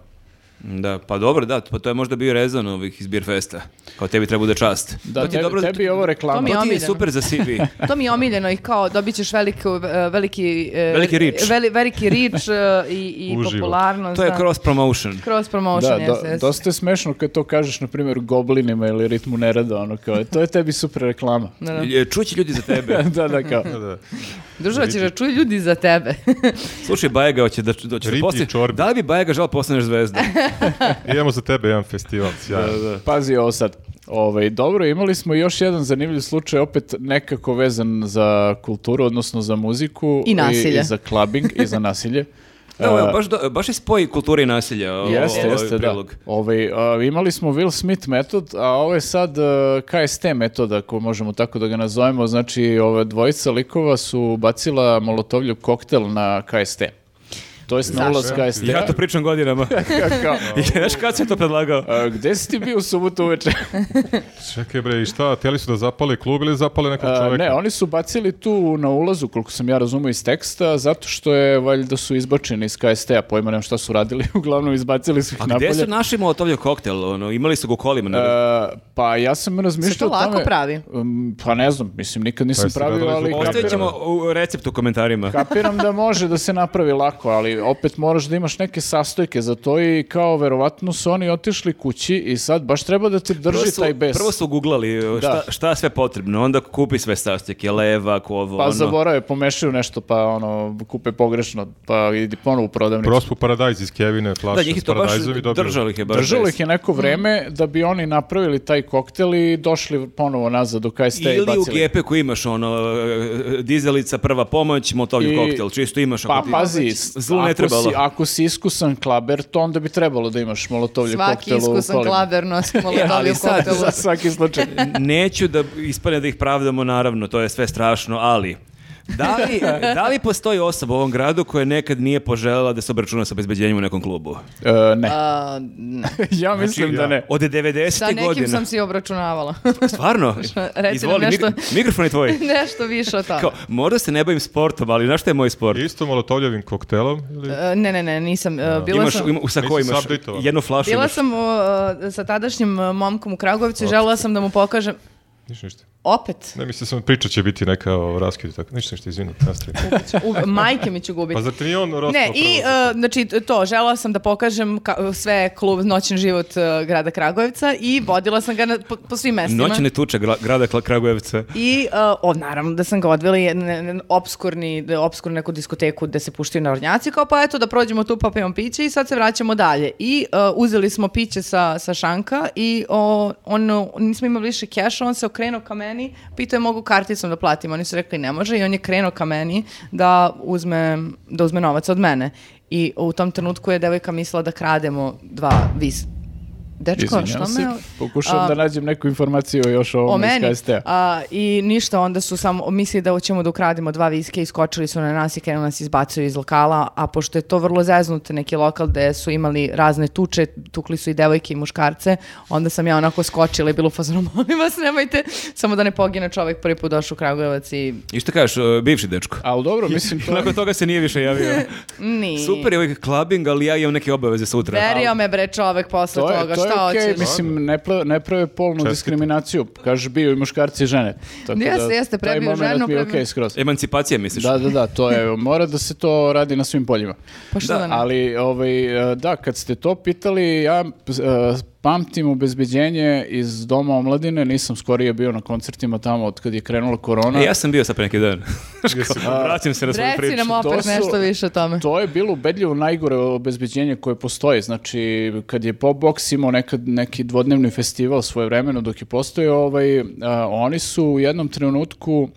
Speaker 4: Da, pa dobro, da, pa to je možda bio rezon ovih iz Beer Festa. Kao tebi treba bude čast.
Speaker 3: Da,
Speaker 4: to ti je
Speaker 3: tebi,
Speaker 4: dobro,
Speaker 3: tebi je ovo reklama.
Speaker 1: To mi je
Speaker 4: to ti je
Speaker 1: omiljeno.
Speaker 4: super za CV.
Speaker 1: To mi je omiljeno i kao dobit ćeš veliku, e, veliki... e,
Speaker 4: Veliki reach.
Speaker 1: Veli, veliki reach e, i, i
Speaker 2: Uživo.
Speaker 1: popularnost.
Speaker 4: to je
Speaker 1: da.
Speaker 4: cross promotion.
Speaker 1: Cross promotion,
Speaker 3: Da,
Speaker 1: da,
Speaker 3: do- dosta je smešno kad to kažeš, na primjer, goblinima ili ritmu nerada, ono kao, to je tebi super reklama.
Speaker 1: Da.
Speaker 4: Je, Čući ljudi za tebe.
Speaker 3: da, da, kao.
Speaker 2: Da, da.
Speaker 1: Družava ćeš da čuju ljudi za tebe.
Speaker 4: Slušaj, Bajega hoće da, da, će da
Speaker 2: Ripi
Speaker 4: postane-
Speaker 2: čorbe.
Speaker 4: Da li bi Bajega žal postaneš zvezda?
Speaker 2: Idemo za tebe jedan festival. sjajno.
Speaker 3: Pazi ovo sad. Ovaj, dobro, imali smo još jedan zanimljiv slučaj, opet nekako vezan za kulturu, odnosno za muziku.
Speaker 1: I nasilje.
Speaker 3: I, za clubbing, i za nasilje. E,
Speaker 4: Da, ovo, baš, do- baš je spoj kulture i nasilja. o-
Speaker 3: Jeste,
Speaker 4: ovaj
Speaker 3: jeste, da.
Speaker 4: prilog.
Speaker 3: Ovaj, a, imali smo Will Smith metod, a ovo je sad e, KST metod, ako možemo tako da ga nazovemo. Znači, ove dvojica likova su bacila molotovlju koktel na KST. To jest na ulaz KST.
Speaker 4: Ja to pričam godinama.
Speaker 3: Kao,
Speaker 4: I Znaš kad sam to E, predlagao?
Speaker 3: a, gde si ti bio u subotu uveče?
Speaker 2: Čekaj bre, i šta, teli su da zapale klub ili zapale
Speaker 4: E,
Speaker 2: nekog
Speaker 3: A,
Speaker 2: čoveka?
Speaker 3: ne, oni su bacili tu na ulazu, koliko sam ja razumio iz teksta, zato što je valjda su izbačeni iz KST-a, pojma nemam šta su radili, uglavnom izbacili su ih
Speaker 4: A
Speaker 3: napolje.
Speaker 4: gdje su naši molotovlje koktel? Ono, imali su ga u kolima. ne?
Speaker 3: E, pa ja sam razmišljao
Speaker 1: Se to
Speaker 3: o tome-
Speaker 1: lako pravi?
Speaker 3: Um, pa ne znam, mislim, nikad nisam
Speaker 2: Pa jeste
Speaker 3: pravio,
Speaker 2: radili
Speaker 3: ali
Speaker 2: za
Speaker 4: Ostavit
Speaker 3: kapiram,
Speaker 4: ćemo u recept u komentarima.
Speaker 3: kapiram da može da se napravi lako, ali opet moraš da imaš neke sastojke za to i kao verovatno su oni otišli kući i sad baš treba da ti drži
Speaker 4: Prvo su,
Speaker 3: taj bes.
Speaker 4: prvo su googlali uh, šta,
Speaker 3: Da.
Speaker 4: šta je sve potrebno, onda kupi sve sastojke, levak, ovo,
Speaker 3: Pa
Speaker 4: ono.
Speaker 3: zaborave, pomešaju nešto, pa ono, kupe pogrešno, pa idi ponovo u prodavnicu.
Speaker 2: Prospu paradajz iz Kevine,
Speaker 4: Da,
Speaker 2: flaša
Speaker 4: njih je
Speaker 2: s
Speaker 4: to baš,
Speaker 2: paradajzom i dobio.
Speaker 4: držalo ih je baš. Hmm.
Speaker 3: Držalo
Speaker 4: bes.
Speaker 3: ih je neko vreme da bi oni napravili taj koktel i došli ponovo nazad do KST i
Speaker 4: Ili u
Speaker 3: bacili.
Speaker 4: gepe koji imaš ono, e, dizelica, prva pomoć, motovlju
Speaker 3: I-
Speaker 4: koktel, čisto imaš.
Speaker 3: Pa
Speaker 4: ako ti- Znači,
Speaker 1: Znači,
Speaker 3: pazi,
Speaker 4: Zlu ne
Speaker 3: ako
Speaker 4: trebalo.
Speaker 3: si, ako si iskusan klaber, to onda bi trebalo da imaš molotovlje
Speaker 1: Svaki
Speaker 3: koktelu u
Speaker 1: iskusan
Speaker 3: kolima.
Speaker 1: klaber nosi molotoviju
Speaker 4: sad-
Speaker 1: koktelu.
Speaker 3: Za svaki slučaj. E,
Speaker 4: Neću da ispane da ih pravdamo, naravno, to je sve strašno, ali... Da li, da li postoji osoba u ovom gradu koja nekad nije poželjela da se obračuna sa obezbeđenjem u nekom klubu?
Speaker 3: E, ne.
Speaker 1: A, ne.
Speaker 3: ja mislim
Speaker 2: ja.
Speaker 3: da ne.
Speaker 4: Od
Speaker 1: Sa
Speaker 4: 90.
Speaker 1: nekim
Speaker 4: godina.
Speaker 1: sam si obračunavala.
Speaker 4: Stvarno?
Speaker 1: nam
Speaker 4: Izvoli,
Speaker 1: nešto.
Speaker 4: mik- mikrofon je tvoj.
Speaker 1: Nešto više od toga.
Speaker 4: Kao, možda se ne bavim sportom, ali znaš šta je moj sport?
Speaker 2: Isto molotovljevim koktelom? Ili...
Speaker 1: E, Ne, ne, ne, nisam. e, Bila
Speaker 4: imaš,
Speaker 1: sam...
Speaker 4: ima- u- sa ko
Speaker 2: Nisi
Speaker 4: imaš?
Speaker 2: subdejtovan.
Speaker 4: Jednu flašu
Speaker 1: Bila
Speaker 4: imaš.
Speaker 1: sam o, e, sa tadašnjim e, momkom u Kragovicu i želela sam da mu pokažem
Speaker 2: Ništa, ništa.
Speaker 1: Opet.
Speaker 2: Ne, mislim sam priča će biti neka o raskidu, tako. Ništa, ništa, izvini, nastavi.
Speaker 1: U, majke mi će gubiti.
Speaker 2: Pa zar ti nije on rastao
Speaker 1: Ne, i
Speaker 2: prvo?
Speaker 1: e, znači to, žela sam da pokažem ka- sve klub Noćni život e, grada Kragujevca i vodila sam ga na, po, po svim mestima.
Speaker 4: Noćne tuče gra- grada Kla- Kragujevca.
Speaker 1: I, uh, o, naravno da sam ga odvela i na jedan obskurni, da je obskurnu neku diskoteku gde se puštaju narodnjaci, kao pa eto da prođemo tu pa pijemo piće i sad se vraćamo dalje. I uh, uzeli smo piće sa, sa šanka i o, on, nismo imali više keša, on se okrenuo ka meni, pitao je mogu karticom da platim, oni su rekli ne može i on je krenuo ka meni da uzme, da uzme novac od mene. I u tom trenutku je devojka mislila da krademo dva vis. Dečko,
Speaker 3: Izvinjavam
Speaker 1: što
Speaker 3: se,
Speaker 1: me...
Speaker 3: Pokušavam
Speaker 1: A,
Speaker 3: da nađem neku informaciju još o
Speaker 1: o
Speaker 3: ovom
Speaker 1: meni.
Speaker 3: iz KST-a.
Speaker 1: A, I ništa, onda su samo mislili da ćemo da ukradimo dva viske i skočili su na nas i krenuli nas izbacuju iz lokala, a pošto je to vrlo zeznut neki lokal gde su imali razne tuče, tukli su i devojke i muškarce, onda sam ja onako skočila i bilo u fazonu, molim vas, nemojte, samo da ne pogine čovek prvi put došao u Kragujevac i
Speaker 4: I šta kažeš, e, bivši dečko?
Speaker 3: Ali dobro, mislim to...
Speaker 4: Nakon toga se nije više javio.
Speaker 1: ni.
Speaker 4: Super je ovaj clubbing, ali ja imam neke obaveze sutra.
Speaker 1: Verio me bre čovek posle
Speaker 3: To je,
Speaker 1: toga,
Speaker 3: to
Speaker 1: šta
Speaker 3: je okej,
Speaker 1: hoćeš?
Speaker 3: mislim, ne, pla- ne prave polnu diskriminaciju. Kaže, bio i muškarci i žene. Tako
Speaker 1: Jeste,
Speaker 3: da,
Speaker 1: jeste,
Speaker 3: taj
Speaker 1: prebio
Speaker 3: momenat
Speaker 1: ženu,
Speaker 3: mi je
Speaker 1: prebio-
Speaker 3: okej skroz.
Speaker 4: E, Emancipacija, misliš?
Speaker 3: Da, da, da, to je, mora da se to radi na svim poljima.
Speaker 1: Pa što da, ne?
Speaker 3: Ali, ovaj, e, da, kad ste to pitali, ja e, pamtim obezbeđenje iz Doma omladine, nisam skorije bio na koncertima tamo od kad je krenula korona.
Speaker 4: E, ja sam bio sad pre neki dan. Vraćam se na svoju
Speaker 1: Reci
Speaker 4: priču.
Speaker 1: nam opet
Speaker 3: To su-
Speaker 1: nešto više o tome.
Speaker 3: To je bilo ubedljivo najgore obezbeđenje koje postoji. Znači, kad je Pop Box imao nekad, neki dvodnevni festival svoje vremeno dok je postojao, ovaj, a, oni su u jednom trenutku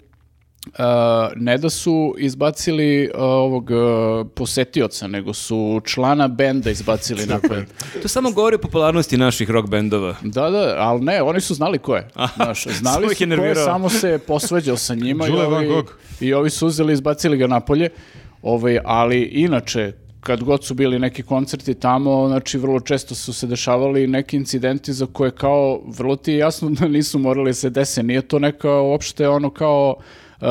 Speaker 3: a, ne da su izbacili a, ovog a, posetioca, nego su člana benda izbacili napred.
Speaker 4: To samo govori o popularnosti naših rock bendova.
Speaker 3: Da, da, ali ne, oni su znali ko je. Znaš,
Speaker 4: samo
Speaker 3: znali
Speaker 4: ih
Speaker 3: su
Speaker 4: je
Speaker 3: ko je,
Speaker 4: nervirao.
Speaker 3: samo se posveđao sa njima i
Speaker 2: Đule Van
Speaker 3: ovi,
Speaker 2: Gogh.
Speaker 3: i ovi su uzeli i izbacili ga napolje. Ovaj, ali inače, kad god su bili neki koncerti tamo, znači vrlo često su se dešavali neki incidenti za koje kao vrlo ti je jasno da nisu morali da se dese. Nije to neka uopšte ono kao e,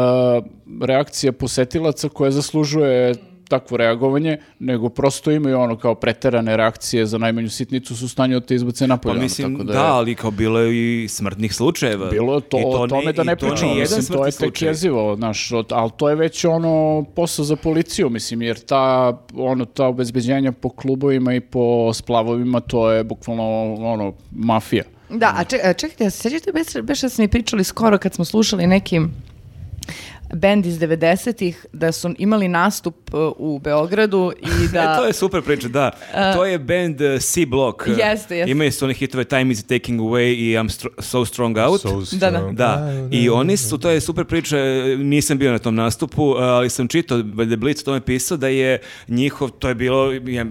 Speaker 3: reakcija posetilaca koja zaslužuje takvo reagovanje, nego prosto imaju ono kao preterane reakcije za najmanju sitnicu su u stanju da te izbace napolje.
Speaker 4: Pa
Speaker 3: ono,
Speaker 4: mislim,
Speaker 3: tako
Speaker 4: da,
Speaker 3: je-
Speaker 4: ali kao bilo je i smrtnih slučajeva.
Speaker 3: bilo je to,
Speaker 4: I
Speaker 3: o tome da
Speaker 4: i
Speaker 3: ne
Speaker 4: to ni
Speaker 3: pričamo,
Speaker 4: jedan
Speaker 3: mislim, to je
Speaker 4: smrtni
Speaker 3: tek
Speaker 4: slučaj.
Speaker 3: jezivo, znaš, od- ali to je već ono posao za policiju, mislim, jer ta, ono, ta obezbeđenja po klubovima i po splavovima, to je bukvalno, ono, mafija.
Speaker 1: Da, a ček- a čekajte, ja se sjećate, beš, beše da smo mi pričali skoro kad smo slušali neki bend iz 90-ih, da su imali nastup uh, u Beogradu i da...
Speaker 4: E, to je super priča, da. to je band uh, C Block.
Speaker 1: Jeste, jeste.
Speaker 4: Imaju su one hitove Time is Taking Away i I'm Stro- So Strong e, Out.
Speaker 2: So
Speaker 1: Da, da.
Speaker 2: strong.
Speaker 4: Da, i oni su, to je super priča, nisam bio na tom nastupu, eh, ali sam čitao, valjda je Blitz o tome pisao da je njihov, to je bilo, ja,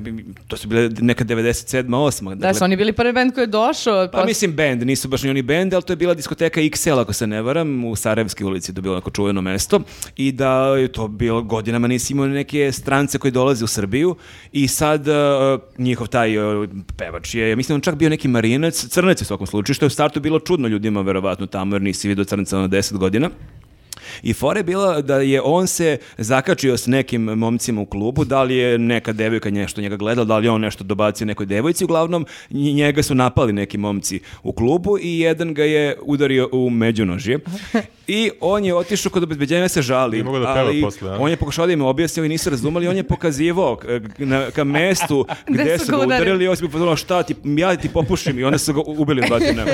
Speaker 4: to su bile neka 97. 8.
Speaker 1: Da su oni bili prvi bend koji je došao.
Speaker 4: dakle- Pa mislim bend, nisu baš ni oni bend, ali to je bila diskoteka XL, ako se ne varam, u Sarajevskoj ulici, to je bilo neko čuveno mesto. I da je to bilo godinama, nisi imao neke strance koji dolaze u Srbiju. I sad e, njihov taj e, pevač je, ja mislim, on čak bio neki marinac, crnac je u svakom slučaju, što je u startu bilo čudno ljudima, verovatno, tamo, jer nisi vidio crnca na 10 godina. I fora je bila da je on se zakačio s nekim momcima u klubu, da li je neka devojka nešto njega gledala, da li je on nešto dobacio nekoj devojci, uglavnom nj- njega su napali neki momci u klubu i jedan ga je udario u međunožje. I on je otišao kod obezbeđenja da se žali.
Speaker 2: Nije mogao da peva
Speaker 4: ali
Speaker 2: posle, a?
Speaker 4: on je pokušao da im objasni, oni nisu razumeli, on je pokazivao k- k- na, ka mestu
Speaker 1: Gde
Speaker 4: gde
Speaker 1: su
Speaker 4: su
Speaker 1: ga
Speaker 4: ga
Speaker 1: udarili.
Speaker 4: udarili i on se bi pozvao, šta ti, ja ti popušim i onda su ga u- ubili u batinama.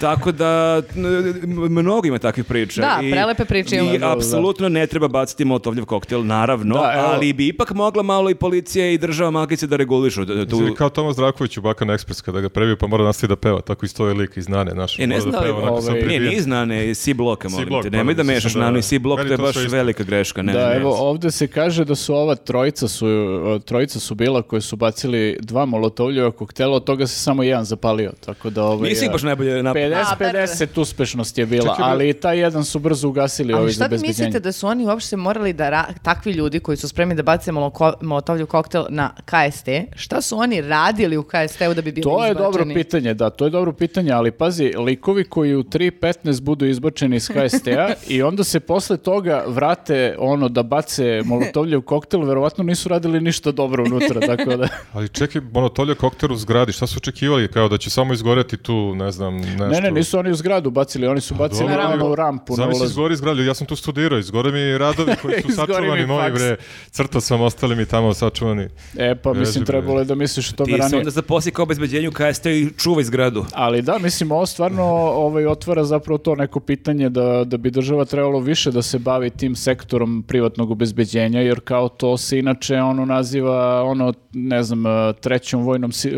Speaker 4: Tako da, n- m- mnogo ima takvih priča.
Speaker 1: Da,
Speaker 4: I-
Speaker 1: prelepe priče imamo.
Speaker 4: I apsolutno ne treba baciti molotovljev koktel, naravno,
Speaker 3: Da, evo.
Speaker 4: ali bi ipak mogla malo i policija i država magice da regulišu d- tu...
Speaker 2: Izvini, kao Tomas Draković u Bakan Ekspres kada ga prebio pa mora nastavi da peva, tako isto je lik iz Nane, znaš.
Speaker 4: E, ne
Speaker 2: mora
Speaker 4: znam da li...
Speaker 2: peva, onako samo
Speaker 3: ovaj,
Speaker 4: Ne,
Speaker 2: prebijen.
Speaker 4: nije iz Nane, iz C-bloka, molim
Speaker 2: C-blok,
Speaker 4: te. Nemoj da
Speaker 2: pardon,
Speaker 4: mešaš
Speaker 2: mislim da-
Speaker 4: Nanu i C-blok,
Speaker 2: Meni
Speaker 4: to je
Speaker 2: to
Speaker 4: baš
Speaker 2: sve isto.
Speaker 4: velika greška. Ne,
Speaker 3: Da,
Speaker 4: ne.
Speaker 3: evo, ovde se kaže da su ova trojica su, e, trojica su bila koje su bacili dva molotovljeva koktela, od toga se samo jedan zapalio, tako da ovaj...
Speaker 4: Nisi ih
Speaker 3: e,
Speaker 4: baš najbolje napravio.
Speaker 3: 50-50
Speaker 1: A, perde.
Speaker 3: uspešnost je bila,
Speaker 2: Čekaj, bre.
Speaker 3: ali i taj jedan su brzo su ugasili ovi
Speaker 1: Ali
Speaker 3: za
Speaker 1: šta vi
Speaker 3: bezbeđenje.
Speaker 1: mislite da su oni uopšte morali da ra- takvi ljudi koji su spremni da bace moloko- molotovlju koktel na KST, šta su oni radili u KST-u da bi bili
Speaker 3: To je dobro
Speaker 1: izbačeni?
Speaker 3: pitanje, da, to je dobro pitanje, ali pazi, likovi koji u 3.15 budu izbačeni iz HST-a i onda se posle toga vrate ono da bace molotovlje u koktel, verovatno nisu radili ništa dobro unutra, tako da...
Speaker 2: Ali čekaj, monotolje kokter u zgradi, šta su očekivali? Kao da će samo izgoreti tu, ne znam, nešto.
Speaker 3: Ne, ne, nisu oni u zgradu bacili, oni su bacili
Speaker 2: Pa Dobro,
Speaker 3: ono
Speaker 2: nego-
Speaker 3: u rampu na
Speaker 2: Zamisli,
Speaker 3: ulazu.
Speaker 2: izgori zgradu, ja sam tu studirao, izgore mi radovi koji su
Speaker 3: Izgori mi
Speaker 2: sačuvani moji,
Speaker 3: faks.
Speaker 2: bre. Crtao sam, ostali mi tamo sačuvani.
Speaker 3: E, pa mislim,
Speaker 2: Jezivo,
Speaker 3: trebalo je da misliš o tome
Speaker 4: Ti se
Speaker 3: ranije.
Speaker 4: onda zaposli kao obezbeđenju KST i čuvaj zgradu.
Speaker 3: Ali da, mislim, ovo stvarno ovaj, otvara zapravo to neko pitanje da, da bi država trebalo više da se bavi tim sektorom privatnog obezbeđenja, jer kao to se inače ono naziva, ono, ne znam, eh, trećom vojnom si- eh,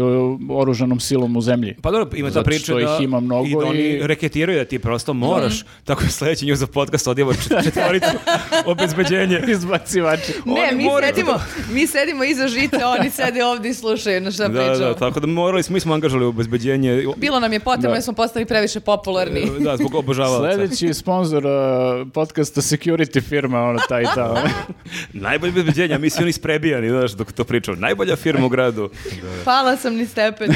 Speaker 3: oružanom silom u zemlji.
Speaker 4: Pa dobro, ima ta
Speaker 3: Zato
Speaker 4: priča
Speaker 3: što
Speaker 4: da,
Speaker 3: ih ima mnogo
Speaker 4: i da oni
Speaker 3: i-
Speaker 4: reketiraju da ti prosto moraš. Tako je sledeći njuz za podcast odjevo čet- četvoricu obezbeđenje.
Speaker 3: Izbacivači.
Speaker 1: Ne,
Speaker 4: Oni
Speaker 1: mi
Speaker 4: moraju
Speaker 1: sedimo, mi sedimo iza žita, a oni sede ovdje i slušaju na šta
Speaker 4: Da,
Speaker 1: pričamo.
Speaker 4: da, tako da morali smo, mi smo angažali obezbeđenje.
Speaker 1: Bilo nam je potrebno
Speaker 3: Da.
Speaker 1: jer smo postali previše popularni.
Speaker 4: Da, zbog obožavalaca.
Speaker 3: Sljedeći sponsor eh, podcasta Security firma, ono, ta i ta.
Speaker 4: Najbolje obezbeđenje, a mi svi oni sprebijani, znaš, dok to pričam. Najbolja firma u gradu.
Speaker 1: Pala sam ni stepenicu.